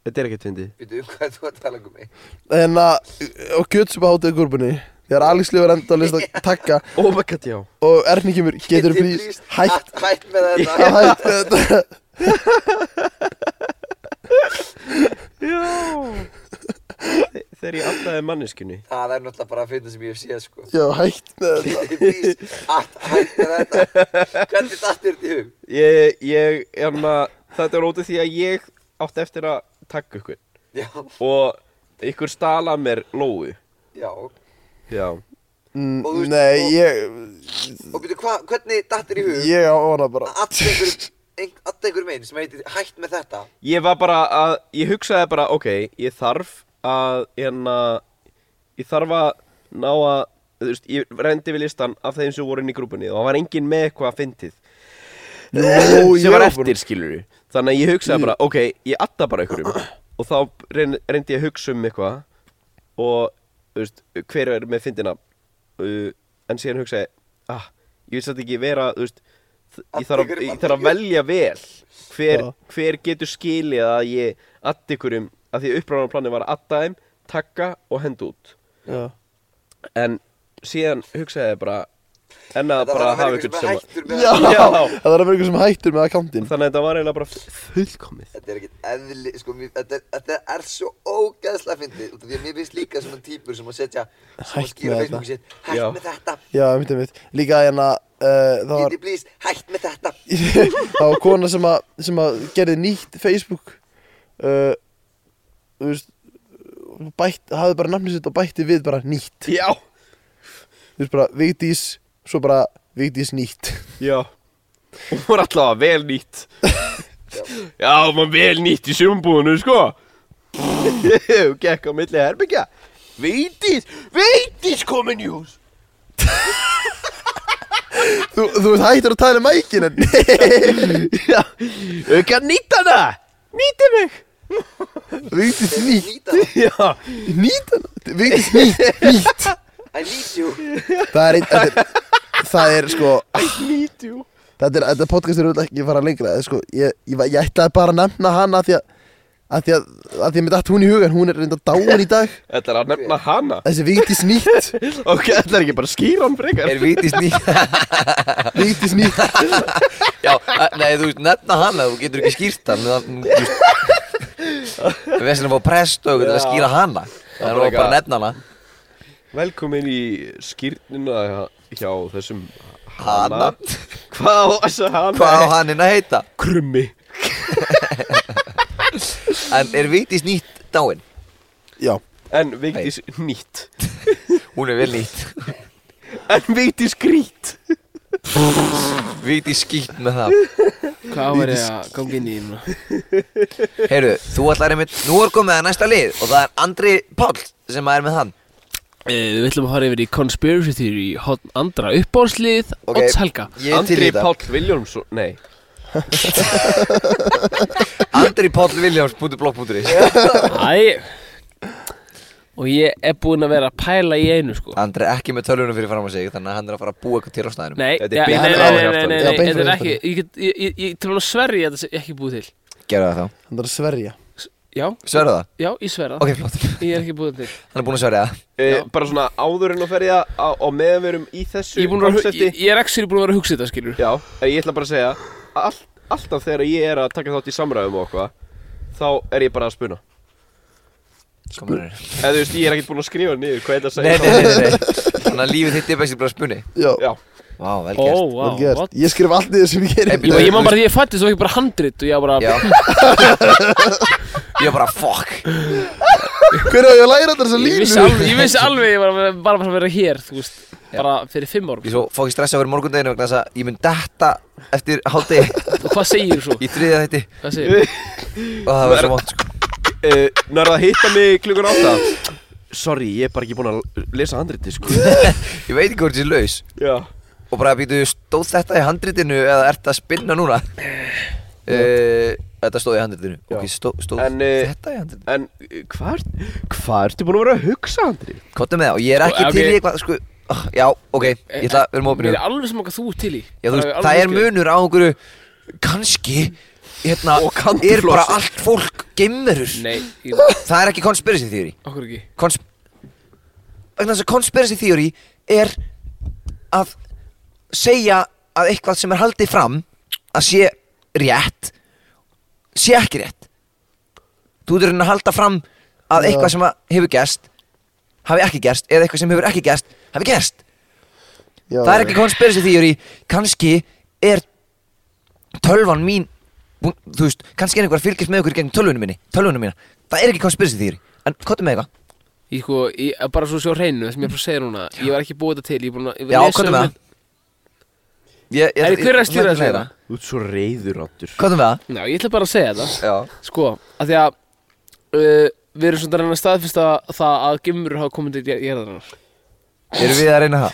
Þetta er ekkert fyndið
Býtu, um hvað þú að tala um mig?
En að, og kjötsupa hátuði kurpunni Þegar Alex Leifur enda að lista að takka
Oh my god, já
Og Erni kemur, getur þú please hætt
Hætt með þetta.
að hætt með þetta?
Já Þegar ég aftaði manneskunni
Það er náttúrulega bara að finna sem ég hef séð, sko.
Já, hætt með þetta
Please, hætt hætt með þetta. Hvernig dattir þetta í hug?
Ég, ég, hérna Þetta er ótið því að ég átti eftir að takk ykkur
Já,
og ykkur stala mér lóu
já
já,
Mm,
Og þú veist-
Nei,
og-
ég
Og byrju, hva, hvernig dattir í hug
Ég á hana bara
að allt einhver, ein, all einhver megin sem heitir hætt með þetta
ég var bara að ég hugsaði bara, ok, ég þarf að, hérna ég þarf að ná að þú veist, ég rendi við listan af þeim sem voru inn í grúpunni og það var enginn með eitthvað að fyndið
Jó,
sem var
já, bara-
eftir skilur þannig að ég hugsaði bara, ok, ég adda bara ykkur og þá reyn, reyndi ég að hugsa um eitthvað og þú veist, hver er með fyndina uh, en síðan hugsaði ah, ég vil satt ekki vera þú veist, þ- ég þarf, að, ég þarf að velja vel hver,
Já.
hver getur skilið að ég adda ykkurum að því uppræðan planið var að adda þeim takka og henda út
Já.
en síðan hugsaði ég bara en að
Þetta
bara
þarf að
hafa
vera
ykkur sem að
einhver sem er hættur með
Já,
þetta.
Já.
það er að vera ykkur sem hættur með akkantinn
þannig að þetta var eiginlega bara fullkomið
Þetta er ekkert eðli, sko, mér, þetta, er, þetta er svo ógeðslega fyndið út af því að mér finnst líka svona típur sem að setja sem að
Hætt
skýra
með
Facebook sitt, hætt
Já.
með þetta
Já, mitt er mitt Líka hérna uh, Það var
Geti please, hætt með þetta
Það var kona sem að, sem að gerði nýtt Facebook uh, Þú veist bætt, hafði bara nafnið sitt og bætti við bara nýtt
Já,
Þú veist bara Vigdís, svo bara Vigdís nýtt
já Hún var allavega vel nýtt Já, hún var vel nýtt í sumbúðinu, sko Hún gekk á milli herbyggja Veitis, veitis komin í hús
Þú, þú veist hættur að tala um mækin en
Já, auka nýtt hana Nýtti mig
Vigdís nýtt,
Nýta það,
Já,
nýtt hana Vigdís nýtt, nýtt
I need you
Það er einn, þetta er Það er sko,
nýtti jú
þetta, er, þetta podcast er auðvitað ekki að fara lengra eða sko, ég, ég, var- ég ætlaði bara að nefna hana af því að af því að, af því að mér dætt hún í hugan, hún er reynda dáin í dag
Þetta er að nefna hana
Þessi Vigdís nýtt
Ok, þetta er ekki bara að skýra hann frekar
Er vitið snýtt?
Vigdís nýtt
Já, eh, nei, þú veist, nefna hana, þú getur ekki skýrt hann Þú veist Við veist að fá prest og
að skýra
hana
Það er bara að
nefna hana
Velkomin í skýrnina hjá þessum
Hana.
Hvað á þessa hana?
hann að heita?
Krummi
En er vitið snýtt dáin?
Já,
En Vigdís nýtt
Hún er vel nýtt
En Vigdís grýtt
Vitið skýtt með það
Hvað var ég að ganga inn í hérna? núna?
Heyrðu, þú ætlar einmitt, nú er komið að næsta lið og það er Andri Páll sem er með hann
Eh, Við ætlum að fara yfir í Conspiracy Theory hotn Andra uppbórslið
Ok.
Odds Helga
Ég er til
Andri
í þetta
Páll Viljónsson Nei
Andri Páll Viljáms búti blokkbúturis
Æ Og ég er búinn að vera að pæla í einu sko
Andri er ekki með tölunum fyrir fram að sig þannig að hann er að fara að búa eitthvað til á snæðinum
Nei,
Þetta er
ja, nei,
beint
nei,
frá
nei, nei,
hjartanu.
nei,
Já,
nei,
beint
þetta er
frá
ekki Ég get, ég, ég, ég til að sverja að þetta sé ekki búið til
Gerðu það þá
hann þarf að sverja
Já,
Sverðu það?
já, ég sverja
Ok, flott
Ég er ekki búið til
Hann er búinn að sverja það
e, Bara svona áður en að ferja á, á meðan við erum í þessu
Ég er, búinn að vera-
konsepti.
ég, ég er ekki búin að vera að hugsa þetta skilur
Já en Ég ætla bara að segja all, Alltaf þegar ég er að taka þátt í samræðum og eitthvað Þá er ég bara að spuna
Komur Sko- nei,
Eða þú veist ég er ekkert búinn að skrifa niður Hvað er þetta að
nei,
segja
nei, nei, nei Þannig að lífið þitt er bestið bara spunni
Já,
Já
Vá, vel
Ó,
gert
vá,
wow, gert.
Oh, what?
Ég skrif allt niður sem ég
Hey,
gerir
bíddu.
Ég, ég man bara því ég fætti svo ekki bara handrit og ég var
Já
bara
Ég er bara fuck
Hver á ég að læra allar
Ég
þessar línu?
vissi alveg, ég vissi alveg ég var bara, bara að vera hér, þú veist
Já.
Bara fyrir fimm sko. árum
Ég svo fá ekki stressa fyrir morgundeginu vegna þess að ég mun detta eftir hátegi
Og hvað segir svo?
í þriðja þætti
Hvað segir?
og það var svo vont sko.
e, Nærða að hitta mig klukkan átta Sorry ég er bara ekki búinn að lesa handriti sko
Ég veit ekki hvort ég er laus
Já
og bara býtu, stóð þetta í handritinu eða ert að spinna núna? Uh, þetta stóð í handritinu
Já.
ok, stó, stóð
En, eh,
þetta í handritinu
En eh, hvað ert- hvað ertu búinn að vera að hugsa Andri?
Kottum með það og ég er ekki
Ok.
til í eitthvað sko, oh, Já, ok, ég ætla að vera mópinu
Mér
já,
er alveg sem okkar þú ert til í
þú veist,
alveg
Það er
skil.
munur á einhverju kannski hérna,
Og kanti
er bara
flossi.
allt fólk geimverur
Nei, ég-
Það er ekki conspiracy theory
okkur ekki
Kons vegna þess að conspiracy theory er að segja að eitthvað sem er haldið fram að sé rétt sé ekki rétt þú ert að reyna að halda fram að
Já.
eitthvað sem að hefur gerst hafi ekki gerst eða eitthvað sem hefur ekki gerst hafi gerst
Já,
það er ekki conspiracy theory kannski er tölvan mín búin, þú veist, kannski er einhver að fylgjast með okkur gegn tölvunum minni, tölvunum mína það er ekki konspirasi þýri, en kottum með eitthvað
Ég sko, ég, bara svo sjá hreinu það sem ég bara segir núna Ég var ekki búið þetta til, ég er búin að ég
Já,
lesa um
kottum með
þetta-
það Ég- ég-
Er
ég-
hver er að
ég-
stýra
ég-
þessu hérna?
Þú ert svo reyður áttur
Kottum með það
Já, ég ætla bara að segja þetta
Já
Sko, að því að uh, Við erum svona að reyna að staðfesta það að gemurur hafa komið til gerðarinnar
Erum við að reyna það?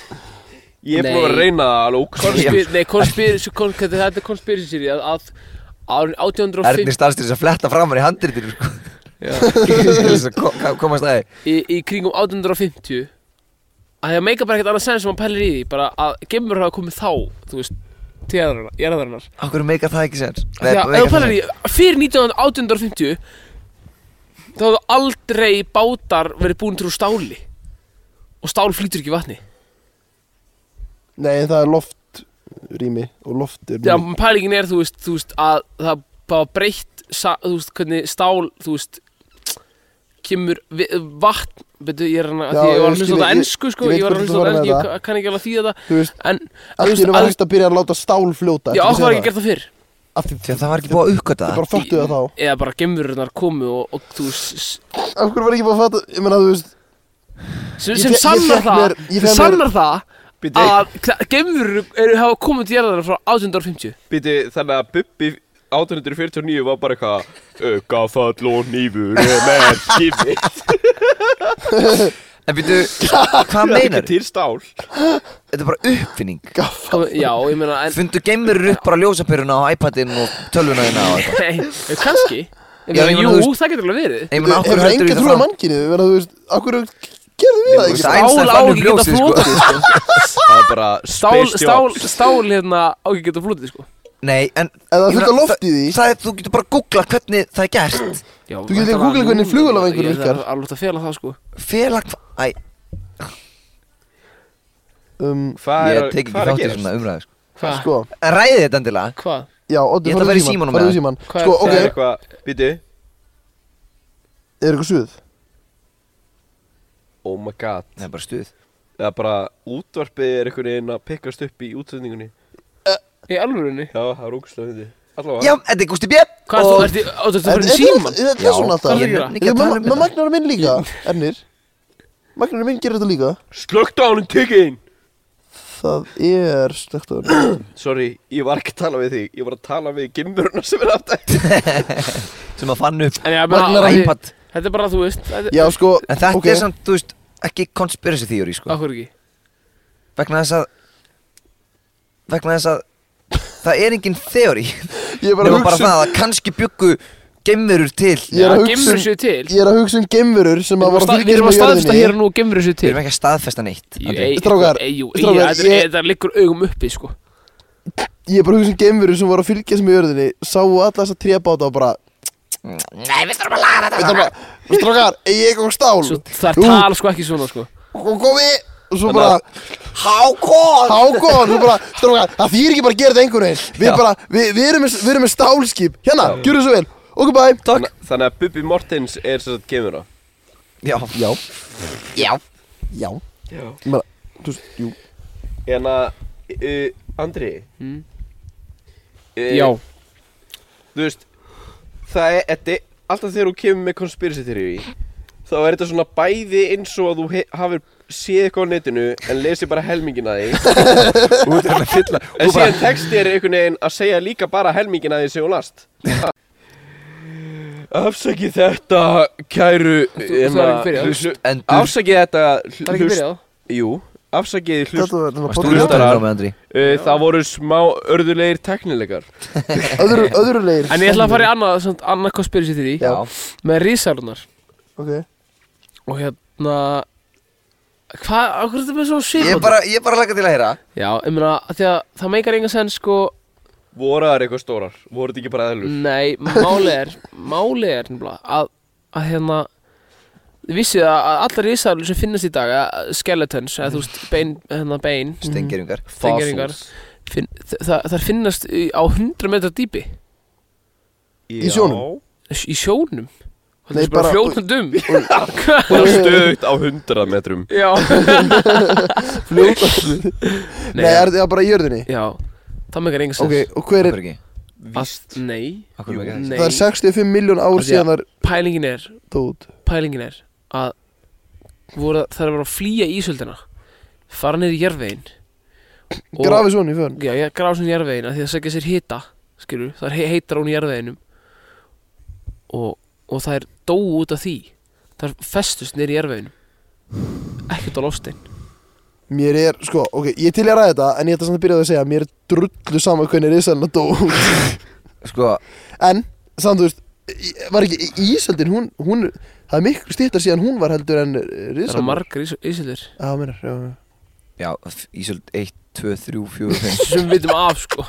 Ég er búin að
Nei.
reyna það alveg ókvæmst
Konspir, nei, konspirisi, kon, hvað þetta er konspirisi að, að árið
Erni
1850
starfst til þess að fletta framar í handritinu sko. Til þess að ko- ka- komast aðeins
í, í kringum 1850 að það meika bara ekkert annað sem sem hann pælir í því bara að gemurur hafa komið þá þú veist, til jarðarinnar- jarðarinnar
Akkur meikar það ekki sens Nei,
Þegar,
meikar
ef þú
það
pælar í,
sens.
fyrir 1850 þá hefðu aldrei bátar verið búin til úr stáli og stál flýtur ekki í vatni
Nei, en það er loftrými og loft er
þegar pælingin er, þú veist, þú veist að það bara breytt sa- þú veist, hvernig stál, þú veist kemur við, vatn betur, ég er hann að,
Já,
því ég var
ég
að
skil,
hlusta á
ég-
það ennsku, sko,
ég veit
ég var að
hvert þú
hlusta á
fara
það
með
ennsku,
það.
ég kann ekki alveg að þýða það
Þú veist,
en, þú
allt í
veist,
einu var
að,
hægt að byrja að láta stál fljóta
já,
Ertu
okkur var
að
ekki
segja
gert það fyrr
Af því
Því að það var ekki búið að uppgöta
Þið
það
bara þóttu það þá
eða bara gemururnar komu og, og þú veist,
Af hverju var ekki bara að fatta, ég meina þú veist
sem,
Ég
sem
fe- ég
sannar
fékk
það
mér- ég
sem
fékk
sannar það
Bíddu.
að geimur eru hafa komið til jarðar frá 1850
Býti, þannig að Bubbi 1849 var bara eitthvað Ögafall og nýfur með skipi
En býtu, hvað meinar?
til stál
Þetta er bara uppfinning
Komið- já, ég meina en,
Fundu geimur upp bara ljósapyruna á iPadin og tölvuna þína og eitthvað
nei, eh, kannski ég
Já,
meina,
ég meina,
jú,
þú veist-
það getur alveg verið
Ég meina, af hverju
Hefur
heldur
engin trú
þetta
á
fram?
mannkinu, ég meina þú veist Af hverju gerðu við það
Þú
ekki
veist,
sko?
að
bara?
Einstein
Stál á
fann upp
ekki geta
ljósið, sko.
flotið sko.
Það er bara
stál,
space
stál,
job.
stál hérna á ekki geta flotið sko.
Nei, en
En það
ég meina,
þurfti loft í því.
það er, Þú getur bara að googla hvernig það er gert
Já,
Þú getur líka
væntanlega
googlað hvernig
núna-
flugvélavængurinn
Ég
virkar.
er alveg að fela það sko
Félag Æ,
Um,
Hvað er
ég
að-
tek ekki
hvað er að
þátt í
gerast?
svona umræðu sko.
Hvað?
sko
En ræði þetta endilega
Hvað?
Já, Oddi,
Ég ætla að
farðu
fara í
í síman,
símanum
farðu í
með
síman
Hvað er-
Sko,
Það
ok,
er eitthvað, býti
er eitthvað suð?
Oh my god
Það er bara stuð
Það er bara útvarpið er einhvern veginn að pikkast upp í útsendingunni
Í alvörunni?
Já, það er ógustlega hindi Allavega
Já, þetta er Gusti B
Hvað er þú, ertu, ertu, ertu
Þetta
fyrir
er-
síman?
Þetta er svona
hvað er að
alltaf
gera?
Ég er
Með
nefnilega
Magnar minn líka, Ernir Magnar minn gerir þetta líka
Slögt á honum tyggin
Það er slögt á henni
Sorry, ég var ekki að tala við þig Ég var að tala við gimmuruna sem er aftur
Sem að fann upp
En ég meina,
Magnar á
að-
iPad.
þetta er bara, þú veist þetta-
Já, sko,
En þetta
ok.
er samt, þú veist, ekki conspiracy theory, sko
Af hverju ekki?
Vegna þess að Vegna þess að Það er engin theory
Ég er bara
Nefna
að
bara
hugsa um-
það að kannski byggu Gemurur til
Ég
Já,
er að hugsa um-
geimverur séu til.
Ég er að hugsa um gemverur sem að var að hérna
Við
fylgjast
erum að
með
staðfesta hér
jörðinni
og nú gemurur sér
Við
til
erum ekki að staðfesta neitt Andri.
Ey,
Strákar,
ey, jú, ey,
strákar,
þetta er-
ég-
þetta liggur augum uppi sko
Ég er bara að hugsa um gemverur sem var að fylgjast með jörðinni Sáu alla þessa trébáta og bara
Nei, við þurfum að laga
Þetta
þetta
er bara, strákar, eigi ég eitthvað stál
Svo, það er
Jú.
tal sko ekki svona sko
og komi og svo bara
Hákon
Hákon, þú bara, strákar, það fyrir ekki bara að gera þetta einhvern veginn Við
Já.
bara, við, við, erum með, við erum með stálskip Hérna, gjöru svo vel, ok bæ
Takk
Þannig að Bubbi Mortens er sem sagt gimmura
Já,
Já,
já
já,
Já
ég bara, þú veist, jú
En að, uh, Andri
Mm.
uh,
Já,
Þú veist, það er, þetta er Alltaf þegar þú kemur með conspiracy theory Þá er þetta svona bæði eins og að þú he- hafir séð eitthvað á netinu En lesi bara helmingina því
Þú ert hérna að reyna að fylla
En síðan texti er einhvern veginn að segja líka bara helmingina því sem þú last Afsaki þetta, kæru
það er ekki byrjað.
Endur
Afsaki þetta
það er ekki byrjað
Jú, afsakið
Þetta
hlust
var þarna
Varst þú
podcast.
hlustaður á mig, Andri?
uh, Það voru smá örðulegir teknilegar
Öðru, öðru leir
En ég ætla að fara í annað, samt, annað conspiracy til því
Já.
Með risalunar
Ok,
Og hérna Hvað, á hverju er þetta með svona svip
Ég er bara, ég er bara að laka til að heyra
Já, ég meina, af því að það meikar engan sens sko
Voru það eitthvað stórar? Voru þetta ekki bara eðlur?
Nei, málið er Málið er nefnilega að, að hérna Þið vissið að að allar risalur sem finnast í dag að- Skeletons, eða þú veist, bein, hérna bein
Mhm. Stengeringar
Stengeringar finn, það, það finnast í- á 100 metra dýpi
Í sjónum?
Í sjónum Það
Nei,
er bara
bara-
fljótandum
Bara stöðugt á 100 metrum
Já
fljótt Nei, er þetta bara í jörðinni?
Já, það megar enga sens
Ok, og hver
Af
er,
hverju ekki?
Allt, nei,
Akkur
Jú,
ekki
nei
Það er 65 miljón ár
Af því að-
síðan þar
Pælingin er,
tóð
pælingin er að voru, það er að flýja ísöldina fara niður í jarðvegin og-
Grafið svona í fjörn
Já, ég gráði svona í jarðvegin að því að sækja sér hita skilur, það er he- heitar hún í jarðveginum og, og það er dóu út af því það er festust niður í jarðveginum ekkert á lofstein
Mér er, sko, ok, ég til ég að ræða þetta En ég ætla samt að byrja á því að segja að Mér er drullu saman hvernig risalina dó
Sko,
En, samt þú veist í- Var ekki í- Ísöldin, hún, hún Það er miklu stýttar síðan hún var heldur en
það eru
risalina
margar ís- ísildur
Já, mér er, já, já
já, Ísöld 1, 2, 3, 4, 5
sem við vitum af sko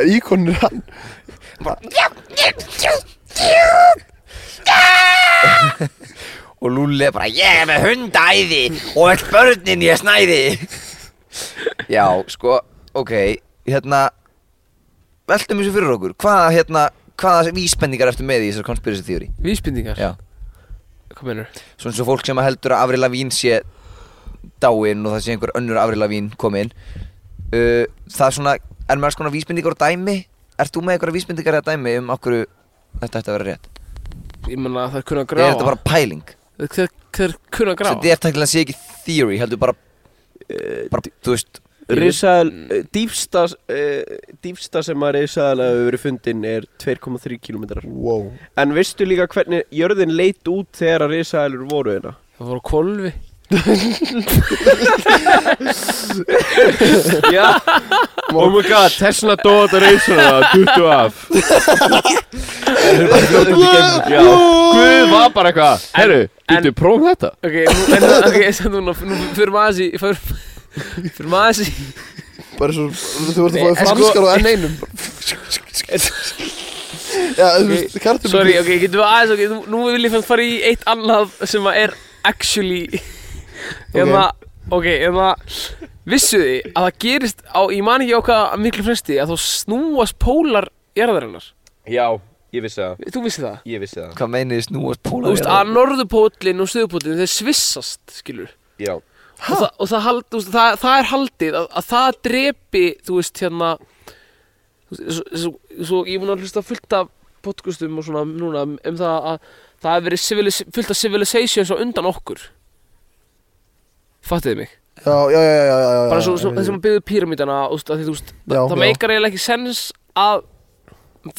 En Íkonur, hann
Og Lúli er bara, ég er með hundæði Og öll börnin ég snæði Já, sko, ok Hérna Veltum þessu fyrir okkur Hvaða, hérna, hvaða vísbendingar ertu með í þessar conspiracy theory?
vísbendingar,
Já,
hvað mennur
svona eins og fólk sem heldur að Avril Lavín sé dáinn og það sé einhver önnur Avril Lavín komin uh, það er svona, er með alls konar vísbendingar og dæmi ert þú með einhverja vísbendingar eða dæmi um okkur þetta ætti að vera rétt
ég menna að það er kunna að
er þetta
gráa
bara pæling
það það er kunna að
þetta
gráa
er tækilega sé ekki theory heldur bara, bara þú veist
Risaðal, dýfsta, uh, dýfsta sem að risaðal hefur verið fundin er 2,3 kilometrar
Wow
En veistu líka hvernig jörðin leit út þegar að risaðalur voru hérna?
það voru kolvi
Já, oh my god, Tesla dóða risaðala, duttu af Já, guð var bara eitthvað Herru,
en-
býttu, prófum þetta
ok, nú- en ok, sem núna nú fyrir maður í fyrir maður í
Bara svo, þú
Nei,
ert að fáið
en sko-
franskar og enn einum Já, þú veist, kartum
Sorry, ok, getum við aðeins, ok, nú- nú vil ég fann fara í eitt annað sem að er actually Eða, ok, eða, vissu þið að það gerist á, ég man ekki á hvað miklu fresti að þá snúast pólar jarðarinnar
Já, ég vissi það,
Þú vissi það?
ég vissi það
hvað meinið snúast
Þú
póla
veist, að norðupóllinn og söðupóllinn, þeir svissast, skilur
Já,
og, það, og það, hald, þú veist, það, það er haldið að, að það drepi, þú veist, hérna þú veist, svo, svo, svo ég er búin að hlusta fullt af podcastum og svona núna um það að það hefur verið civilis, fullt af civilizations á undan okkur fattiði mig
Já, já, já, já, já, já, já
bara svo,
já,
svo
ég veit.
þessum að byggðu píramítana þú veist, að því, þú veist,
Já,
það
já.
meikar eiginlega ekki sens að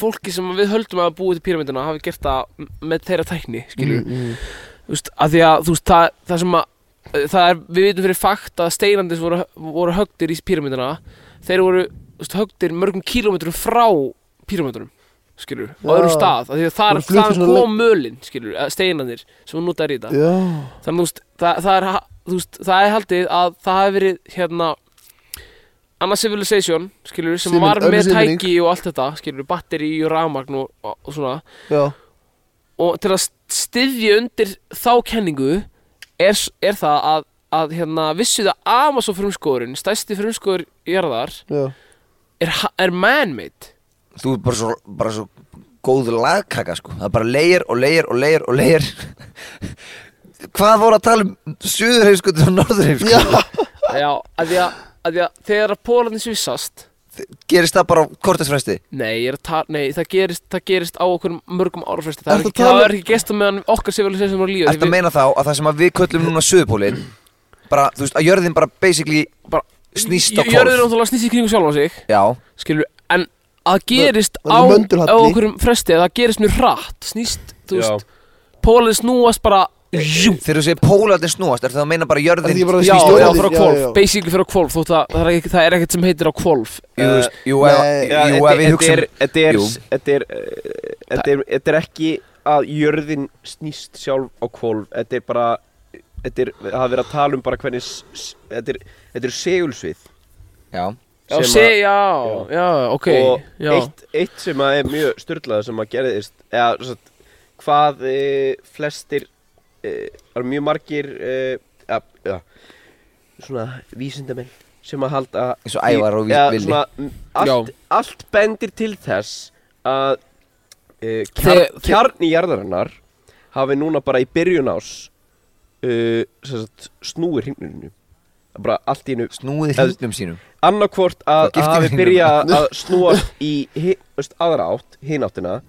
fólki sem við höldum að búið til píramítana hafi gert það með þeirra tækni skilur,
Mm,
þú veist, að því að þú veist, það, það sem að það er, við vitum fyrir fakt að steinandis voru, voru högdir í píramítana þeir voru þú veist, högdir mörgum kílómetrum frá píramítunum skilur, á
Já.
öðrum stað að því að þar,
Voru fluttir
þaðan
svona
kom mölin skilur, steinandir sem hún notar í þetta
Já,
þannig þú veist, það, það er ha- þú veist, það er haldið að það hefur verið hérna annars civilization, skilur, sem
Síminn-
var með
önnur síminn.
tæki og allt þetta, skilur, batteri og rafmagn og, og, og svona
já
og til að styðja undir þá kenningu er, s- er það að, að hérna, vissuð að Amazon frumskóðurinn, stærsti frumskóður jarðar,
Já,
er, ha- er man-made
þú er bara svo, bara svo góð lagkaka sko það er bara leir og leir og leir og leir hvað voru að tala um suðurheimskutin og norðurheimskutin
já,
já, að því að, að, því að þegar að pólarnir svissast
gerist það bara á kortisfresti
Nei, ég er að tala, nei, það gerist, það gerist á okkur mörgum árafresti Það er
Ertu
ekki,
að tala- um-
það er ekki gesta meðan okkar civilization var lífið
Þetta
Við-
meina þá að það sem að við köllum núna söðupólinn bara, þú veist, að jörðin bara basically
bara
snýst á
Jö- Jörðin er
kólf
náttúrulega snýst í kringum sjálfan sig
Já,
Skilur, en að gerist
það er
á,
möndulhalli.
á okkur fresti að Það gerist mjög hratt, snýst, þú
já
veist Pólið snúast bara Jú,
þegar þú segir pólarnir snúast er það að meina bara
Það
jörðin
er bara
já,
Eh, snýst
já,
jörðin,
frá
já,
hvolf,
já.
basically frá hvolf Þótt að það er ekki- það er ekkert sem heitir á hvolf
Jú, þú veist, jú, ef-
Nei,
Já,
jú,
þetta-
ef við hugsa
þetta er- Þetta er,
Jú.
þetta er, eh, þetta er, þetta er ekki að jörðin snýst sjálf á kvolf Þetta er bara, þetta er, það er verið að tala um bara hvernig, s- s- þetta er, þetta er segulsvið
Já,
Já,
sem
sé,
að-
já, já, ok
Og
já.
eitt, eitt sem að er mjög styrlað sem að gerðist eða, sem sagt, Hvað e, flestir, e, er mjög margir, e, ja, ja, svona vísindamenn sem að halda
eins og ævar og
Eða
villi
svona, m, allt, allt bendir til þess að uh,
Þe-
kjar, kjarni jarðarinnar e, hafi núna bara í byrjun ás uh, sagt, snúi hringninu bara allt í einu
Snúið hlutnum sínum
annarkvort að
Það gifti
hafi
mig
byrjað að snúast í hi- þú veist, aðra átt, hináttina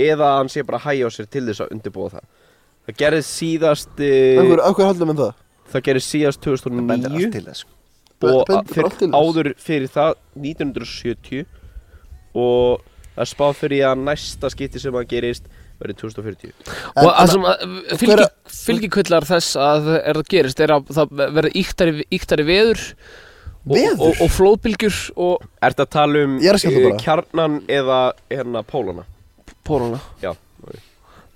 eða að hann sé bara að hægja á sér til þess að undirbúa það það gerðist síðast eh,
Akkur, akkur haldum við það?
það gerðist síðast
Það sko. bendir allt
2009
til þess
og
Bendir
að-
bara
fyrir,
allt til þess.
áður fyrir það 1970 og það er spáð fyrir að næsta skipti sem það gerist verið 2040
En-
og það
en-
sem að fylgi, fylgikvillar þess að er það gerist er að það verður íktari, íktari veður og,
Veður?
og, og flóðbylgjur og
Ertu að tala um
Ég er að skjóta
eh,
bara.
kjarnan eða hérna pólana?
pólana
Já,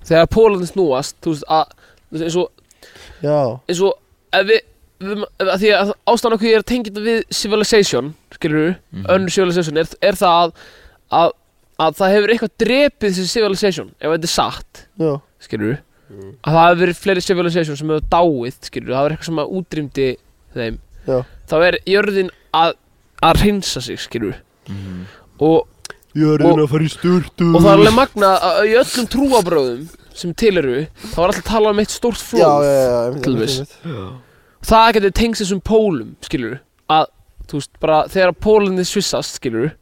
þegar pólana snúast þú veist að þú veist, eins og,
Já,
eins og ef við, við að því að ástæðan okkur ég er tengið við civilization skilur við, önnur civilization er, er það að, að, að það hefur eitthvað drepið þessi civilization ef þetta er satt
já,
skilur
Mm.
að það hefur verið fleiri civilization sem hefur dáið skilur það var eitthvað sem að útrýmdi þeim
já
þá er jörðin að, að reynsa sig skilur og,
Ég er
einu
að fara í styrtu
og það er alveg magna að í öllum trúabröðum sem til eru þá er alltaf talað um eitt stórt flóð
Já, já, já, já
Til þess. það getur tengst þessum pólum skilur að þú veist bara þegar pólinni svissast skilur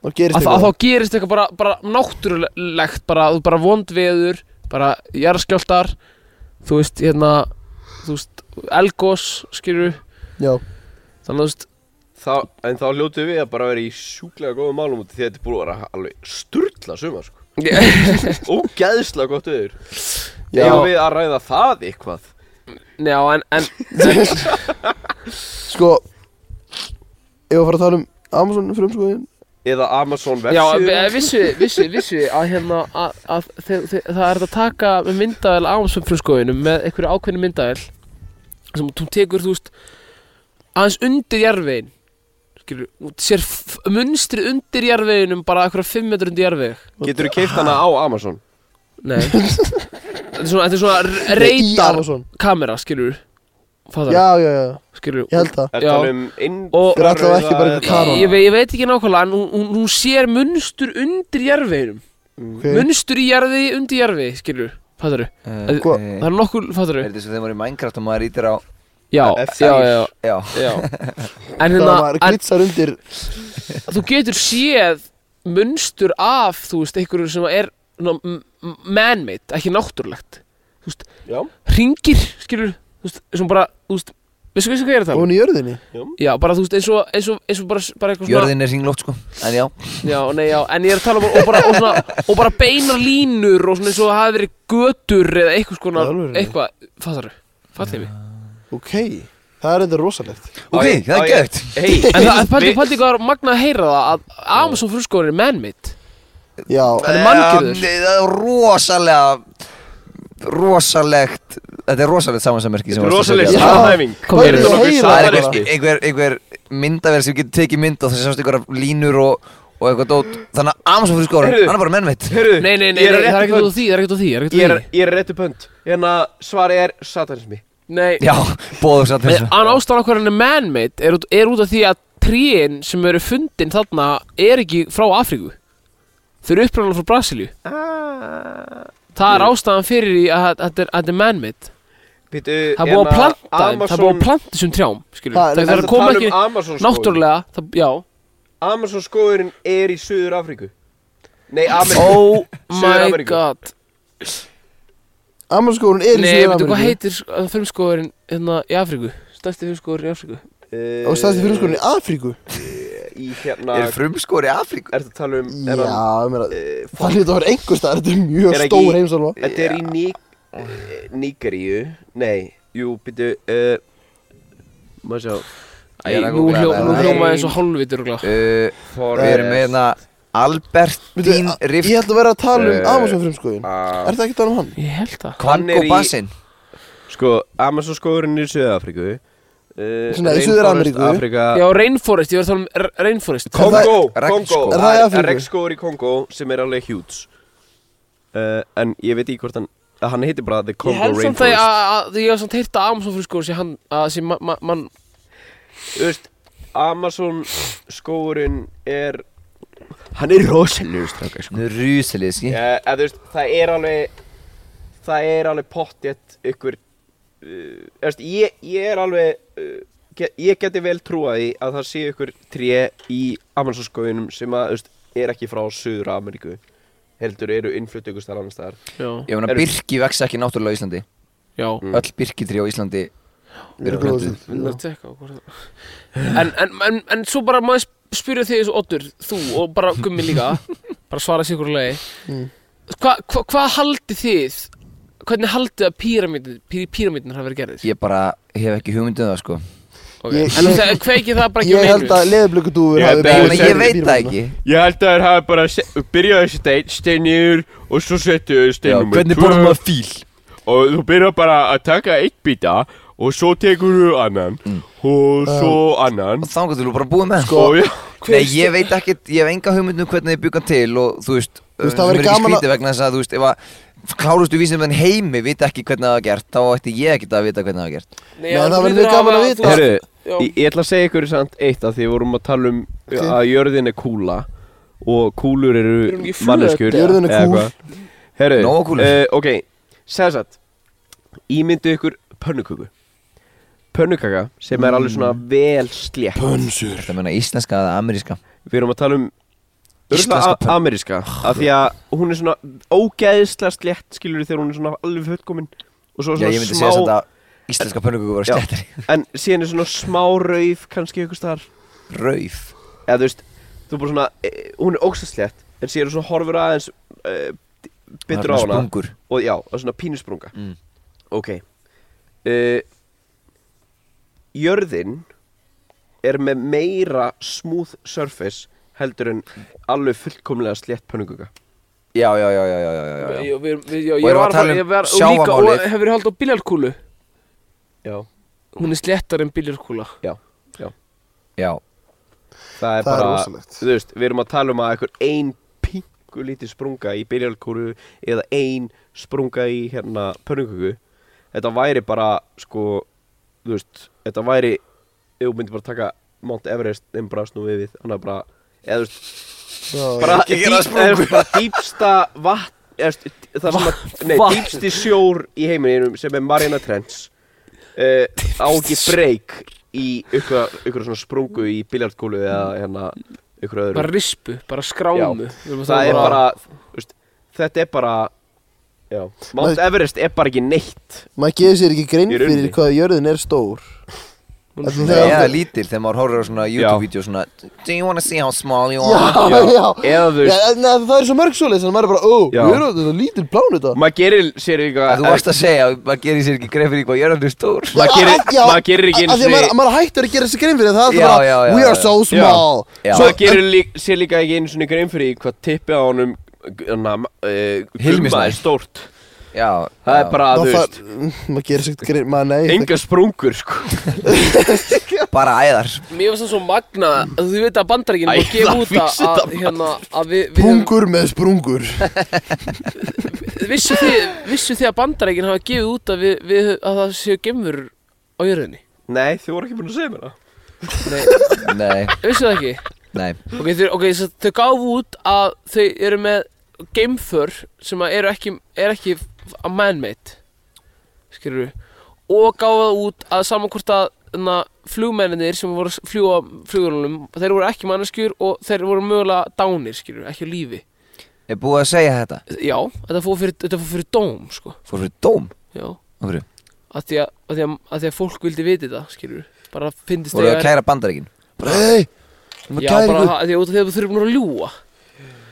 Það
að,
gerist
að
eitthvað
þá gerist eitthvað bara, bara náttúrulegt bara, þú- bara vond veður bara jarðskjáltar þú veist hérna þú veist elgos skilur
Já,
þannig að þú veist
Þa, en þá hljótu við að bara vera í sjúklega góðum málum út af því að þetta er búið að vera alveg sturla suma sko. Ógeðslega gott auður
Já.
Eða við að ræða það eitthvað
já en, en
sko Ég var að fara að tala um Amazon frumskoðin
Eða Amazon
Já, eh,
vefsíður
vi- vissu, vissu, vissu að hérna að, að þe þe það er hægt að taka með myndavel Amazon fruskoðinum með einhverju ákveðni myndavel sem þú tekur, þú veist aðeins undir jarðvegin skilur, þú sér f- munstrið undir jarðveginum bara einhverja 5 metrur undir jarðveg
Getur þú keipt hana á Amazon?
Nei Þetta er svona, þetta er svona
Í
reytar
Amazon
kamera, skilur Fattar,
Já, já, já,
skilur
ég held það
Er
Já.
það um
Og-
Fyrir allavega ekki bara einhver
eða-
Karol.
Ég, ve ég veit ekki nákvæmlega, en hún, hún, hún sér munstur undir jarðveginum
okay.
Munstur í jarði, undir jarði, skilur Fattar
Hva-
Það
Sko, Er
er nokkur, fattur við?
þetta svo þegar maður Eh, er í Minecraft og maður ítir á
Já,
F4.
já, já,
Já
já En
Það
hérna,
var
en
glitsar undir
þú getur séð munstur af, þú veist, einhverju sem er svona m- m- man-made, ekki náttúrulegt Þú veist,
Já.
hringir, skilur, þú veist, sem bara, þú veist, veistu veistu hvað ég er að
og
tala? um?
hún í jörðinni
Já, bara, þú veist, eins og, eins og, eins og bara, bara eitthvað svona
Jörðin er hringlótt sko En já
Já, nei, já, en ég er að tala um, og bara, og svona, og bara beinar línur og svona eins og það hafi verið götur eða eitthvað skona,
Í alvöru?
eitthvað, fattar við, fattar við
Ok, það er enda rosalegt
Ok,
Á ég-
það
á
er
ég-
gött
Hey,
En það, pældi,
við-
pældi hvað er magnað að heyra það að Amazon fruskórin er man-made
Já,
Hann er manngerður.
Um, Það er rosalega Rosalegt Þetta er rosalegt samansammerki sem varst að
Rosalega
setja.
Já.
samhæfing
Kom hér,
Þetta er nokkuð
heyra
Það er
bara.
einhver,
samhæfing
einhver, einhver myndavél sem getur tekið mynd og það sást einhverjar línur og, og eitthvað dót Þannig að Amazon fyrir skóra,
Heyrðu.
hann er bara mennveitt
Heyrðu,
Nei, nei, nei,
ég er
nei
að
það er
rétta
ekkert út
pönt.
af því, það er ekkert út af því, það er ekkert
Ég
út
er-
af því
ég er réttu pönt Hérna svarið er satanismi
Nei,
Já, bóðu satt
En
þessu
Án ástæðan okkur hann er man-made er, út- er út af því að tríin sem eru fundin þarna er ekki frá Afríku Þau eru uppræðanlega frá Brasilíu Það er ástæðan fyrir því að að þetta er- að þetta er man-made
Býtu,
Það er búið
hérna,
að planta þeim, það er búið að planta þessum trjám skilur
Ha,
við. Það er að koma
um
ekki
Amazon sko. skóðurinn
náttúrulega það- Já
Amazon skóðurinn er í Suður Afríku Nei, Ameríku
Oh my
Suður-Ameríku.
god
Amazon skórun er í
Nei, veitu
Suður-Ameríku.
hvað heitir frumskóðurinn hérna í Afríku? Stærsti frumskóður í Afríku
Eh,
Og staðist fyrir skórun í Afríku
Í hérna
Er frumskóri Afríku?
Ertu að tala um
Já,
er
ég
hann-
meina
eh, f-
Það hlýtur að vera einhvers staðar, þetta er mjög
Er ekki-
stór heimsálfa
Þetta er í Nik- eh, Nígeríu Nei, jú, býtu eh, Má sjá
Æ,
Ég er að
nú
googla
hljó-
það.
nú
Nei.
hljómaði eins og hálfvitur og glá
Uh,
Forest.
við erum með hérna Albertín
Veitu, Ég
Rift
ætla að vera að tala um
Eh,
Amazon frumskoðin
Ah,
Er það ekki að tala um hann?
Ég held það
hann er
Kvango
í-
Bassin
Sko, Amazon skóðurinn er í Suður Afríku eh,
Svona í
Rainforest
Suður-Ameríku.
Afrika
Já, Rainforest, ég var að tala um R- Rainforest
Kongo,
Er það-
Kongo
regnskógur?
Er það í Afríku?
Regnskógur í Kongo sem er alveg hjúts uh, En ég veit ekki hvort hann að Hann heitir bara The
Ég
Congo
held samt að ég-
Rainforest
að- að- ég hef samt heyrt að Amazon frumskóður sé hann að sé ma- ma- mann
Þú veist, Amazon skógurinn er Hann er rosalur strákar sko
Nú rusilið, skí
uh, En þú veist, það er alveg eh, Það er alveg pottjett ykkur uh, Þú veist, ég, ég er alveg uh, get, ég geti vel trúað í að það sé ykkur tré í Amazonaskóginum sem að, þú veist, er ekki frá Suður Ameríku heldur eru innflutt ykkur starf annar staðar
já,
Ég meina,
Eru-
birki vex ekki náttúrulega á Íslandi
já.
Öll birkitrí á Íslandi
Eru
eru
gróðursýnd.
plöntuð
Við erum að tekka á hvort það- en, en, en, en svo bara maður sp- spyrja þig þessu Oddur, þú og bara Gummi líka bara svara sér hverju lagi
Mm.
Hvað hva, hva haldið þið hvernig haldið að píramidin pí, píramidin hafa verið gerðið?
Ég bara hef ekki hugmyndið það sko
Okay.
Ég-
en
ég-
það kveikið það bara ekki á
Ég held
neinu?
að leðublökkudúfur
Ég
hafi
beðið-
Ég,
Nei,
meina,
segðu
ég
hérna.
veit það ekki
Ég held að þeir hafi bara se- byrjað þessi stein, stein niður og svo settu þau stein
Já,
nummer
Hvernig
tvö
borðum maður fíl?
Og þú byrjar bara að taka eitt býta og svo tekur þú annan
Mm.
og svo annan
Og þangar til þú bara búið með
Sko,
og já,
Nei, ég veit ekkert, ég hef enga hugmyndum hvernig þið byggan til og þú veist, eh,
veist, það
sem
væri
er ekki
gaman að-
skrítið vegna þess að þú veist, ef að klárustu vísum en heimi vita ekki hvernig það var gert, þá ætti ég ekkert að vita hvernig það var gert.
Nei,
Nei,
já,
það
þú
væri
hlýtur
mjög gaman að
hafa-
vita.
þú-
Herru,
já.
ég, ég ætla að segja ykkur samt eitt af því við vorum að tala um að jörðin er kúla og kúlur
Eru hún
eru
ekki flöt,
manneskjur
eða? Jörðin er
eða
kúl.
eitthvað. Herru,
Nóg kúlur.
eh, ok, segðsagt Ímyndu ykkur pönnuköku Pönnukaka sem er alveg
Mm.
svona vel slétt
Pönsur
Þetta meina íslenska eða ameríska.
Við erum að tala um
Íslenska
Íslenska
pönn-
Ameríska Af því að hún er svona ógeðslega slétt skilur þegar hún er svona alveg fullkomin Og svo
Já,
svona
ég myndi segja
smá
samt að
Eh,
íslenska pönnugugur var
Já.
slettari.
En síðan er svona smá rauð kannski ykkur staðar
Rauf.
Eða þú veist, þú er bara svona e, Hún er ógeðslega slétt En síðan er svona horfur aðeins e, Bittur á
Þarna
hana
Sprungur.
Og já, og svona pínusprunga
Mm.
Ok e, Jörðin er með meira smooth surface heldur en alveg fullkomlega slétt pönnuguga
Já, já, já, já, já, já, já, já.
Já, við- við- já,
Og
Ég
erum
var
að tala um
að fara
sjávarmálið.
og hefur haldið á biljarkúlu
Já
hún er slettar en biljarkúla
Já,
Það er
Það er
bara,
rosalegt.
þú veist, við erum að tala um að einhver ein pingu lítið sprunga í byrjalkúru eða ein sprunga í hérna pönnuköku Þetta væri bara, sko, þú veist, þetta væri, ef þú myndir bara taka Mount Everest, en bara snúið við, annað bara, eða þú veist, bara,
Ekki gera
dýp-
sprungu.
eða þú veist, bara dýpsta vatn, eða þú veist, það sem að, nei,
vatn.
dýpsti sjór í heiminum sem er Mariana Trench uh, á ekki breyk í ykkur, ykkur svona sprungu í biljartkúlu eða hérna ykkur öðru
bara rispu, bara skrámu
Já.
Við erum að
það
tala
er
um
bara, þú veist, þetta er bara já, Mount Everest er bara ekki neitt
Maður gefur sér ekki grein
Í
fyrir
rauninni.
hvað jörðin er stór Ætli
það
það-
er lítil þegar maður horfir á svona YouTube-vídeó svona Do you wanna see how small you are?
Já, já
eða þú
Já,
veist,
en það er svo mörg svoleiðis en maður er bara, ó,
Já.
við erum þetta lítil plánuta
maður gerir sér eitthvað
Þú varst að segja, að maður gerir sér ekki greið fyrir hvað jörðan er stór
maður gerir- maður gerir ekki einu
eins og
sinni-
Maður maður hættur að gera þessi grein fyrir það, það
Já,
er bara,
já, já,
we are
já.
so small
Já.
Svo-
maður gerir lík, sér líka ekki einu svona grein fyrir því hvað tippið á honum hérna, uh,
Hilmi
gumma
Snær.
er stórt
Já,
það
já.
er bara,
Ná,
þú
það-
veist,
Maður gerir sér grein, maður nei það-
enga sprungur sko.
bara æðar
Mér finnst það svo magna að þú veit að bandaríkinn
Æ,
og gefa
það
út að,
vissi
að,
það
hérna, að við, við höfum-
Pungur með sprungur
vissu þið, vissu þið að bandaríkinn hafa gefið út að, við, við, að það séu gemur á jörðinni
nei, þið voru ekki búin að segja mér það
Nei,
Nei,
vissu það ekki
nei
Ok, þau, okay, svo þau gáfu út að þau eru með geimför sem að eru ekki, er ekki að man-made skilur við og gáfu það út að saman hvort að na, flugmenninir sem voru að fljúa flugurlunum, þeir voru ekki manneskjur og þeir voru mögulega dánir skilur við, ekki á lífi
Er búið að segja þetta?
Já, þetta fór fyrir, þetta fór fyrir dóm sko,
Fór fyrir dóm?
já
Af hverju?
að því að, að, því að, að, því að fólk vildi viti það skilur við, bara fyndist
Voru að
eiga-
kæra bandaríkin?
Nei, maður
Já,
kæri
bara
ykkur
að því að út af því að þau eru búin að ljúga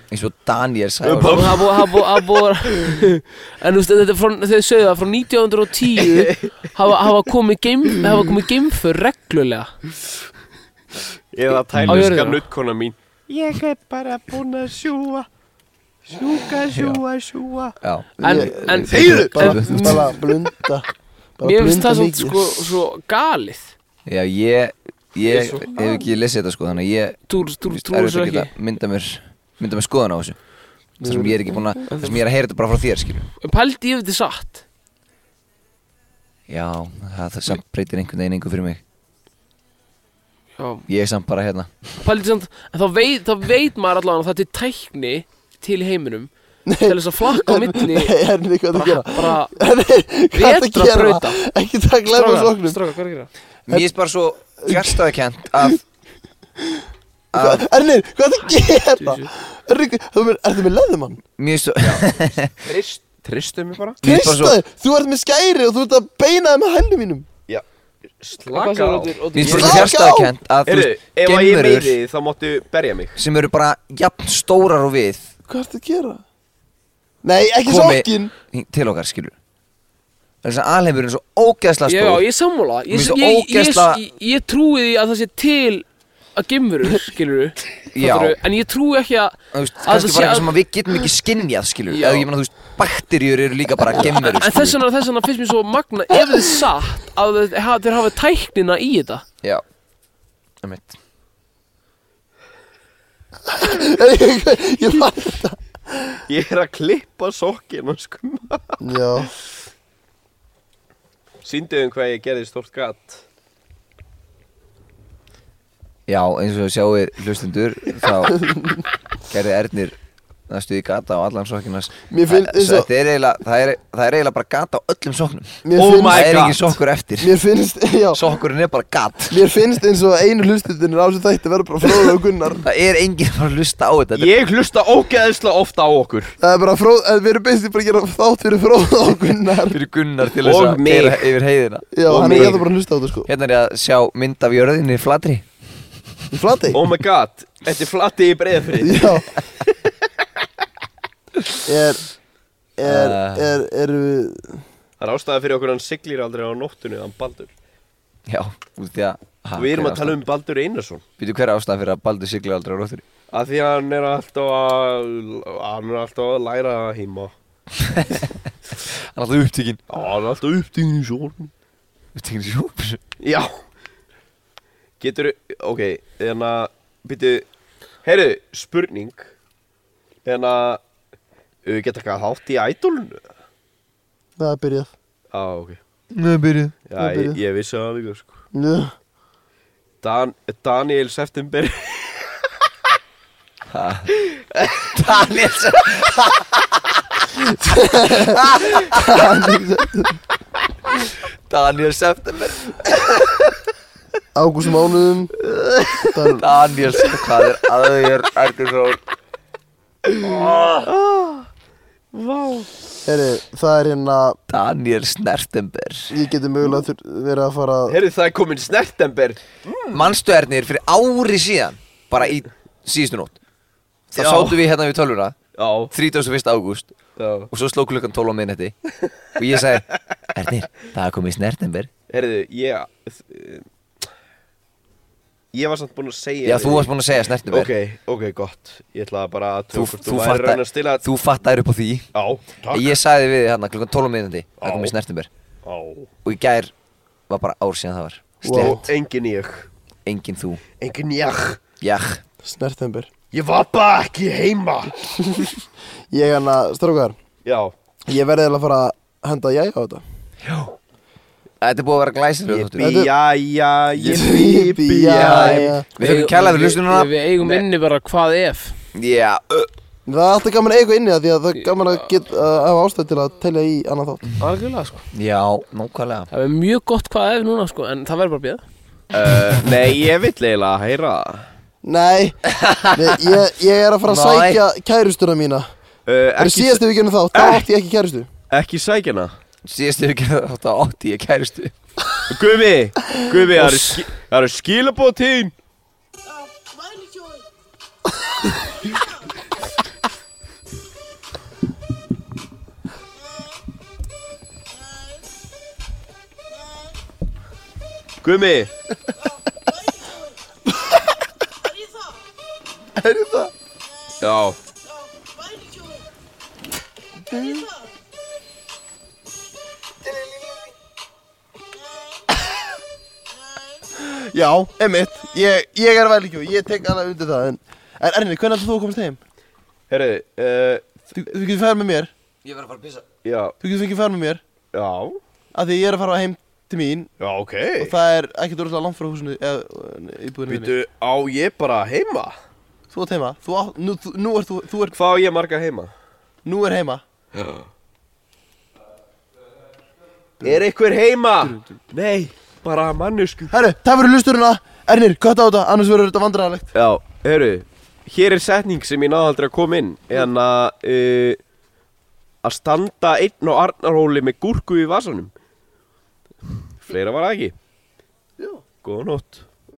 Eins og Daniel
Og
sagði
það búið, það búið, það búið En þú veist, þetta er frá, þau sögðu það frá 1910 hafa, hafa komið geim, hafa komið geimför reglulega
eða
jörðina.
tælenska nuttkona mín
Ég er bara búinn að sjúa Sjúka, sjúa, sjúa
Já
En, en
Þegiðu! Bara,
En-
bara blunda bara
mér finnst
blunda
það
mikið.
svolítið sko, svo galið
Já, ég Ég
Ég er svo-
hef ekki lesið þetta sko Þannig að ég
Þú þú- þú
Mér finnst erfitt
trúir svo
að
ekki
geta Mynda mér Mynda mér skoðan á þessu Það sem ég er ekki búin að Það sem ég er að heyra þetta bara frá þér skilju
En pældi ég veit þið satt
Já, það, það samt breytir einhvern veginn einhver fyrir mig
Já,
Ég er samt bara hérna
pældi samt En þá veit, þá veit maður allavega að það er tækni til í heiminum til þess að flakka á milli
Nei, Henni, hvað það
bara,
gera?
bara
Henni, hvað það
Vetrarbrauta.
gera? Ekki það glæpa
Strákar,
sóknum
strákar, hvað er að gera?
Mér finnst bara svo fjarstæðukent að
Ah.
að
Ernir, hvað er það að gera? Ernir, þú er- ertu með leðumann?
mér finnst svo
Trist, tristu mig bara
Mér finnst bara svo-
Tristaði, þú ert með skæri og þú ert að beina það með hælnum mínum
Hvað
Slaka
sagði
á
Oddur?
Mér
Oddur,
finnst
ég-
bara svo
Slaka á!
fjarstæðukent að þú
Heyrðu,
veist,
ef að ég
geimverur
meiri þá máttu berja mig
sem eru bara jafn stórar og við
Hvað ertu að gera? Nei, ekki
Komi-
sokkin
til okkar, skilur Þess að alheimurinn er svo ógeðslega
Já,
stór
ég er sammála Ég,
Mér
ég,
finnst
ég,
ógeðslega-
ég, ég trúi því að það sé til að gemurur, skilur
Já.
En ég trúi ekki að
Þú
að
veist, kannski
það sé
bara
að-
eitthvað sem að við getum ekki skinjað, skilur
Já.
Eða ég meina, þú veist, bakterjur eru líka bara gemur,
En þess vegna, þess vegna finnst mér svo magna ef þið er satt að þeir, ha- þeir hafa tæknina í þetta
Já, einmitt
Ég fann þetta
Ég er að klippa sokkin og skumma
Já
Sýndu um hvað ég gerði stórt gatt
Já, eins og sjáu hlustundur þá gerði Ernir næstu í gata á allan sokkinas
Mér finn- eins og-
það, er eiginlega- það, er, það er eiginlega bara gata á öllum sokknum
Mér
Oh my-
finnst,
Það er
God.
engin sokkur eftir
mér finnst, já
Sokkurinn er bara gat
Mér finnst eins og einu hlustundin á þessu þætti verður bara fróða og gunnar
Það er engin bara að hlusta á þetta Þetta er-
Ég hlusta ógeðsla ofta á okkur
Það er bara fróð, eh, við erum byrst bara að gera þátt fyrir fróða og gunnar
fyrir Gunnar til þess
Og
að
mig.
gera yfir heiðina
Já,
Og
hann er
mig.
ég bara að hlusta á þetta sko
Hérna er ég að sjá mynd af jörðinni í flatri
Í Flatey
Oh my god, þetta er flatti í breiðfrið
Já Er, er,
Ah.
Eh.
er, er við
Það er ástæða fyrir okkur hann siglir aldrei á nóttunni Þann Baldur
Já, út því að ha,
Og við erum að tala um Baldur Einarsson
Býtu hver ástæð fyrir að Baldur sigla aldrei á róttur
Af því að hann er alltaf að Hann er alltaf að læra heima
Hann er alltaf upptíkin
Já, hann er alltaf upptíðin í sjórn
Upptíkin í sjópur
Já Getur, ok, en að Býtu, heyrðu, spurning Hérna, En að uh, Geta eitthvað hátt í ædolunu Já,
Það er byrjað
ok
Nú er byrjuð
Já,
Það er
ég,
byrjað.
ég vissi það líka sko
Já
Dan, Daniel September
Daniels Daniel September
Ágúst mánuðum Dan,
Daniel September Hvað er aðeir Ergur Sól
Heri, það er hérna
Daniel Snertember
Ég geti mögulega þur, verið að fara að-
Heyrðu, það er komin Snertember
Manstu Ernir fyrir ári síðan Bara í síðustu nótt Það
Já.
sátu við hérna við tölvuna
Já,
31. ágúst
já
Og svo sló klukkan 12 á minnetti Og ég sagði Ernir, það er komið Snertember
Herðu, ég eh, Ég var samt búinn að segja
Já, þú varst búin að segja Snertember
Ok, ok, gott Ég ætlaði bara að
Þú,
tókast
þú,
Þú væri raun
fattar,
að stila
þú fattar upp á því
Já, takk
Ég sagði við þig hérna klukkan 12 minnandi Það
Já.
komið snertumber
Já
Og í gær var bara ár síðan það var
Wow.
Slett,
Og engin ég
engin þú
Engin ég
Já,
Snertember
Ég var bara ekki heima
Ég hérna, strákar
Já
Ég verði eiginlega að fara að henda jæja á þetta
þetta er búið að vera glæsilega
Ég
þáttur
bý, já, já Ég
Ég
bý,
bý-
já
já, já.
Við þurfum kæla fyrir hlustununa
Við eigum inni bara hvað ef
Já, ö,
Það er alltaf gaman að eiga eitthvað inni það Því að það er gaman að get, að hafa ástæð til að telja í annan þátt
Algjörlega sko
já, nákvæmlega
Það er mjög gott hvað ef núna sko en það verður bara bíða
uh, Nei, ég vill eiginlega að heyra það.
Nei, Nei ég, ég er að fara að
Nei.
sækja kærustuna mína
uh,
Það er
ekki,
síðast ef við gerum þátt, þá átti ég ekki kærustu
ekki sækjana
Síðast hefur gerðið þátt á 80 ég kæristu
Guðmi, Guðmi, það eru ski- það eru skilabóð tín Guðmi Já,
Já, emitt, ég, ég er velíkjú, ég tek alveg undir það En, en Erni, hvernig ætlum þú að komast heim?
herru, uh,
Þú, þú getur færð með mér,
Ég verð að fara að pissa
já,
þú getur fengið færð með mér
já,
Af því ég er að fara heim til mín
já, ok
Og það er ekkert úrlega langt frá húsinu eða íbúðinu
Býtu, á ég bara heima?
Þú átt heima, þú átt, nú, þú, nú, er, þú, þú er,
Hvað á ég marga heima?
nú er heima
Er einhver heima? Nei, bara mannesku
Herru, það fyrir lusturina Ernir, kvæta á þetta, annars verður þetta vandræðalegt
Já, heyrðu, hér er setning sem ég náði aldrei að koma inn en að uh, að standa einn á Arnarhóli með gúrku í vasanum Fleira var það ekki
Já.
Góða nótt